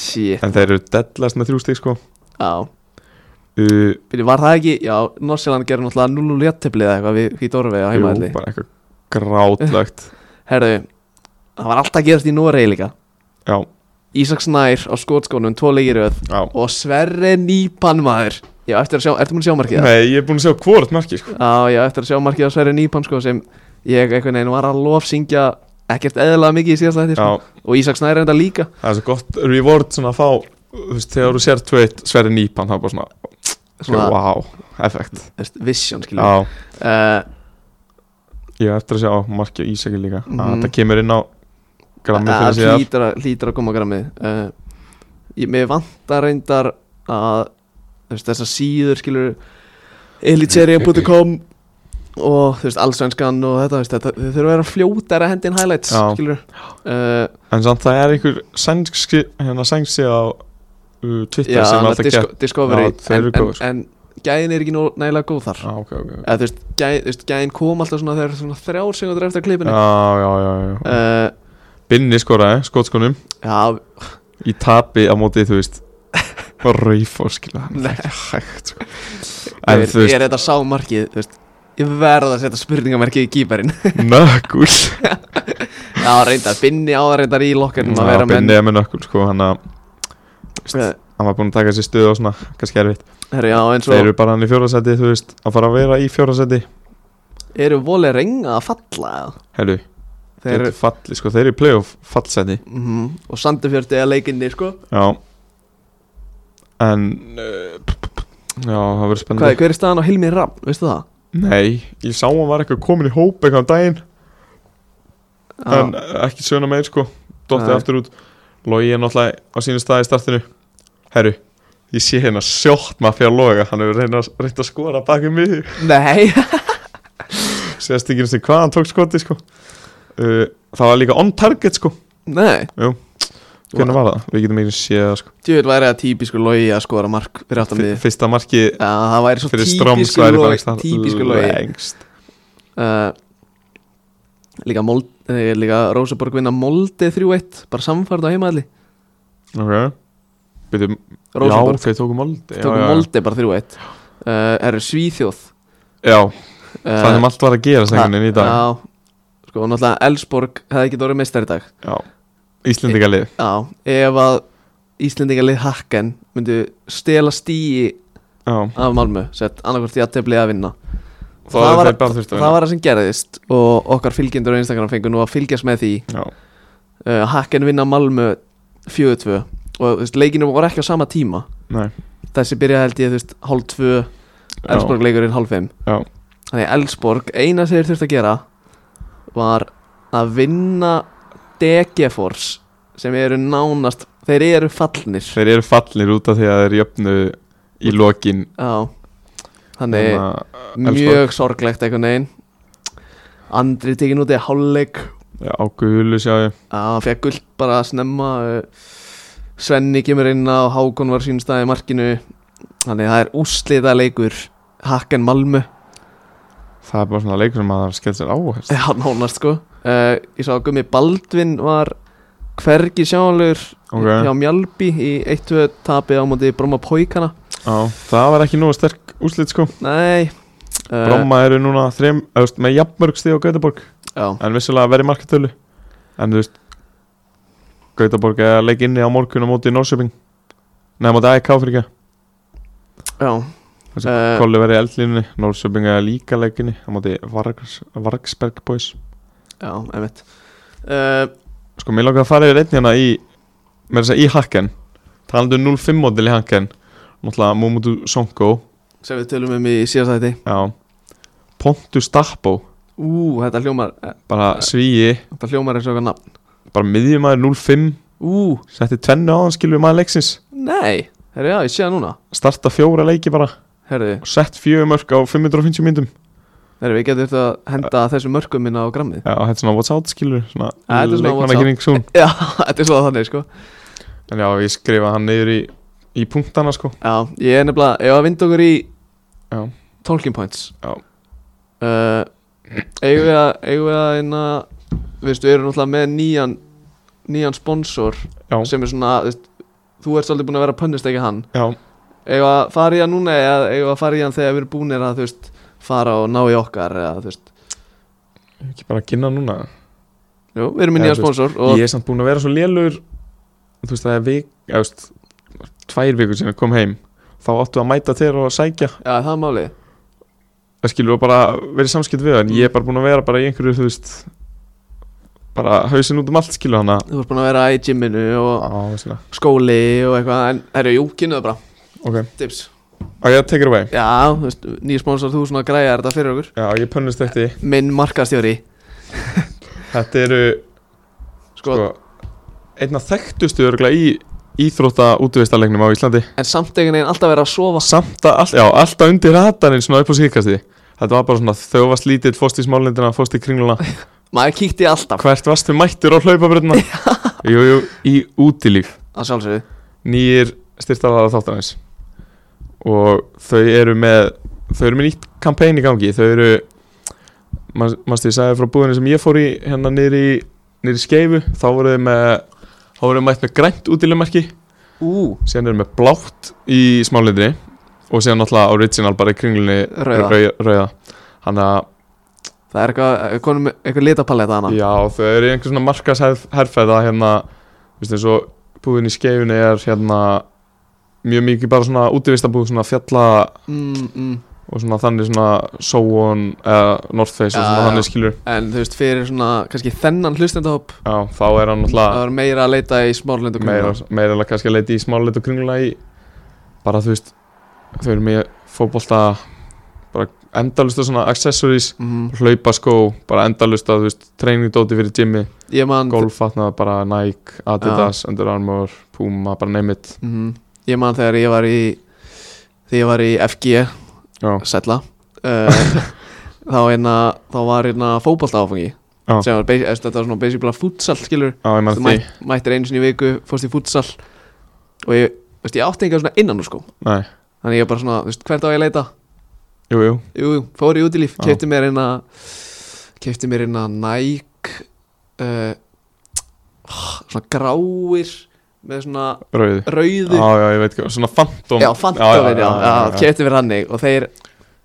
[SPEAKER 1] Shit,
[SPEAKER 2] En þeir eru deadlast með þrjú stík sko
[SPEAKER 1] já
[SPEAKER 2] uh,
[SPEAKER 1] Fyrir, var það ekki, já, Norsjöland gerði náttúrulega 0-0 jætteflið eða eitthvað við Hvítorfi á
[SPEAKER 2] Jú,
[SPEAKER 1] heimaðli
[SPEAKER 2] bara eitthvað grátlegt
[SPEAKER 1] Herðu, það var alltaf gerast í Noregi líka
[SPEAKER 2] Já,
[SPEAKER 1] Ísaks Nær á skotskónum, tvo leikir öð
[SPEAKER 2] já
[SPEAKER 1] Og Sverre Nýpan maður Já, eftir að sjá, ertu múin að sjá markið? það?
[SPEAKER 2] Nei, ég er búin að sjá hvort marki sko
[SPEAKER 1] Já, já, eftir að sjá markið á Sverri Nýpan sko, sem ég einhvern veginn var að lofsyngja ekkert eðlalega mikið í síðasta þetta sko.
[SPEAKER 2] Já,
[SPEAKER 1] og Ísak Snæri enda líka
[SPEAKER 2] það er svo gott reward svona að fá þú veist, þegar þú sér tveit sverri nýpan það er bara svona,
[SPEAKER 1] svona,
[SPEAKER 2] svona wow, effekt
[SPEAKER 1] þú veist, vision skilur
[SPEAKER 2] Sko, já,
[SPEAKER 1] uh,
[SPEAKER 2] ég er eftir að sjá markja Ísaki líka mm
[SPEAKER 1] Mhm.
[SPEAKER 2] það kemur inn á grammið fyrir
[SPEAKER 1] að
[SPEAKER 2] síðan
[SPEAKER 1] hlýtur að, hlýtur að koma á grammið uh, ég, mér vantar reyndar að þú veist, þessar síður skilur elitserien.com og þú veist, allsvenskan og þetta, þú veist, þetta þau þurfa að vera fljótar að hendin highlights
[SPEAKER 2] Já.
[SPEAKER 1] skilur uh,
[SPEAKER 2] en samt það er einhver sænski hérna sænsi á uh, Twitter
[SPEAKER 1] já,
[SPEAKER 2] sem
[SPEAKER 1] hann
[SPEAKER 2] alltaf
[SPEAKER 1] að
[SPEAKER 2] kepp
[SPEAKER 1] disco, Discovery
[SPEAKER 2] Já, þau
[SPEAKER 1] en,
[SPEAKER 2] eru
[SPEAKER 1] en,
[SPEAKER 2] góðir.
[SPEAKER 1] en gæðin er ekki nóg, nægilega góð þar
[SPEAKER 2] já, Ah, ok, ok, ok
[SPEAKER 1] eða þú veist, gæ, þú veist, gæðin kom alltaf svona þegar svona þrjár segundur eftir að klippinu
[SPEAKER 2] já, já, já, já.
[SPEAKER 1] uh,
[SPEAKER 2] Binni skoraði, skotskonum
[SPEAKER 1] já,
[SPEAKER 2] í tapi á móti, þú veist reyf og skilja
[SPEAKER 1] Nei.
[SPEAKER 2] hægt, sko en
[SPEAKER 1] en,
[SPEAKER 2] þú veist,
[SPEAKER 1] ég er þetta sá markið þú veist, ég verð að setja spurningamarkið í kýparinn
[SPEAKER 2] nökkul
[SPEAKER 1] já, reyndar, binni á það reyndar í lokkarnum að
[SPEAKER 2] já,
[SPEAKER 1] vera menn
[SPEAKER 2] Binni er með nökkul, sko, hann að
[SPEAKER 1] Eh,
[SPEAKER 2] hann var búinn að taka sér stuð og svona, kannski erfitt
[SPEAKER 1] herru, já, en svo
[SPEAKER 2] Þeir
[SPEAKER 1] eru,
[SPEAKER 2] eru bara hann í fjórðarsæti, þú veist, að fara að vera í fjórðarsæti
[SPEAKER 1] eru voli renga að falla eða?
[SPEAKER 2] Herru,
[SPEAKER 1] þeir eru
[SPEAKER 2] falli, sko, þeir eru í playoff fallsæti
[SPEAKER 1] mhm, og sandufjördi að leikinni sko.
[SPEAKER 2] Já En uh, Já, það verður
[SPEAKER 1] Hvað,
[SPEAKER 2] spennandi
[SPEAKER 1] hver er staðan á Hilmi Rapp, veistu það?
[SPEAKER 2] Nei, ég sá hann var eitthvað komin í hóp eitthvað um daginn
[SPEAKER 1] Já,
[SPEAKER 2] En ekki söguna meir, sko Dottið
[SPEAKER 1] Nei.
[SPEAKER 2] aftur út Logi er náttúrulega á sínu staði í startinu Herru, ég sé hérna sjótt maður fyrir að loga Hann hefur reynda, reynda að skora baki mig
[SPEAKER 1] Nei,
[SPEAKER 2] Sérst ekki eins og hvað hann tók skoti, sko uh, Það var líka on target, sko
[SPEAKER 1] nei
[SPEAKER 2] Hvernig var það? Við getum ekki séð það, sko
[SPEAKER 1] Djöfull væri það típisku logi að skora mark fyrir aftan
[SPEAKER 2] Fyr-
[SPEAKER 1] miðið
[SPEAKER 2] fyrsta marki
[SPEAKER 1] Já, það væri svo
[SPEAKER 2] fyrir Stroms
[SPEAKER 1] típisku
[SPEAKER 2] væri bara
[SPEAKER 1] logi,
[SPEAKER 2] einhvers staðar
[SPEAKER 1] típisku logi.
[SPEAKER 2] lengst
[SPEAKER 1] uh, Líka, mold, eh, líka Rósaborg vinna Molde 3-1 bara samfærd á heimaðli
[SPEAKER 2] ok Byrju, já,
[SPEAKER 1] Rósaborg
[SPEAKER 2] þau tóku Molde
[SPEAKER 1] tók
[SPEAKER 2] já, já,
[SPEAKER 1] Molde bara 3-1 uh, er Svíþjóð
[SPEAKER 2] já,
[SPEAKER 1] uh,
[SPEAKER 2] það sem allt var að gera sengunin í dag
[SPEAKER 1] já, sko, náttúrulega Elsborg hefði ekki orðið meistar í dag
[SPEAKER 2] já. Íslendinga lið
[SPEAKER 1] já, ef að Íslendingalið Hakken myndu stela stíi
[SPEAKER 2] já.
[SPEAKER 1] af Malmö sett annarkvort í aðtefli að vinna
[SPEAKER 2] það, það
[SPEAKER 1] var
[SPEAKER 2] var
[SPEAKER 1] að-
[SPEAKER 2] bara þurft að
[SPEAKER 1] það var það sem gerðist og okkar fylgjendur á Instagram fengur nú að fylgjast með því
[SPEAKER 2] vinna.
[SPEAKER 1] uh, Hakken vinna Malmö 4-2 og þú veist, leikinu voru ekki á sama tíma
[SPEAKER 2] já, nei
[SPEAKER 1] þessi byrjaði held ég þú veist hálf tvö
[SPEAKER 2] já,
[SPEAKER 1] Elsborg leikurinn hálf fimm
[SPEAKER 2] Já.
[SPEAKER 1] þannig að Elsborg eina sem þeir þurfti að gera var að vinna Degeforce sem eru nánast Þeir eru fallnir
[SPEAKER 2] Þeir eru fallnir út af því að þeir jöfnu í lokin
[SPEAKER 1] Já Þannig
[SPEAKER 2] að,
[SPEAKER 1] mjög sorglegt einhvern veginn Andri tekin út í hálfleik
[SPEAKER 2] já, á gulu sjá ég
[SPEAKER 1] Já, hann fekk guld bara að snemma eh, Svenni kemur inn á Hákon var sínstæði í markinu Þannig það er úsliða leikur Hakken Malmö
[SPEAKER 2] Það er bara svona leikur sem maður skell sér á helst.
[SPEAKER 1] Já, nánast sko uh, Ég sá að Gummi Baldvin var hvergi sjálfur
[SPEAKER 2] Ok.
[SPEAKER 1] hjá Mjálpi í 1-2 tapi á móti Bromma Póikana
[SPEAKER 2] Já, Það var ekki nógu sterk úslit sko
[SPEAKER 1] Nei eh,
[SPEAKER 2] Bromma eru núna þrem, öðvist, með jafnmörg stíð á Gautaborg
[SPEAKER 1] Já,
[SPEAKER 2] En vissulega verið markatölu En þú veist Gautaborg er að leika inni á morgun á móti Norrköping Nei, á móti AEK fyrir ekki
[SPEAKER 1] já
[SPEAKER 2] Þessi
[SPEAKER 1] Eh.
[SPEAKER 2] Kolli verið í eldlínunni Norrköping er líka að leika inni á móti Vargs, Vargsberg boys
[SPEAKER 1] Já, einmitt uh,
[SPEAKER 2] Sko, mér langar að fara yfir einn hérna í Mér að segja í hakken Talandi um 0-5 mótil í hakken Náttúrulega Momotu Sonko
[SPEAKER 1] Sem við tölum um í síðast þætti
[SPEAKER 2] Já Pontus Dappo
[SPEAKER 1] Ú, þetta hljómar eh,
[SPEAKER 2] Bara svíi
[SPEAKER 1] Þetta hljómar eins og eitthvað nafn
[SPEAKER 2] Bara miðjumæður 0-5
[SPEAKER 1] Ú,
[SPEAKER 2] Setti tvennu á hann skilur maður leiksins
[SPEAKER 1] nei Herru, já, ég sé það núna
[SPEAKER 2] Starta fjóra leiki bara
[SPEAKER 1] Herru,
[SPEAKER 2] Og sett fjögur mörg á 550 myndum
[SPEAKER 1] herru, við getum þetta að henda þessum mörgum minna á grammið
[SPEAKER 2] Já, þetta er svona what's out skilur Svona
[SPEAKER 1] Ja, þetta er svona what's
[SPEAKER 2] leikmanna kynning svo
[SPEAKER 1] Já, þetta er svo þannig sko
[SPEAKER 2] En já, ég skrifa hann niður í Í punktana sko
[SPEAKER 1] Já, ég er nefnilega, ef að vinda okkur í
[SPEAKER 2] Já.
[SPEAKER 1] Talking Points
[SPEAKER 2] Já.
[SPEAKER 1] uh, Eigum við að, eigum við að einna, Viðstu, við erum náttúrulega með nýjan Nýjan sponsor
[SPEAKER 2] Já,
[SPEAKER 1] Sem er svona, þú veist, þú ert svolítið búin að vera að pönnist ekki hann
[SPEAKER 2] já,
[SPEAKER 1] Eigum við að fara í hann núna eða eigum við að fara í hann þegar við erum búinir að, þú veist Fara og ná í okkar eða, þú veist
[SPEAKER 2] ekki bara að kynna núna
[SPEAKER 1] Jú, við erum með
[SPEAKER 2] Eða,
[SPEAKER 1] nýjan
[SPEAKER 2] þú veist,
[SPEAKER 1] sponsor og,
[SPEAKER 2] Ég er samt búin að vera svo lélugur Þú veist það er vik Já, þú veist Tvær vikur sem ég kom heim Þá áttu að mæta þér og sækja
[SPEAKER 1] Já, það er málið
[SPEAKER 2] Það skilur bara verið samskipt við það, En ég er bara búin að vera bara í einhverju Þú veist Bara hausin út um allt skilur hana
[SPEAKER 1] Þú ert búin að vera í gyminu og
[SPEAKER 2] Á, svona
[SPEAKER 1] skóli og eitthvað En, herru, jú, kynnaðu bara,
[SPEAKER 2] Ok
[SPEAKER 1] tips
[SPEAKER 2] Á, ég take it away
[SPEAKER 1] Já, þú veist, nýjir sponsor, þú svona græjar þetta fyrir okkur
[SPEAKER 2] Já, ég pönnust þetta í
[SPEAKER 1] Minn markastjóri
[SPEAKER 2] Þetta eru
[SPEAKER 1] sko,
[SPEAKER 2] sko, Einna þekktustu örgulega í Íþrótta útvistarleiknum á Íslandi
[SPEAKER 1] En samt einhvern veginn alltaf verið að sofa
[SPEAKER 2] Samt að, all, já, alltaf undir ratarinn Svona upp á síkasti Þetta var bara svona Þau var slítið Fóst í smálindina Fóst í kringluna
[SPEAKER 1] Maður kíkti alltaf
[SPEAKER 2] Hvert varstu mættur á hlaupabröðna? jú, jú, í útilíf
[SPEAKER 1] Að sjálfsögðu
[SPEAKER 2] Nýjir styrtaraðar þáttanins Og þau eru með Þau eru með nýtt kampæn í gangi Þau eru Mástu ég sagði frá búðinu sem ég fór í Hérna niður í, niður í skeifu Þá voru þau með Þá voru þau mætt með grænt útilegmarki
[SPEAKER 1] Ú,
[SPEAKER 2] Síðan eru þau með blátt í smálindri Og síðan náttúrulega original bara í kringlunni
[SPEAKER 1] Rauða.
[SPEAKER 2] rau- Rauða Þannig að
[SPEAKER 1] það er eitthvað, konum eitthvað litapaletta hana
[SPEAKER 2] Já, þau eru í einhver svona markasherrfæða hérna, þú veist eins og búðin í skeifunni er hérna mjög mikið bara svona útivistabúð svona fjalla
[SPEAKER 1] mm, mm.
[SPEAKER 2] og svona þannig svona Sóon eða North Face og
[SPEAKER 1] Já,
[SPEAKER 2] svona
[SPEAKER 1] já.
[SPEAKER 2] þannig skilur
[SPEAKER 1] En þú veist, fyrir svona, kannski þennan hlustendahop
[SPEAKER 2] Já, þá er hann
[SPEAKER 1] Það
[SPEAKER 2] náttúrulega
[SPEAKER 1] var meira að leita í smárlindu
[SPEAKER 2] meira, meira alveg kannski að leita í smáleit og kringla í bara þú veist þau eru með fótbolta bara endalusta svona accessories
[SPEAKER 1] mm,
[SPEAKER 2] hlaupaskó, bara endalusta þú veist, treiningdóti fyrir gymmi
[SPEAKER 1] Ég man
[SPEAKER 2] golffatnað bara Nike, Adidas, Under Armour, Puma, bara name it
[SPEAKER 1] mm, Ég man þegar ég var í Þegar ég var í FG
[SPEAKER 2] Já,
[SPEAKER 1] Sætla uh, Þá einna, þá var einna fótbolta áfangi
[SPEAKER 2] Já.
[SPEAKER 1] Sem var, basi- eh, þetta var svona basically bara futsal, skilur
[SPEAKER 2] já ég
[SPEAKER 1] Þú
[SPEAKER 2] maður því
[SPEAKER 1] mætt, mættir einu sinni í viku, fórst í futsal og ég, veist, ég átti einhver svona innan úr sko
[SPEAKER 2] Nei,
[SPEAKER 1] þannig ég bara svona, þú veist, hvert á ég að leita
[SPEAKER 2] jú, jú,
[SPEAKER 1] jú, jú, fór í útilíf,
[SPEAKER 2] Já.
[SPEAKER 1] kefti mér einna kefti mér einna Nike uh, svona gráir með svona
[SPEAKER 2] rauðu
[SPEAKER 1] rauðu
[SPEAKER 2] Já, já, ég veit ekki, svona Phantom
[SPEAKER 1] já, fantófin, já, já, kefti mér hannig og þeir,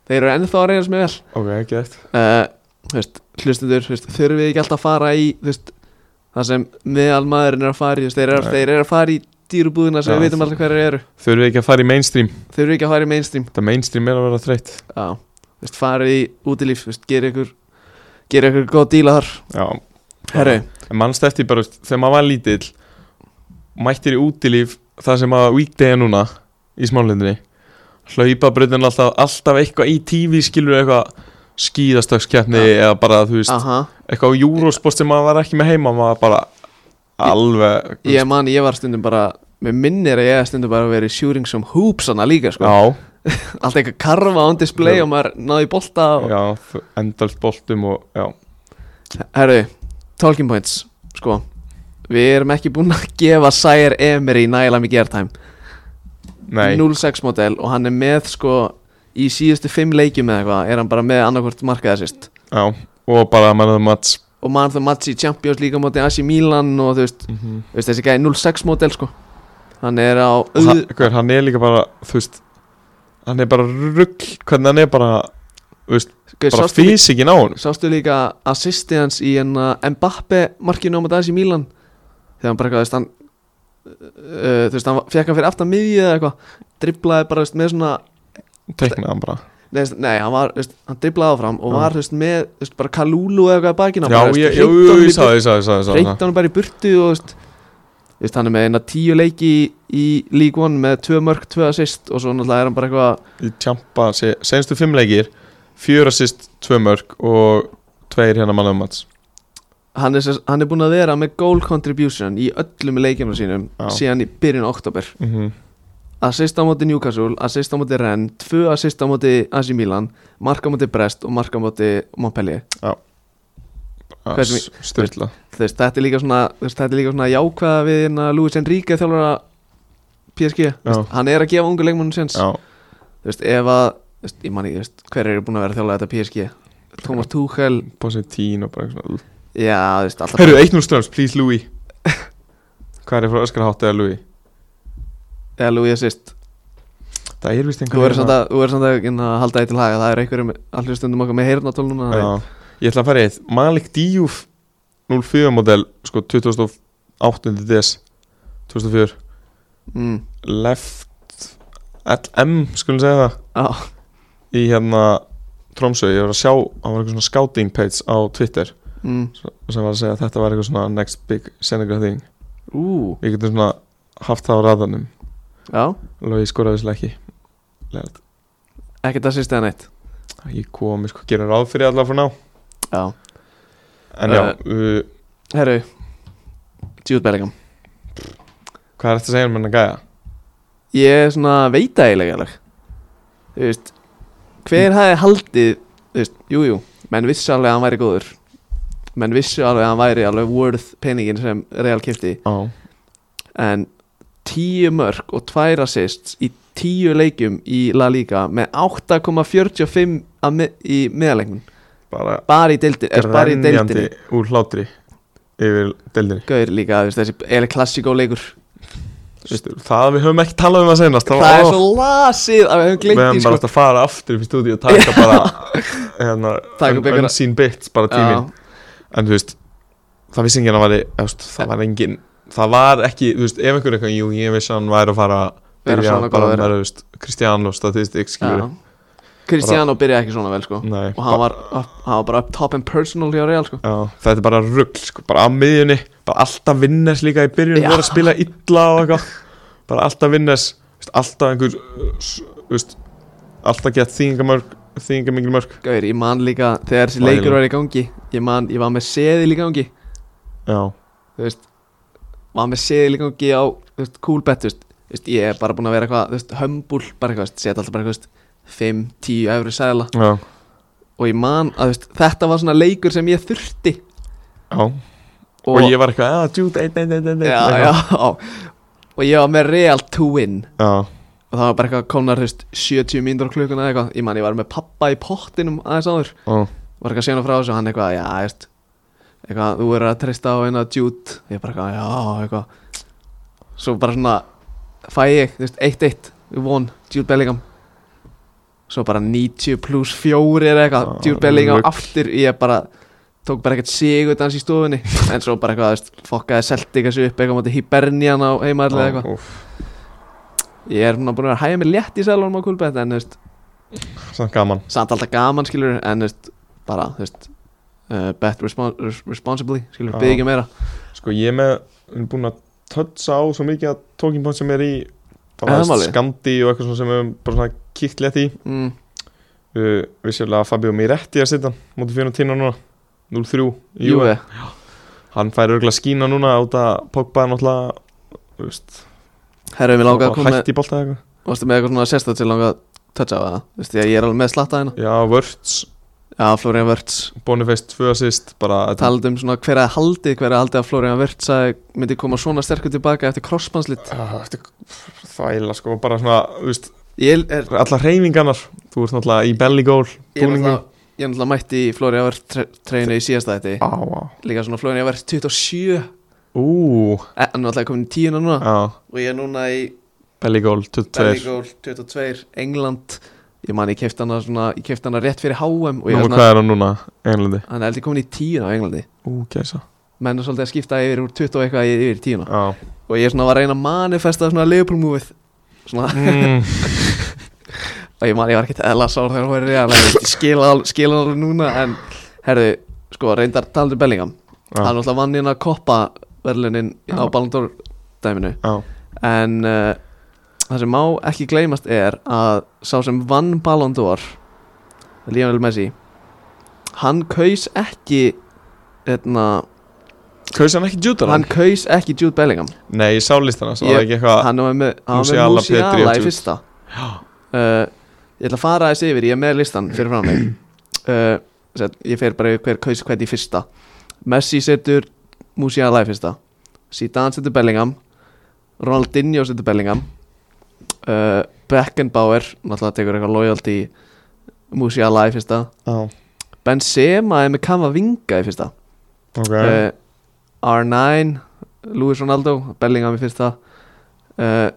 [SPEAKER 1] þeir eru ennþá að reynast mér vel
[SPEAKER 2] Ok, ekki eitt
[SPEAKER 1] uh, veist, hlustendur þú veist, þurfum við ekki alltaf að fara í þú veist, það sem meðal maðurinn er að fara í þú veist, þeir, eru,
[SPEAKER 2] Nei.
[SPEAKER 1] þeir eru að fara í dýrubúðina sem
[SPEAKER 2] Já,
[SPEAKER 1] við veitum
[SPEAKER 2] þú-
[SPEAKER 1] alltaf hverju eru
[SPEAKER 2] Þau eru ekki að fara í mainstream
[SPEAKER 1] þeir eru ekki að fara í mainstream
[SPEAKER 2] Það mainstream er að vera þreytt
[SPEAKER 1] já, þú veist, farið í útilíf þú veist, gera ykkur gera ykkur góð díla þar
[SPEAKER 2] Já,
[SPEAKER 1] herru,
[SPEAKER 2] en mannst eftir bara, veist, þegar maður var lítill Mættir í útilíf Það sem að weekday er núna Í smálindri Hlaupa bröðin alltaf, alltaf eitthvað í TV Skilur eitthvað skíðastökskeppni Eða bara, þú veist,
[SPEAKER 1] aha
[SPEAKER 2] eitthvað á Eurosport sem maður var ekki með heima Maður bara alveg
[SPEAKER 1] Ég man, ég var stundum bara Mér minnir að ég hef stundum bara verið shooting some hoops hana líka sko
[SPEAKER 2] Já,
[SPEAKER 1] Allt eitthvað karfa on display
[SPEAKER 2] Já.
[SPEAKER 1] og maður náði í bolta og...
[SPEAKER 2] já, f- endalt boltum og já,
[SPEAKER 1] Herru, talking points Sko, við erum ekki búin að gefa Sire Emery nægilega mikið airtime
[SPEAKER 2] nei
[SPEAKER 1] 06 model og hann er með sko Í síðustu fimm leikjum eða eitthvað Er hann bara með annarkvort markaði sýst
[SPEAKER 2] Já, og bara man of the match
[SPEAKER 1] Og mann það match í Champions líka móti Asi Milan og þú veist, þú veist Þessi gæði 06 model sko Hann er á
[SPEAKER 2] Og
[SPEAKER 1] auð...
[SPEAKER 2] hann- hver, hann er líka bara, þú veist hann er bara rugg, hvernig hann er bara
[SPEAKER 1] Gauð,
[SPEAKER 2] bara
[SPEAKER 1] sástu-
[SPEAKER 2] físikinn á hann
[SPEAKER 1] Sástu líka assisti hans í enna Mbappe markinu á maður aðeins í Mílan þegar hann bara eitthvað, þú veist, hann uh, þú veist, hann fekk hann fyrir aftan miðju eða eitthvað, driblaði bara, þú veist, með svona
[SPEAKER 2] teiknaði hann bara
[SPEAKER 1] nei, þú veist, nei hann var, þú veist, hann driblaði áfram og
[SPEAKER 2] Já.
[SPEAKER 1] var, þú veist, með, þú veist, bara kalúlu eða eitthvað í bakina,
[SPEAKER 2] Já,
[SPEAKER 1] bara,
[SPEAKER 2] ég,
[SPEAKER 1] þú veist,
[SPEAKER 2] jú, jú,
[SPEAKER 1] hreint
[SPEAKER 2] ég
[SPEAKER 1] hann
[SPEAKER 2] sagði, ég sagði, ég
[SPEAKER 1] í burt-
[SPEAKER 2] sagði, ég sagði
[SPEAKER 1] hreint
[SPEAKER 2] það.
[SPEAKER 1] hann bara í burtu og, þú veist, þú veist, hann er með eina tíu leiki í, í League One með tvö mörg, tvö assist og svo náttúrulega er hann bara eitthvað
[SPEAKER 2] Í tjampa, se, senstu fimm leikir Fjör assist, tvö mörg og tveir hérna mann um mats
[SPEAKER 1] hann er, sem- hann er búin að vera með goal contribution í öllum leikinu sínum
[SPEAKER 2] Já.
[SPEAKER 1] síðan í byrjun oktober
[SPEAKER 2] mm -hmm.
[SPEAKER 1] assist á móti Newcastle, assist á móti Rennes tvö assist á móti AC Milan mark á móti Brest og mark á móti Montpellier Hversu mi-
[SPEAKER 2] Ah, Sturla
[SPEAKER 1] Þú veist, þetta er líka svona, þú veist, þetta er líka svona jákvæða við hérna Luis Enrique þjálfara PSG, Þú veist, hann er að gefa ungu leikmannum séns,
[SPEAKER 2] Já,
[SPEAKER 1] þú veist, ef að þú veist, ég manni, þú veist, hver eru búin að vera að þjálfa þetta PSG Thomas Tuchel,
[SPEAKER 2] bóðsveit tín og bara eitthvað svona
[SPEAKER 1] já, þú veist, alltaf
[SPEAKER 2] Herru, 1-0 ströms, please Louis Hvað er frá öskar hátt eða Louis?
[SPEAKER 1] eða Luis assist,
[SPEAKER 2] Það er vist
[SPEAKER 1] þú
[SPEAKER 2] einhver hérna.
[SPEAKER 1] verður samt að þú verður samt að hérna, halda því til haga, það er einhverjum allir stundum okkar með heyrnatól núna
[SPEAKER 2] Já, ég ætla að fara í eitt Malik Diouf 04 model, sko 2008 DS 2004
[SPEAKER 1] mm,
[SPEAKER 2] Left LM, skulum segja það
[SPEAKER 1] á,
[SPEAKER 2] í hérna Tromsö, ég var að sjá, það var eitthvað svona scouting page á Twitter
[SPEAKER 1] mm,
[SPEAKER 2] sem var að segja að þetta var eitthvað svona next big Senegal thing,
[SPEAKER 1] ú,
[SPEAKER 2] við getum svona haft það á raðanum,
[SPEAKER 1] já
[SPEAKER 2] alveg ég skoraði þesslega ekki
[SPEAKER 1] ekkert assist eða neitt
[SPEAKER 2] ég komi sko, gerum ráð fyrir allar frá ná
[SPEAKER 1] já
[SPEAKER 2] en já,
[SPEAKER 1] Eh.
[SPEAKER 2] uh,
[SPEAKER 1] Herru Jude Bellingham
[SPEAKER 2] hvað er þetta að segja um hennar gæja?
[SPEAKER 1] Ég er svona veita eiginlega alveg. Þú veist Hver hafi haldið Þú veist, jú, jú Menn vissu alveg að hann væri góður Menn vissu alveg að hann væri alveg worth peningin sem Real kipti
[SPEAKER 2] á,
[SPEAKER 1] En tíu mörg og tvær assists í tíu leikjum í La Liga með 8,45 að mi- í meðalengun
[SPEAKER 2] bara
[SPEAKER 1] bara í deildi, er, bara í
[SPEAKER 2] grenjandi
[SPEAKER 1] deildinni
[SPEAKER 2] úr hlátri yfir deildinni
[SPEAKER 1] Gauður líka, þú veist, þessi eða klassíkó leikur
[SPEAKER 2] Stur, það við höfum ekki talað um að senast
[SPEAKER 1] Það er svo lasið að við höfum
[SPEAKER 2] við
[SPEAKER 1] gleymt
[SPEAKER 2] höfum
[SPEAKER 1] því, sko.
[SPEAKER 2] bara átt að fara aftur upp í stúdíu og taka bara hérna,
[SPEAKER 1] Taka upp einhverja-
[SPEAKER 2] unseen bits bara tíminn
[SPEAKER 1] Já,
[SPEAKER 2] en þú veist, það vissi enginn að væri eftir, það var enginn, það var ekki þú veist, ef einhver eitthvað, jú, ég vissi að hann væri að fara að
[SPEAKER 1] Vera
[SPEAKER 2] byrja
[SPEAKER 1] svona
[SPEAKER 2] bara
[SPEAKER 1] góður.
[SPEAKER 2] með, þú veist, Kristján og statistik skilur,
[SPEAKER 1] Já. Cristiano byrjaði ekki svona vel sko
[SPEAKER 2] nei,
[SPEAKER 1] og hann var, hann var bara up top and personal hjá Real sko
[SPEAKER 2] já, þetta er bara rugl, sko, bara á miðjunni bara alltaf vinners líka í byrjun
[SPEAKER 1] Já.
[SPEAKER 2] voru að spila illa og eitthvað bara alltaf vinners, þú veist, alltaf einhver uh, s- þú veist, alltaf gett þýðingamörk, þýðingamengil mörk
[SPEAKER 1] Gauir, ég man líka þegar þessi leikur var í gangi ég man, ég var með seðil í gangi
[SPEAKER 2] já,
[SPEAKER 1] þú veist var með seðil í gangi á, þú veist, cool bet þú veist, Þú veist, ég er bara búin að vera eitthvað, þú veist, hömbul bara eitthvað, þú veist, setja alltaf bara eitthvað, þú veist 5, 10 efru seðla
[SPEAKER 2] já,
[SPEAKER 1] og ég man að, þú veist, þetta var svona leikur sem ég þurfti
[SPEAKER 2] já og, ég var eitthvað, "Ah, já, Jude, ein, ein, ein, ein, ein
[SPEAKER 1] já, já, og ég var með Real to win
[SPEAKER 2] já,
[SPEAKER 1] og það var bara eitthvað komnar, þú veist, 70 mínútur á klukkuna eða eitthvað, ég man, ég var með pappa í pottinum aðeins áður
[SPEAKER 2] já,
[SPEAKER 1] var eitthvað að segja hana frá þessu og hann eitthvað, já, veist eitthvað, þú er að treysta á eina djút ég bara eitthvað, já, eitthvað svo bara svona fæ ég, þú veist, 1-1, við von djút Bellingham svo bara 90 pluss 4 eða eitthvað,
[SPEAKER 2] Já,
[SPEAKER 1] djút Bellingham
[SPEAKER 2] rugl.
[SPEAKER 1] aftur ég bara, tók bara ekkert sigurdans í stofunni, en svo bara eitthvað, þú veist fokkaði Celtic þessu upp eitthvað mátti Hibernian á heimaðlega
[SPEAKER 2] já,
[SPEAKER 1] eitthvað
[SPEAKER 2] úff.
[SPEAKER 1] ég er svona búin að vera að hægja mér létt í sælunum á kulbett, en þú veist,
[SPEAKER 2] Samt gaman
[SPEAKER 1] samt alltaf gaman skilur en þú veist, bara þú veist, uh, bet respons responsibly skilur,
[SPEAKER 2] Já.
[SPEAKER 1] byggja ekki meira
[SPEAKER 2] Sko ég er með, við erum búin að tötsa á svo mikið að talking point sem er í Það
[SPEAKER 1] Er
[SPEAKER 2] var
[SPEAKER 1] það málið?
[SPEAKER 2] skandi og eitthvað svona sem við höfum bara svona kíkt létt í
[SPEAKER 1] mm,
[SPEAKER 2] uh, eh.
[SPEAKER 1] eh.
[SPEAKER 2] Við sérlega að Fabio Miretti er að setja hann Móti fyrir tína núna 0-3 í
[SPEAKER 1] Júve,
[SPEAKER 2] hann fær örgulega skína núna át að Pogba er náttúrulega þú veist,
[SPEAKER 1] Herra, mér langaði að koma með
[SPEAKER 2] hætti í bolta eitthvað
[SPEAKER 1] Varstu með eitthvað svona sérstætt til langað að toucha á það Veistu, ég er alveg með slatta hérna
[SPEAKER 2] já, Wörts,
[SPEAKER 1] Já, Florian Wörts
[SPEAKER 2] Boniface 2 assist bara, þetta,
[SPEAKER 1] Talandi um svona hver að haldi Hver að haldi að Florian Wörts að myndi koma svona sterkur tilbaka eftir krossmannslitt
[SPEAKER 2] Ah, þetta er þvæla sko bara svona, þú veist,
[SPEAKER 1] Ég er,
[SPEAKER 2] allar hreyfingarnar þú ert náttúrulega í belly goal
[SPEAKER 1] ég er
[SPEAKER 2] búningum
[SPEAKER 1] náttúrulega Ég er náttúrulega mætti í Florian Wörts treinu í síðasta þetta
[SPEAKER 2] á, á,
[SPEAKER 1] Líka svona Florian Wörts 27
[SPEAKER 2] ú,
[SPEAKER 1] Eh, Hann er náttúrulega komin í tíuna núna
[SPEAKER 2] á
[SPEAKER 1] Og ég er núna í
[SPEAKER 2] belly goal 22
[SPEAKER 1] Berlingól 22 England Ég man, ég kefti hana svona Ég kefti hana rétt fyrir HM Og ég er
[SPEAKER 2] Nú, hvað
[SPEAKER 1] svona
[SPEAKER 2] er hann núna, Englandi?
[SPEAKER 1] Hann er heldur komin í tíuna á Englandi
[SPEAKER 2] Ú, gæsa
[SPEAKER 1] menn er svolítið að skipta yfir úr 20 og eitthvað í- yfir í 10
[SPEAKER 2] Já
[SPEAKER 1] og ég er svona var að reyna að manifesta svona Liverpool movið svona,
[SPEAKER 2] mm.
[SPEAKER 1] og ég man ég var ekkert eðla sár þegar hún var reyna skila, skila alveg núna en herðu, sko, reyndar taldur Bellingham
[SPEAKER 2] Já.
[SPEAKER 1] hann alltaf vann hérna að koppa verðlunin á
[SPEAKER 2] Já.
[SPEAKER 1] Ballon d'Or dæminu
[SPEAKER 2] Já,
[SPEAKER 1] en uh, það sem má ekki gleymast er að sá sem vann Ballon d'Or Lionel Messi hann kaus ekki hérna,
[SPEAKER 2] kaus hann ekki Júdar?
[SPEAKER 1] hann kaus ekki Jude Bellingham
[SPEAKER 2] Nei, ég sá listana, svo
[SPEAKER 1] Ég-
[SPEAKER 2] var ekki eitthvað
[SPEAKER 1] hann var með, hann var með
[SPEAKER 2] Musiala, Pedri
[SPEAKER 1] Musiala
[SPEAKER 2] og
[SPEAKER 1] í
[SPEAKER 2] Jude.
[SPEAKER 1] fyrsta uh, ég ætla að fara þessi yfir ég er með listan fyrir frá mig uh, set, ég fer bara yfir hver kaus hvert í fyrsta Messi setur Musiala í fyrsta Zidane setur Bellingham Ronaldinho setur Bellingham uh, Beckenbauer náttúrulega tekur eitthvað loyalty Musiala í fyrsta
[SPEAKER 2] Já,
[SPEAKER 1] Benzema er með Kamavinga í fyrsta
[SPEAKER 2] ok
[SPEAKER 1] uh, R9 Luis Ronaldo, Bellingham í fyrsta uh,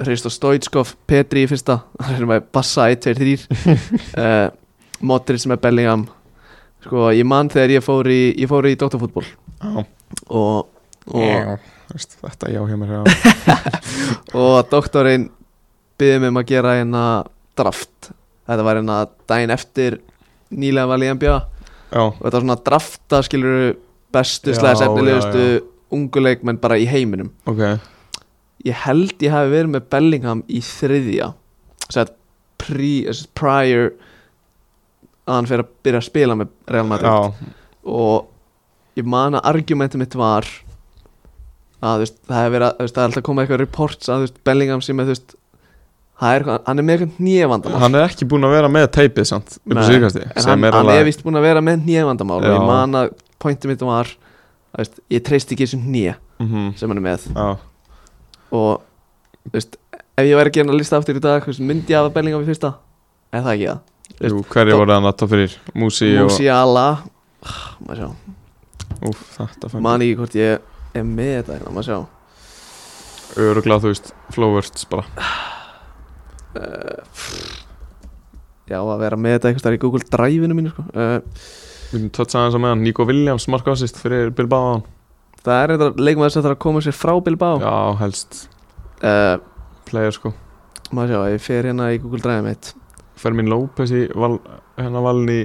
[SPEAKER 1] Hristo Stoitskov Petri í fyrsta það er með Bassa 1, 2, 3 uh, Modric með Bellingham sko, ég man þegar ég fór í ég fór í doktorfútból
[SPEAKER 2] Já,
[SPEAKER 1] og, og,
[SPEAKER 2] Já, þú veist, þetta já hjá mér já.
[SPEAKER 1] og doktorinn byggði mig um að gera hérna draft þetta var hérna daginn eftir nýlega val í NBA
[SPEAKER 2] já,
[SPEAKER 1] og þetta var svona drafta skilur bestu
[SPEAKER 2] Já,
[SPEAKER 1] slæðis
[SPEAKER 2] já,
[SPEAKER 1] efnilegustu ungu leikmenn bara í heiminum
[SPEAKER 2] ok
[SPEAKER 1] ég held ég hafi verið með Bellingham í þriðja Sæt, pre, eh, sem sagt prior að hann fyrir að byrja að spila með Real Madrid
[SPEAKER 2] Já,
[SPEAKER 1] og ég man að argumentum mitt var að þú veist, það hefur verið að þú veist, það er alltaf komið eitthvað reports að þú veist, Bellingham sem er þú veist það er, eitthvað- hann er með eitthvað nýjavandamál
[SPEAKER 2] hann er ekki búin að vera með teipið samt upp á
[SPEAKER 1] Nei,
[SPEAKER 2] síðkasti
[SPEAKER 1] en hann,
[SPEAKER 2] er
[SPEAKER 1] er, hann
[SPEAKER 2] alveg-
[SPEAKER 1] er vist búin að vera með nýjavandamál og
[SPEAKER 2] Já.
[SPEAKER 1] ég man að pointum mitt var að þú veist, ég treysti ekki þessum nýja
[SPEAKER 2] Mhm,
[SPEAKER 1] sem hann er með
[SPEAKER 2] Já,
[SPEAKER 1] og þú veist, ef ég væri ekki hérna að lista aftur í dag þú veist, myndi ég hafa Bellingham í fyrsta en það ekki það
[SPEAKER 2] jú, hverju voru hann að topp fyrir? Músi og
[SPEAKER 1] Musiala ah, maður sjá,
[SPEAKER 2] Úf, þetta fann
[SPEAKER 1] man ekki hvort ég er með þetta hérna, maður sjá
[SPEAKER 2] Öruglega, þú veist, flowwords bara
[SPEAKER 1] uh, já að vera með þetta eitthvað í Google Drive-inu mínu sko. uh,
[SPEAKER 2] Við erum tötts aðeins á meðan Nico Williams markásist fyrir Bilbao hann
[SPEAKER 1] það er eitthvað leikmaður sem þarf að koma sér frá Bilbao uh,
[SPEAKER 2] Já, helst player sko
[SPEAKER 1] maður sjá, ég fer hérna í Google Drive mitt
[SPEAKER 2] Fermin López í val, hennar valin í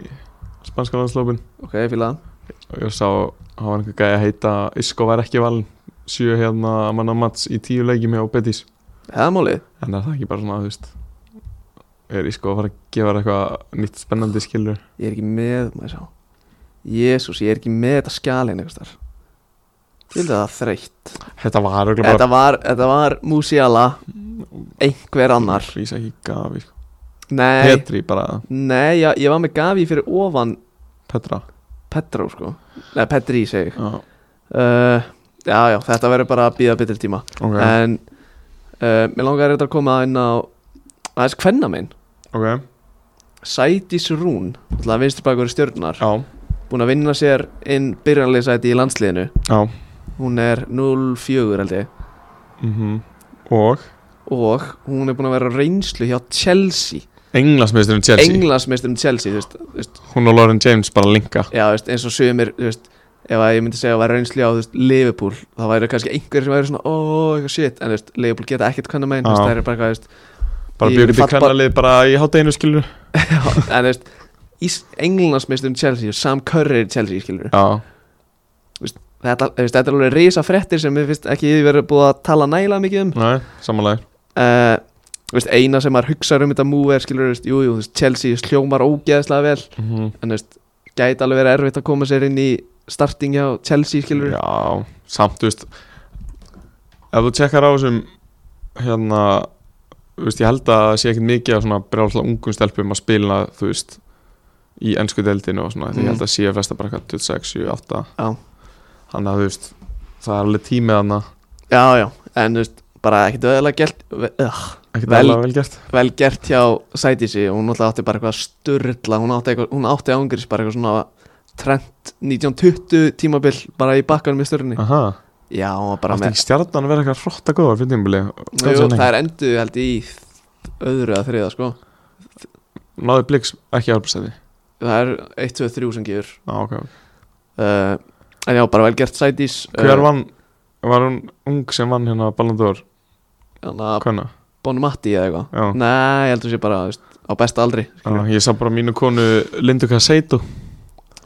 [SPEAKER 2] spanska landslópin
[SPEAKER 1] ok, ég fíla það
[SPEAKER 2] og ég sá hann var einhver gæði að heita Isko var ekki valin sjö hérna manna mats í tíu leikjum hjá Betis
[SPEAKER 1] eða málið,
[SPEAKER 2] en er það ekki bara svona þú veist er Isko að fara að gefa þér eitthvað nýtt spennandi skilur
[SPEAKER 1] ég er ekki með maður sjá, jésús, ég er ekki með þetta skjalin eitthvað þar til það þreytt
[SPEAKER 2] þetta var örugglega bara
[SPEAKER 1] Þetta var, þetta var Musiala Einhver annar
[SPEAKER 2] Rís ekki gafi sko.
[SPEAKER 1] Nei,
[SPEAKER 2] Petri bara
[SPEAKER 1] nei já, ég var með Gavi fyrir ofan
[SPEAKER 2] Petra
[SPEAKER 1] Petró sko Nei, Petri segi ég
[SPEAKER 2] já,
[SPEAKER 1] uh, Já, já, þetta verður bara að býða betri tíma
[SPEAKER 2] ok,
[SPEAKER 1] En uh, Mér langar þetta að koma inn á Aðeins hvenna minn
[SPEAKER 2] ok
[SPEAKER 1] Sætis Rún Það vinstur bakur stjörnar
[SPEAKER 2] já,
[SPEAKER 1] Búin að vinna sér inn byrjanlega sæti í landsliðinu
[SPEAKER 2] já
[SPEAKER 1] Hún er 0-4 held ég
[SPEAKER 2] mm og
[SPEAKER 1] Og hún er búin að vera á reynslu hjá Chelsea
[SPEAKER 2] englasmiðsturinn Chelsea
[SPEAKER 1] Englandsmeisturinn Chelsea þú veist, þú veist,
[SPEAKER 2] hún og Lauren James bara linka
[SPEAKER 1] Já, veist, eins og sögumir veist, ef að ég myndi segja að væri reynsli á þú veist, Liverpool þá væri kannski einhverjir sem væri svona ó, eitthvað shit, en þú veist, Liverpool geta ekkert hvernig megin,
[SPEAKER 2] Já.
[SPEAKER 1] það er bara eitthvað,
[SPEAKER 2] bara
[SPEAKER 1] Í
[SPEAKER 2] byggur til
[SPEAKER 1] fallbar-
[SPEAKER 2] kvennalið bara í hátteginu skilur
[SPEAKER 1] þú veist, en þú veist Englandsmeistum Chelsea, Sam Curry er Chelsea, skilur
[SPEAKER 2] já,
[SPEAKER 1] þetta, þú veist, þetta er alveg reysa fréttir sem við finnst ekki verið búið að tala næla mikið um
[SPEAKER 2] næ, samanlega
[SPEAKER 1] uh, veist, eina sem maður hugsaður um þetta múið er, skilur, þú veist, jú, jú, þú veist, Chelsea sljómar ógeðslega vel
[SPEAKER 2] mm -hmm.
[SPEAKER 1] en þú veist, gæti alveg verið erfitt að koma sér inn í starting hjá Chelsea skilur við.
[SPEAKER 2] Já, samt, þú veist Ef þú tjekkar á þessum hérna, þú veist, ég held að það sé ekkert mikið að svona brjálslega ungum stelpum að spila, þú veist í ennsku deildinu og svona, mm.
[SPEAKER 1] Mm.
[SPEAKER 2] ég held að sé að flesta bara eitthvað 26, 7, 8
[SPEAKER 1] Já.
[SPEAKER 2] Þannig að þú veist, það er alveg tímið hana
[SPEAKER 1] Já, já, en þú veist, bara ekkert veðalega gert ve uh,
[SPEAKER 2] ekkert
[SPEAKER 1] Vel-
[SPEAKER 2] alveg vel gert
[SPEAKER 1] vel gert hjá Sætísi og hún náttúrulega átti bara eitthvað sturla hún átti, eitthvað, hún átti ángriðs bara eitthvað svona trend 1920 tímabil bara í bakkanum í störunni
[SPEAKER 2] Aha,
[SPEAKER 1] Já, hún var bara
[SPEAKER 2] átti
[SPEAKER 1] með
[SPEAKER 2] ekki stjarnan að vera eitthvað hrotta góða fyrir tímbili
[SPEAKER 1] Jú, það er endu held ég, í öðru að þriða sko
[SPEAKER 2] Náði bliks ekki árbæðstæði
[SPEAKER 1] það er 1, 2, 3 sem gefur
[SPEAKER 2] ah, okay.
[SPEAKER 1] uh, en já, bara vel gert uh, Sætís
[SPEAKER 2] Hver vann, var hún ung sem vann hérna Ballon d'Or,
[SPEAKER 1] Þannig að
[SPEAKER 2] hvernig?
[SPEAKER 1] Bonmatti eða eitthvað
[SPEAKER 2] Já
[SPEAKER 1] Nei, ég heldur sé bara þú veist, á besta aldri
[SPEAKER 2] Já,
[SPEAKER 1] skilur.
[SPEAKER 2] ég sá bara mínu konu Lindu Caseido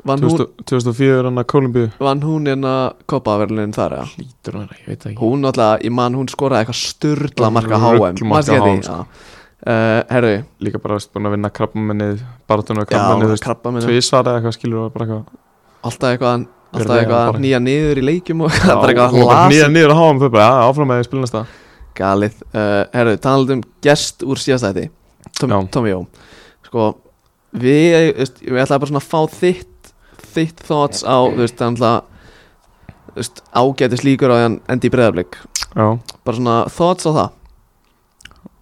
[SPEAKER 1] Vann hún,
[SPEAKER 2] 2004 hann að Kolumbíu
[SPEAKER 1] vann hún en að koppaverlunin þar eða?
[SPEAKER 2] Lítur hann, ég veit það
[SPEAKER 1] Hún náttúrulega, ég man hún skoraði eitthvað sturla marka HM
[SPEAKER 2] Ruglmarka
[SPEAKER 1] Marka HM
[SPEAKER 2] HM,
[SPEAKER 1] sko. uh, Herðu,
[SPEAKER 2] Líka bara veist, búin að vinna krabbamennið Baratun og
[SPEAKER 1] já,
[SPEAKER 2] krabbamennið veist,
[SPEAKER 1] krabba minna
[SPEAKER 2] Tvísvar eða eitthvað skilur og bara eitthvað
[SPEAKER 1] Alltaf eitthvað, alltaf
[SPEAKER 2] Verðlega
[SPEAKER 1] eitthvað
[SPEAKER 2] bara-
[SPEAKER 1] nýja niður í leikjum og það er bara
[SPEAKER 2] hún
[SPEAKER 1] eitthvað
[SPEAKER 2] var bara
[SPEAKER 1] las
[SPEAKER 2] Nýja nýður að háa um þau bara, já, áfram með því spilnast það
[SPEAKER 1] Galið, uh, herru, talaðum um gest úr síðastæti Tom,
[SPEAKER 2] Já.
[SPEAKER 1] Tommy Jó Sko, við, eh, þú veist, við ætlaði bara svona að fá þitt þitt thoughts á, þú veist, þannig að þú veist, ágætis líkur á því að hann endi í breyðarblik
[SPEAKER 2] Já,
[SPEAKER 1] bara svona thoughts á það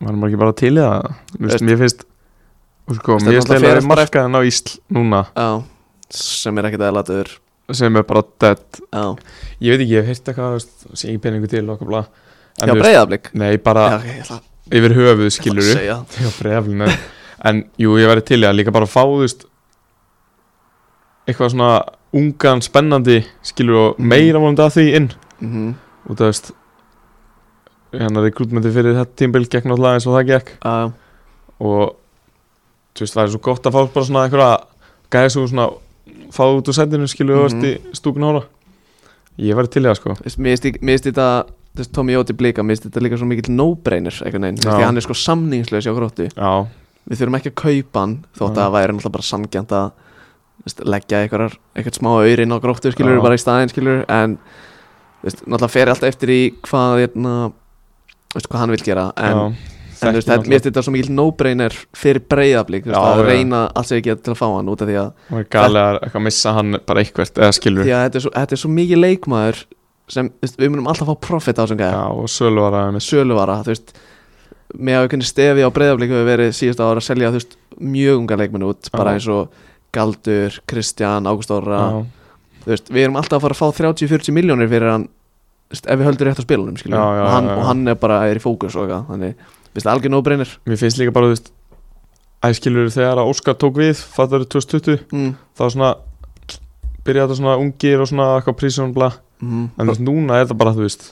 [SPEAKER 2] varum ekki bara til í það Þú
[SPEAKER 1] Veist-
[SPEAKER 2] veist, Mér finnst og sko,
[SPEAKER 1] Veist,
[SPEAKER 2] Mér
[SPEAKER 1] þetta
[SPEAKER 2] finnst
[SPEAKER 1] náttúrulega
[SPEAKER 2] leila
[SPEAKER 1] fer
[SPEAKER 2] að marka þenn á Ísl núna
[SPEAKER 1] Já, sem er ekkert eða latur
[SPEAKER 2] sem er bara dead
[SPEAKER 1] Já,
[SPEAKER 2] Ég veit ekki, ég hef hýrt eitthvað, þú veist, sé ekki peningu til og bla
[SPEAKER 1] já
[SPEAKER 2] En þú veist,
[SPEAKER 1] breyðarblik
[SPEAKER 2] Nei, bara
[SPEAKER 1] Já, ok, ég ætla ég
[SPEAKER 2] yfir höfuð
[SPEAKER 1] ætla
[SPEAKER 2] skilur
[SPEAKER 1] að segja það.
[SPEAKER 2] Já, breflinu En jú, ég væri til í að líka bara fá, þú veist Eitthvað svona ungan, spennandi Skilur og
[SPEAKER 1] Mhm.
[SPEAKER 2] meira vonandi að því inn
[SPEAKER 1] Mhm.
[SPEAKER 2] Og það veist Hérna rekrútmenti fyrir þetta tímbil Gekk náttúrulega eins og það gekk
[SPEAKER 1] Já, já.
[SPEAKER 2] Og þú veist, það er svo gott að fá bara svona einhverja Gæði svo svona Fá út úr sætinu, skilur og
[SPEAKER 1] Mhm.
[SPEAKER 2] mm -hmm. stúkun ára Ég væri til í það, sko
[SPEAKER 1] Þú veist, mér finnst- mér finnst þetta þú veist, Tommy Jóti blika, mér finnst þetta líka svo mikill no-brainer einhvern veginn, þú veist,
[SPEAKER 2] Já.
[SPEAKER 1] því hann er sko samningslaus hjá gróttu
[SPEAKER 2] Já,
[SPEAKER 1] við þurfum ekki að kaupa hann þótt að
[SPEAKER 2] Já.
[SPEAKER 1] það væri náttúrulega bara samgjant að veist, leggja einhverjar, einhvert smá aurin á gróttu skilur
[SPEAKER 2] Já.
[SPEAKER 1] bara í staðinn skilur en veist, náttúrulega fer alltaf eftir í hvað hérna, veist, hvað hann vil gera en,
[SPEAKER 2] já
[SPEAKER 1] en þú
[SPEAKER 2] Þekki
[SPEAKER 1] veist, það,
[SPEAKER 2] náttúrulega.
[SPEAKER 1] mér finnst þetta svo mikil no-brainer fyrir breyðablík
[SPEAKER 2] Já,
[SPEAKER 1] að
[SPEAKER 2] já.
[SPEAKER 1] reyna allt sem ég get til að fá hann út af því að,
[SPEAKER 2] Það er galið að eitthvað missa hann bara eitthvað Eða skilur
[SPEAKER 1] því að þetta, er svo, þetta er svo mikið leikmaður sem þú veist, við munum alltaf fá profit á þessum gæja
[SPEAKER 2] Já, og sölu var að
[SPEAKER 1] söluvara þú veist með að við kunni stefi á breyðaflik hefur verið síðust ára að selja þú veist mjög unga leikmenn út bara
[SPEAKER 2] Já.
[SPEAKER 1] eins og Galdur, Kristján, Ágúst Orra
[SPEAKER 2] Já,
[SPEAKER 1] þú veist, við erum alltaf að fara að fá 30-40 miljónir fyrir hann þú veist, ef við höldum rétt á spilunum skilur,
[SPEAKER 2] Já, já,
[SPEAKER 1] og, hann,
[SPEAKER 2] já, já.
[SPEAKER 1] og hann er bara er í fókus og eitthvað þannig, þú veist, algjör nóbreynir
[SPEAKER 2] Mér finnst líka bara, þú veist Æskilur þegar að Óskar tók við Fattar 2020,
[SPEAKER 1] mm.
[SPEAKER 2] þá svona Byrjaði þetta svona ungir og svona Eitthvað prísum bla
[SPEAKER 1] mm.
[SPEAKER 2] En þú veist, núna er það bara, þú veist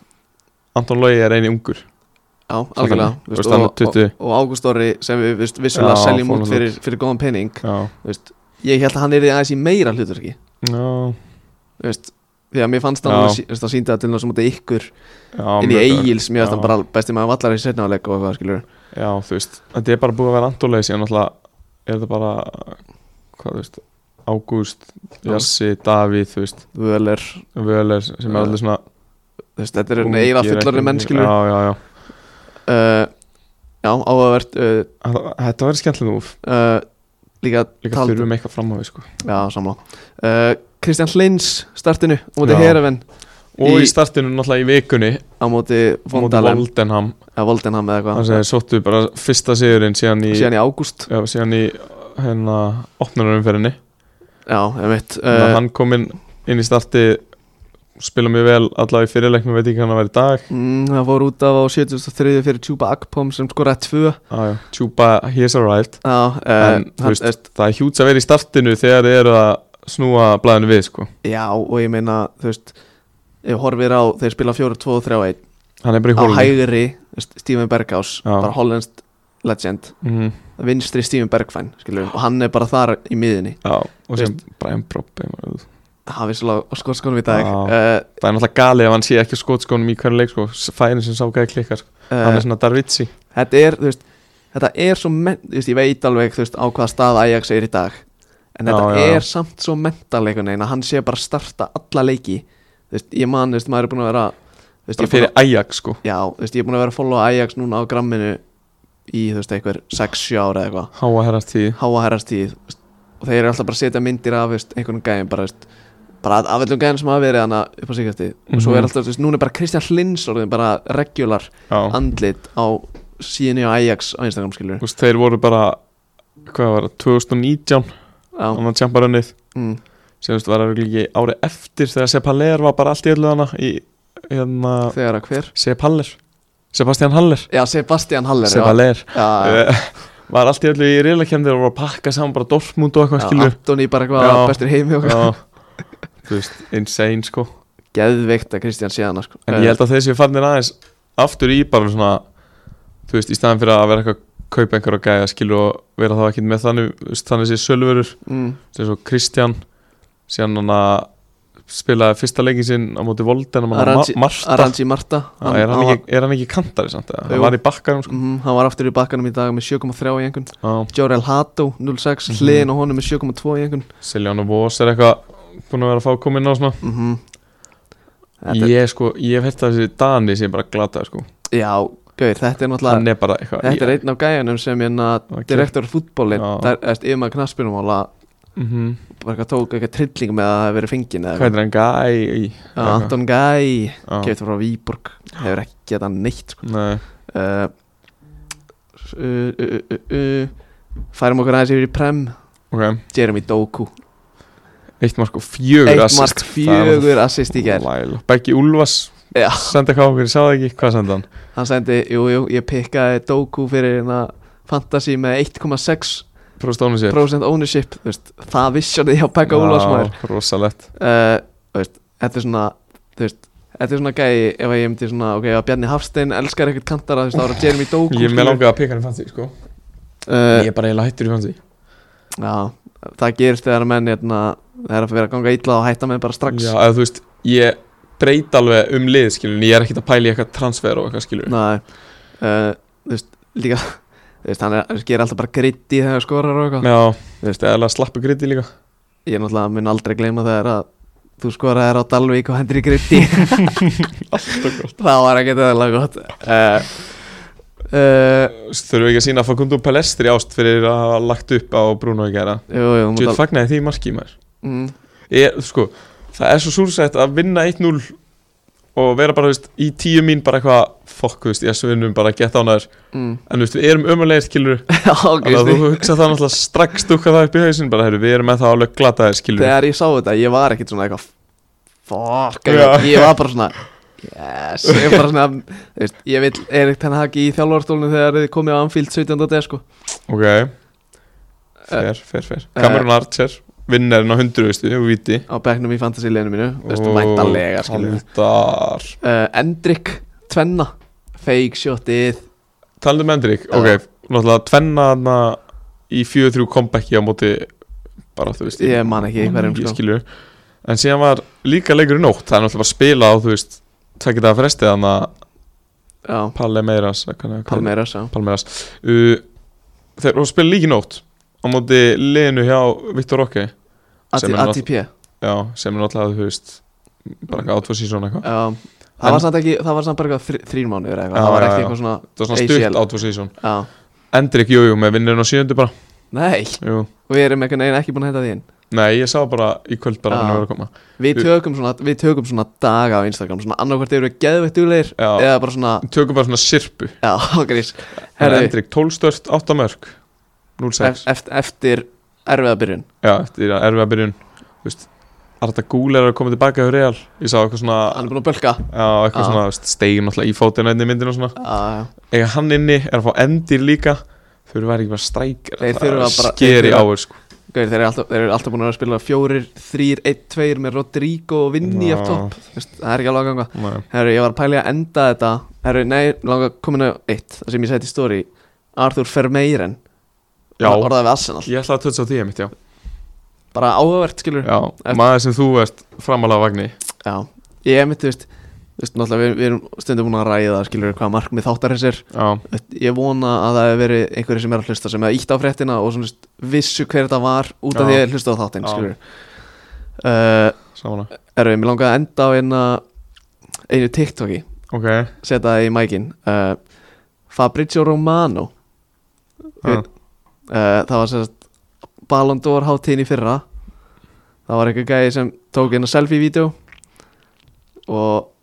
[SPEAKER 2] Anton Lógi er eini ungur
[SPEAKER 1] já, algjörlega
[SPEAKER 2] þannig,
[SPEAKER 1] þú
[SPEAKER 2] þú veist, hann er
[SPEAKER 1] og, og,
[SPEAKER 2] 20.
[SPEAKER 1] og Ágúst Orri sem við þú veist, vissulega
[SPEAKER 2] Já,
[SPEAKER 1] seljum út
[SPEAKER 2] fórnarlönd.
[SPEAKER 1] fyrir, fyrir góðan pening
[SPEAKER 2] Já,
[SPEAKER 1] þú veist, ég held að hann er aðeins í meira hluturki
[SPEAKER 2] já,
[SPEAKER 1] þú veist, því að mér fannst hann
[SPEAKER 2] Já.
[SPEAKER 1] alveg sí- þú veist, hann síndi það til náttúrulega mútið ykkur
[SPEAKER 2] já
[SPEAKER 1] inn í
[SPEAKER 2] mjög-
[SPEAKER 1] Egils, mér finnst
[SPEAKER 2] Já.
[SPEAKER 1] hann bara besti maður vallar í setna áleik og eitthvað skilur
[SPEAKER 2] Já, þú veist, þetta er bara búið að vera Anton Lógi Síðan náttúrulega er þetta bara Hvað, þú veist, Ágúst
[SPEAKER 1] Já.
[SPEAKER 2] Jassi, Davíð, þú veist
[SPEAKER 1] Völer,
[SPEAKER 2] Völer, sem er
[SPEAKER 1] Já.
[SPEAKER 2] allir svona
[SPEAKER 1] þú veist, þetta er eiginlega
[SPEAKER 2] ungir,
[SPEAKER 1] fullorði menn skilur Já,
[SPEAKER 2] Já, já, já
[SPEAKER 1] uh, já áhugavert uh,
[SPEAKER 2] Þetta verður skemmtilega úf
[SPEAKER 1] uh, líka,
[SPEAKER 2] Líka
[SPEAKER 1] taldi-
[SPEAKER 2] þurfum eitthvað fram á því sko
[SPEAKER 1] Já, samlá uh, Kristján Hlins startinu á móti
[SPEAKER 2] Já.
[SPEAKER 1] Hereven
[SPEAKER 2] Og
[SPEAKER 1] Í-
[SPEAKER 2] í startinu náttúrulega í vikunni
[SPEAKER 1] á móti
[SPEAKER 2] Móti
[SPEAKER 1] Vondalem
[SPEAKER 2] Voldenham
[SPEAKER 1] eða Voldenham eða
[SPEAKER 2] Það
[SPEAKER 1] eitthvað
[SPEAKER 2] segir sóttu bara fyrsta sigurinn síðan í
[SPEAKER 1] síðan í ágúst
[SPEAKER 2] já, Síðan í hérna opnarumferðinni
[SPEAKER 1] Já, ég veit
[SPEAKER 2] uh,
[SPEAKER 1] uh,
[SPEAKER 2] Hann kom inn, inn í starti Spila mjög vel allavega í fyrirleiknum Veit ekki hvað hann var í dag
[SPEAKER 1] mm, Það fór út af á 73 fyrir Tjúpa Akpom sem skoraði tvö
[SPEAKER 2] ah, já, Tjúpa, he's arrived
[SPEAKER 1] Já, uh,
[SPEAKER 2] En, þú
[SPEAKER 1] hann-
[SPEAKER 2] veist, Það er hjúts að vera í startinu þegar þið eru að snúa blæðinu við sko
[SPEAKER 1] eh, Já og ég meina þú veist ef horfir á þeir spila 4-2-3-1
[SPEAKER 2] Hann er bara
[SPEAKER 1] á
[SPEAKER 2] í hólunni
[SPEAKER 1] hægri þú veist, Steven Berghaus
[SPEAKER 2] Já.
[SPEAKER 1] bara hollenskt legend
[SPEAKER 2] mm,
[SPEAKER 1] vinstri Steven Bergfæn skilur, og hann er bara þar í miðinni
[SPEAKER 2] Já, og sem
[SPEAKER 1] Veist-
[SPEAKER 2] Brian Bropp Það
[SPEAKER 1] hann vissi á skotskónum í dag uh,
[SPEAKER 2] Já. er náttúrulega galið ef hann sé ekki skotskónum í hverju leik sko Færin sem sá gæði klikkar sko
[SPEAKER 1] uh,
[SPEAKER 2] Hann er svona Darvitsi
[SPEAKER 1] þetta er þú veist, þetta er svo menn, þú veist, ég veit alveg þú veist, á hvaða stað Ajax er í dag en
[SPEAKER 2] Já,
[SPEAKER 1] þetta
[SPEAKER 2] já, já.
[SPEAKER 1] er samt svo mental einhvern veginn að hann sé bara að starta alla leiki þú veist, ég man, þú veist, maður er búin að vera þú veist, ég
[SPEAKER 2] bara
[SPEAKER 1] er búinn
[SPEAKER 2] fyrir
[SPEAKER 1] að,
[SPEAKER 2] Ajax sko
[SPEAKER 1] já, þú veist, ég er búin að vera að followa Ajax núna á gramminu í, þú veist, einhver 6-7 ára eða eitthvað
[SPEAKER 2] Háa herrast tíð
[SPEAKER 1] háa herrastíð þú veist, og þeir eru alltaf bara að setja myndir af þú veist, einhvern gæðin bara, þú veist, bara af öllum gæðin sem hafa verið hana upp á síkasti og svo
[SPEAKER 2] Mhm.
[SPEAKER 1] er alltaf, þú veist, núna er bara Kristján Hlins orðin bara regular
[SPEAKER 2] Já,
[SPEAKER 1] andlit á síðan á Ajax á Instagram skilur
[SPEAKER 2] Þú veist, þeir voru bara hvað var það, 2019
[SPEAKER 1] já,
[SPEAKER 2] þannig að tjampa rönnið
[SPEAKER 1] mm,
[SPEAKER 2] sem þú veist var örugglega ekki ári eftir þegar Sepaler var bara allt í öllu hana í hérna
[SPEAKER 1] þegar að hver
[SPEAKER 2] Sepaler Sebastian Haller
[SPEAKER 1] já, Sebastian Haller já.
[SPEAKER 2] Sepaler
[SPEAKER 1] já, já,
[SPEAKER 2] Eh, var allt í öllu í reylakemni og var að pakka saman bara Dortmund og eitthvað
[SPEAKER 1] já,
[SPEAKER 2] skilur
[SPEAKER 1] Antoni bara eitthvað
[SPEAKER 2] Já.
[SPEAKER 1] bestur heimi og
[SPEAKER 2] Já, þú veist, insane sko
[SPEAKER 1] geðveikt að Kristján sé hana sko.
[SPEAKER 2] En ég held að þeir séu fannir aðeins aftur í bara svona Þú veist, í staðan fyrir að vera eitthvað kaupa einhverja gæja skilur og vera þá ekkert með þannig þú veist, Þannig séu sölverur,
[SPEAKER 1] mm,
[SPEAKER 2] sem svo Kristján Síðan hann að spilaði fyrsta leikin sinn á móti Volden og hann
[SPEAKER 1] Aranji-
[SPEAKER 2] Ma- Marta
[SPEAKER 1] Aranji Marta
[SPEAKER 2] Já, er, hann ekki, er hann ekki kantari samt? eða?
[SPEAKER 1] Jú.
[SPEAKER 2] Hann var í bakkarum sko
[SPEAKER 1] mm, hann var aftur í bakkanum í dag með 7,3 í engun
[SPEAKER 2] Já,
[SPEAKER 1] Jorel Hato 06
[SPEAKER 2] Mhm.
[SPEAKER 1] hliðin á honum með 7,2 í engun
[SPEAKER 2] Siljan og Vos er eitthvað búin að vera að fá komin á svona
[SPEAKER 1] mm þetta,
[SPEAKER 2] Ég sko, ég hef hægt að þessi Dani sem bara glataði sko
[SPEAKER 1] er, Já, gauðir, þetta er náttúrulega
[SPEAKER 2] Hann er bara eitthvað
[SPEAKER 1] Þetta er einn af gæjanum sem hérna
[SPEAKER 2] Ok.
[SPEAKER 1] Direktor fútbólin,
[SPEAKER 2] Já.
[SPEAKER 1] það er eftir yfirmaður knassbyrnumála
[SPEAKER 2] mm
[SPEAKER 1] um Bara eitthvað tók eitthvað trilling með að það hefur verið fengin eða
[SPEAKER 2] Hvað heitir hann? Gæ
[SPEAKER 1] eitthvað. Já, Anton Gæ,
[SPEAKER 2] Já.
[SPEAKER 1] keftur frá Víborg Hefur ekki getað neitt sko.
[SPEAKER 2] Nei,
[SPEAKER 1] uh, uh, uh, uh, uh, Færum okkur aðeins yfir í Prem
[SPEAKER 2] ok
[SPEAKER 1] Jeremy Doku
[SPEAKER 2] Eitt mark og fjögur
[SPEAKER 1] Eitt
[SPEAKER 2] assist.
[SPEAKER 1] mark
[SPEAKER 2] Það er
[SPEAKER 1] fjögur assist í gær
[SPEAKER 2] Væl. Beggi Úlfas
[SPEAKER 1] Já.
[SPEAKER 2] Sendi eitthvað á okkur, ég sá það ekki, hvað sendi hann?
[SPEAKER 1] Hann sendi, jú, jú, ég pikkaði Doku fyrir hérna Fantasy með 1,6%
[SPEAKER 2] Próstónu sér
[SPEAKER 1] ownership þú veist, Það vissjónið hjá Pekka Úlfarsmaður
[SPEAKER 2] Rosalett
[SPEAKER 1] uh, veist, þetta er svona þú veist, þetta er svona gæi ef að ég myndi svona, ok, að Bjarni Hafstein elskar ekkert kantara, þú veist, þá er að Jeremy Doku
[SPEAKER 2] Ég er með
[SPEAKER 1] skilur.
[SPEAKER 2] langað að pika hann í fancy, sko Ég
[SPEAKER 1] uh,
[SPEAKER 2] er bara eiginlega hættur í fancy
[SPEAKER 1] já, það gerist þegar menn hérna, það er að vera að ganga illa og hætta menn bara strax
[SPEAKER 2] Já, eða þú veist, ég breyt alveg um lið, skilur en Ég er ekkert að pæla í eitthvað transfer og eitthvað, skilur
[SPEAKER 1] Nei, uh, þú veist, líka þú veist, hann er, hann gerir alltaf bara gritti þegar hann skorar og eitthvað
[SPEAKER 2] Já, þú veist, eða slappu gritti líka
[SPEAKER 1] ég náttúrulega mun aldrei gleyma þegar að þú skoraðir á Dalvík og hendur í gritti það var ekki þetta gott uh, uh,
[SPEAKER 2] Þú veist, Þurfum við ekki að sína að Facundo Palestri ást fyrir að hafa lagt upp á Bruno í gera
[SPEAKER 1] jú, jú, þú
[SPEAKER 2] Ég
[SPEAKER 1] mátt al-
[SPEAKER 2] fagnaði því marki, maður
[SPEAKER 1] Mm,
[SPEAKER 2] ég, sko, það er svo súrsætt að vinna 1-0 og vera bara, þú veist, í tíu mín bara eitthvað, fokk, þú veist, ég svo vinnum bara gett ánæður,
[SPEAKER 1] mm.
[SPEAKER 2] en þú veist, við erum ömulegir skilur,
[SPEAKER 1] Já,
[SPEAKER 2] þannig að
[SPEAKER 1] Kristi.
[SPEAKER 2] þú hugsa það náttúrulega strax dukka það upp í hausin, bara, heyrðu, við erum með það alveg glataðir skilur,
[SPEAKER 1] þegar ég sá þetta, ég var ekkert svona eitthvað fuck,
[SPEAKER 2] Já.
[SPEAKER 1] eitthvað. ég var bara svona yes, ég var bara svona þú veist, ég vil Erik Ten Hag í þjálfarstólinu þegar þið komið á Anfield 17. des sko.
[SPEAKER 2] ok fer, fer, fer, Cameron Archer vinnarinn á 100, veist, og viti
[SPEAKER 1] á bekknum í fantasy-leginu mínu þú veist, mæntalega uh,
[SPEAKER 2] Haldar
[SPEAKER 1] Endrik, tvenna fake shotið
[SPEAKER 2] Talandi með Endrik,
[SPEAKER 1] Já.
[SPEAKER 2] ok, náttúrulega tvenna þarna í 4-3 comebacki á móti bara, þú veist,
[SPEAKER 1] Ég man ekki hverjum,
[SPEAKER 2] ég
[SPEAKER 1] sko.
[SPEAKER 2] skilur En síðan var líka leikur í nótt, það er náttúrulega bara að spila á, þú veist, tekja það að fresti þannig að
[SPEAKER 1] já,
[SPEAKER 2] Palmeiras eða hvað- hvað-
[SPEAKER 1] Palmeiras já.
[SPEAKER 2] Palmeiras uh, Þeir voru að spila líka í nótt á móti liðinu hjá Viktor Roque Sem
[SPEAKER 1] AT-
[SPEAKER 2] er nátt-
[SPEAKER 1] ATP já.
[SPEAKER 2] Já, sem er náttúrulega, þú veist, bara eitthvað átvað sísón eitthvað
[SPEAKER 1] það var samt ekki, það var samt bara eitthvað þr- þrír mánuður eitthvað,
[SPEAKER 2] Já,
[SPEAKER 1] það var
[SPEAKER 2] já,
[SPEAKER 1] ekki
[SPEAKER 2] já.
[SPEAKER 1] eitthvað svona
[SPEAKER 2] Það var svona
[SPEAKER 1] ACL.
[SPEAKER 2] stutt átvað sísón
[SPEAKER 1] já,
[SPEAKER 2] Endrik, jú, jú, með vinnurinn á sjöundu bara
[SPEAKER 1] nei,
[SPEAKER 2] Jú,
[SPEAKER 1] og við erum einhvern veginn ekki búin að hætta því inn
[SPEAKER 2] nei, ég sá bara í kvöld bara
[SPEAKER 1] Já.
[SPEAKER 2] hann var að koma
[SPEAKER 1] Við
[SPEAKER 2] Við-
[SPEAKER 1] tökum svona, við tökum svona daga á Instagram Svona annarkvært eru við geðveitt duglegir
[SPEAKER 2] Já.
[SPEAKER 1] Eða bara svona,
[SPEAKER 2] Tökum bara svona sirpu
[SPEAKER 1] já, grís
[SPEAKER 2] Herri.
[SPEAKER 1] Herri,
[SPEAKER 2] Endrik, 12 stört, 8 mörg
[SPEAKER 1] ef,
[SPEAKER 2] 0-6
[SPEAKER 1] eft, Eftir erfiða byrjun
[SPEAKER 2] Já, þetta er erfið að byrjun Þú veist, Arda Gúl er að koma tilbaka hjá Real Ég sá eitthvað svona
[SPEAKER 1] Hann er búin að bölka
[SPEAKER 2] Já, eitthvað
[SPEAKER 1] Ah.
[SPEAKER 2] svona, þú veist, steigum náttúrulega í fótina inn í myndinu og svona
[SPEAKER 1] Já, já.
[SPEAKER 2] Ega hann inni er að fá endir líka Þau eru verið ekki bara strækir
[SPEAKER 1] Þeir þurfa bara-
[SPEAKER 2] Skeri
[SPEAKER 1] þeir þurfa-
[SPEAKER 2] áur, sko
[SPEAKER 1] Gauir, þeir eru alltaf, er alltaf búin að vera að spila Fjórir, þrýr, einn, tveir með Rodrigo og Vinni
[SPEAKER 2] Já.
[SPEAKER 1] af topp Þú veist, Það er ekki alveg að ganga
[SPEAKER 2] Nei.
[SPEAKER 1] Herri, ég var að pæli að enda þetta Herri, nei, langa komin að eitt Það sem ég seti í story Arthur Vermeiren
[SPEAKER 2] Já,
[SPEAKER 1] Orðaði við Arsenal
[SPEAKER 2] ég ætla að tötsa á því mitt, já
[SPEAKER 1] Bara áhugavert, skilur
[SPEAKER 2] Já,
[SPEAKER 1] Eftir-
[SPEAKER 2] maður sem þú veist framalega vagni
[SPEAKER 1] Já, ég myndi, þú veist veist, náttúrulega við, við erum stundum búin að ræða skilur hvað markmið þáttarins er
[SPEAKER 2] já,
[SPEAKER 1] ég vona að það hefur verið einhverju sem er að hlusta sem hefur ítt á fréttina og svona veist, vissu hver þetta var út af
[SPEAKER 2] Já.
[SPEAKER 1] því að hlusta á þáttinn
[SPEAKER 2] Já.
[SPEAKER 1] skilur uh,
[SPEAKER 2] saman að
[SPEAKER 1] erum við, mér langaði að enda á eina einu TikToki
[SPEAKER 2] Ok,
[SPEAKER 1] setja það í mækin uh, Fabrizio Romano
[SPEAKER 2] já,
[SPEAKER 1] uh, það var sérst Ballon d'Or hátíðin í fyrra það var einhver gæði sem tók inn að selfie-vídeó og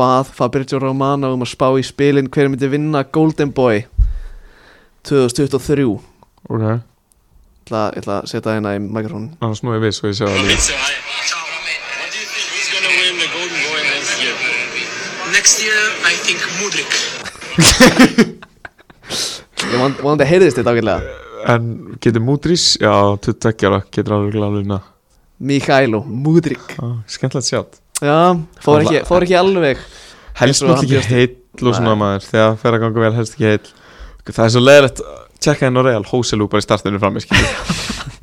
[SPEAKER 1] bað Fabrizio Romano um að spá í spilin hver myndi vinna Golden Boy 2023
[SPEAKER 2] ok
[SPEAKER 1] Ég ætla, ég ætla að setja það hérna í mikrofónin
[SPEAKER 2] Annars nú ég við svo ég sé það líka
[SPEAKER 3] Pizza, hi. Ciao. What do you think? Who's gonna win the Golden Boy next year? Next year, I think Mudrik.
[SPEAKER 1] Ég vond- vonandi að heyrðist þetta ágætlega
[SPEAKER 2] En getur Múdrís, já, 22 ára, getur alveg að luna
[SPEAKER 1] Mikaelo Mudrik
[SPEAKER 2] ah, Skemmtilegt sjátt
[SPEAKER 1] Já, fór ekki, fór ekki alveg Eins
[SPEAKER 2] Helst
[SPEAKER 1] og
[SPEAKER 2] náttúrulega
[SPEAKER 1] hann
[SPEAKER 2] ekki heill og svona maður Þegar fer að ganga vel helst ekki heill Það er svo leiðilegt Tjekka henn og Real Hóselú bara í startinu fram í skilju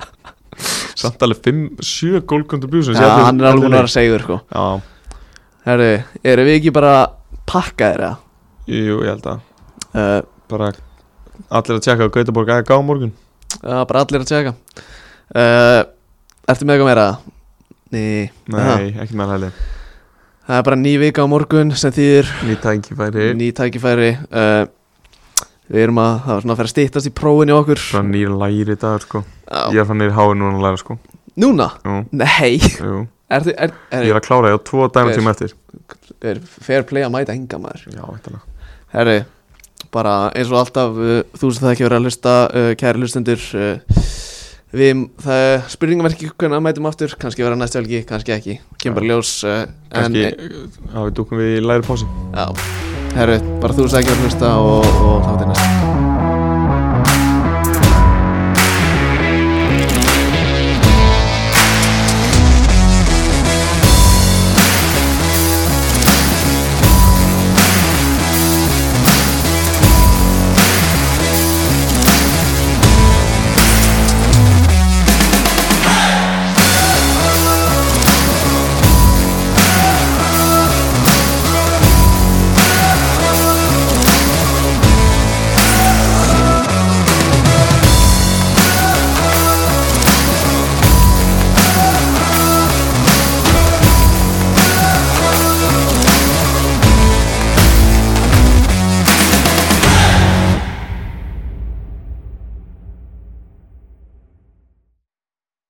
[SPEAKER 2] Samt alveg 5-7 goal contributions
[SPEAKER 1] Já, hann er alveg búin að vera segur sko
[SPEAKER 2] Já,
[SPEAKER 1] Herru, eru við ekki bara pakkaðir eða?
[SPEAKER 2] jú, jú, ég held að
[SPEAKER 1] Uh,
[SPEAKER 2] Bara allir að tjekka á Gautaborg AG á morgun
[SPEAKER 1] já, bara allir að tjekka uh, Ertu með eitthvað meira? Nei,
[SPEAKER 2] Nei, ekki með hæli
[SPEAKER 1] Það er bara ný vika á morgun sem þýðir
[SPEAKER 2] Ný tækifæri
[SPEAKER 1] ný tækifæri uh, Við erum að, það var svona að fara að stýttast í prófin í okkur
[SPEAKER 2] Frá nýr læri í dag sko
[SPEAKER 1] Já.
[SPEAKER 2] Ég er frá nýr háin núna að læra sko
[SPEAKER 1] Núna?
[SPEAKER 2] Jú,
[SPEAKER 1] Nei
[SPEAKER 2] jú
[SPEAKER 1] Ertu, er, er,
[SPEAKER 2] Ég er að klára, ég á tvo dæma tíma eftir
[SPEAKER 1] er fair play að mæta enga maður
[SPEAKER 2] Já, veitlega
[SPEAKER 1] Herri, bara eins og alltaf uh, þú sem það ekki verið að hlusta, uh, kæri hlustendur uh, við, það er spurningum er ekki hvernig að mætum aftur kannski vera næstu helgi, kannski ekki, kemur bara í ljós uh, en,
[SPEAKER 2] Kannski, já, við dúkum við í læri pási
[SPEAKER 1] já, herri, bara þú sem það ekki verið að hlusta og, og þá til næst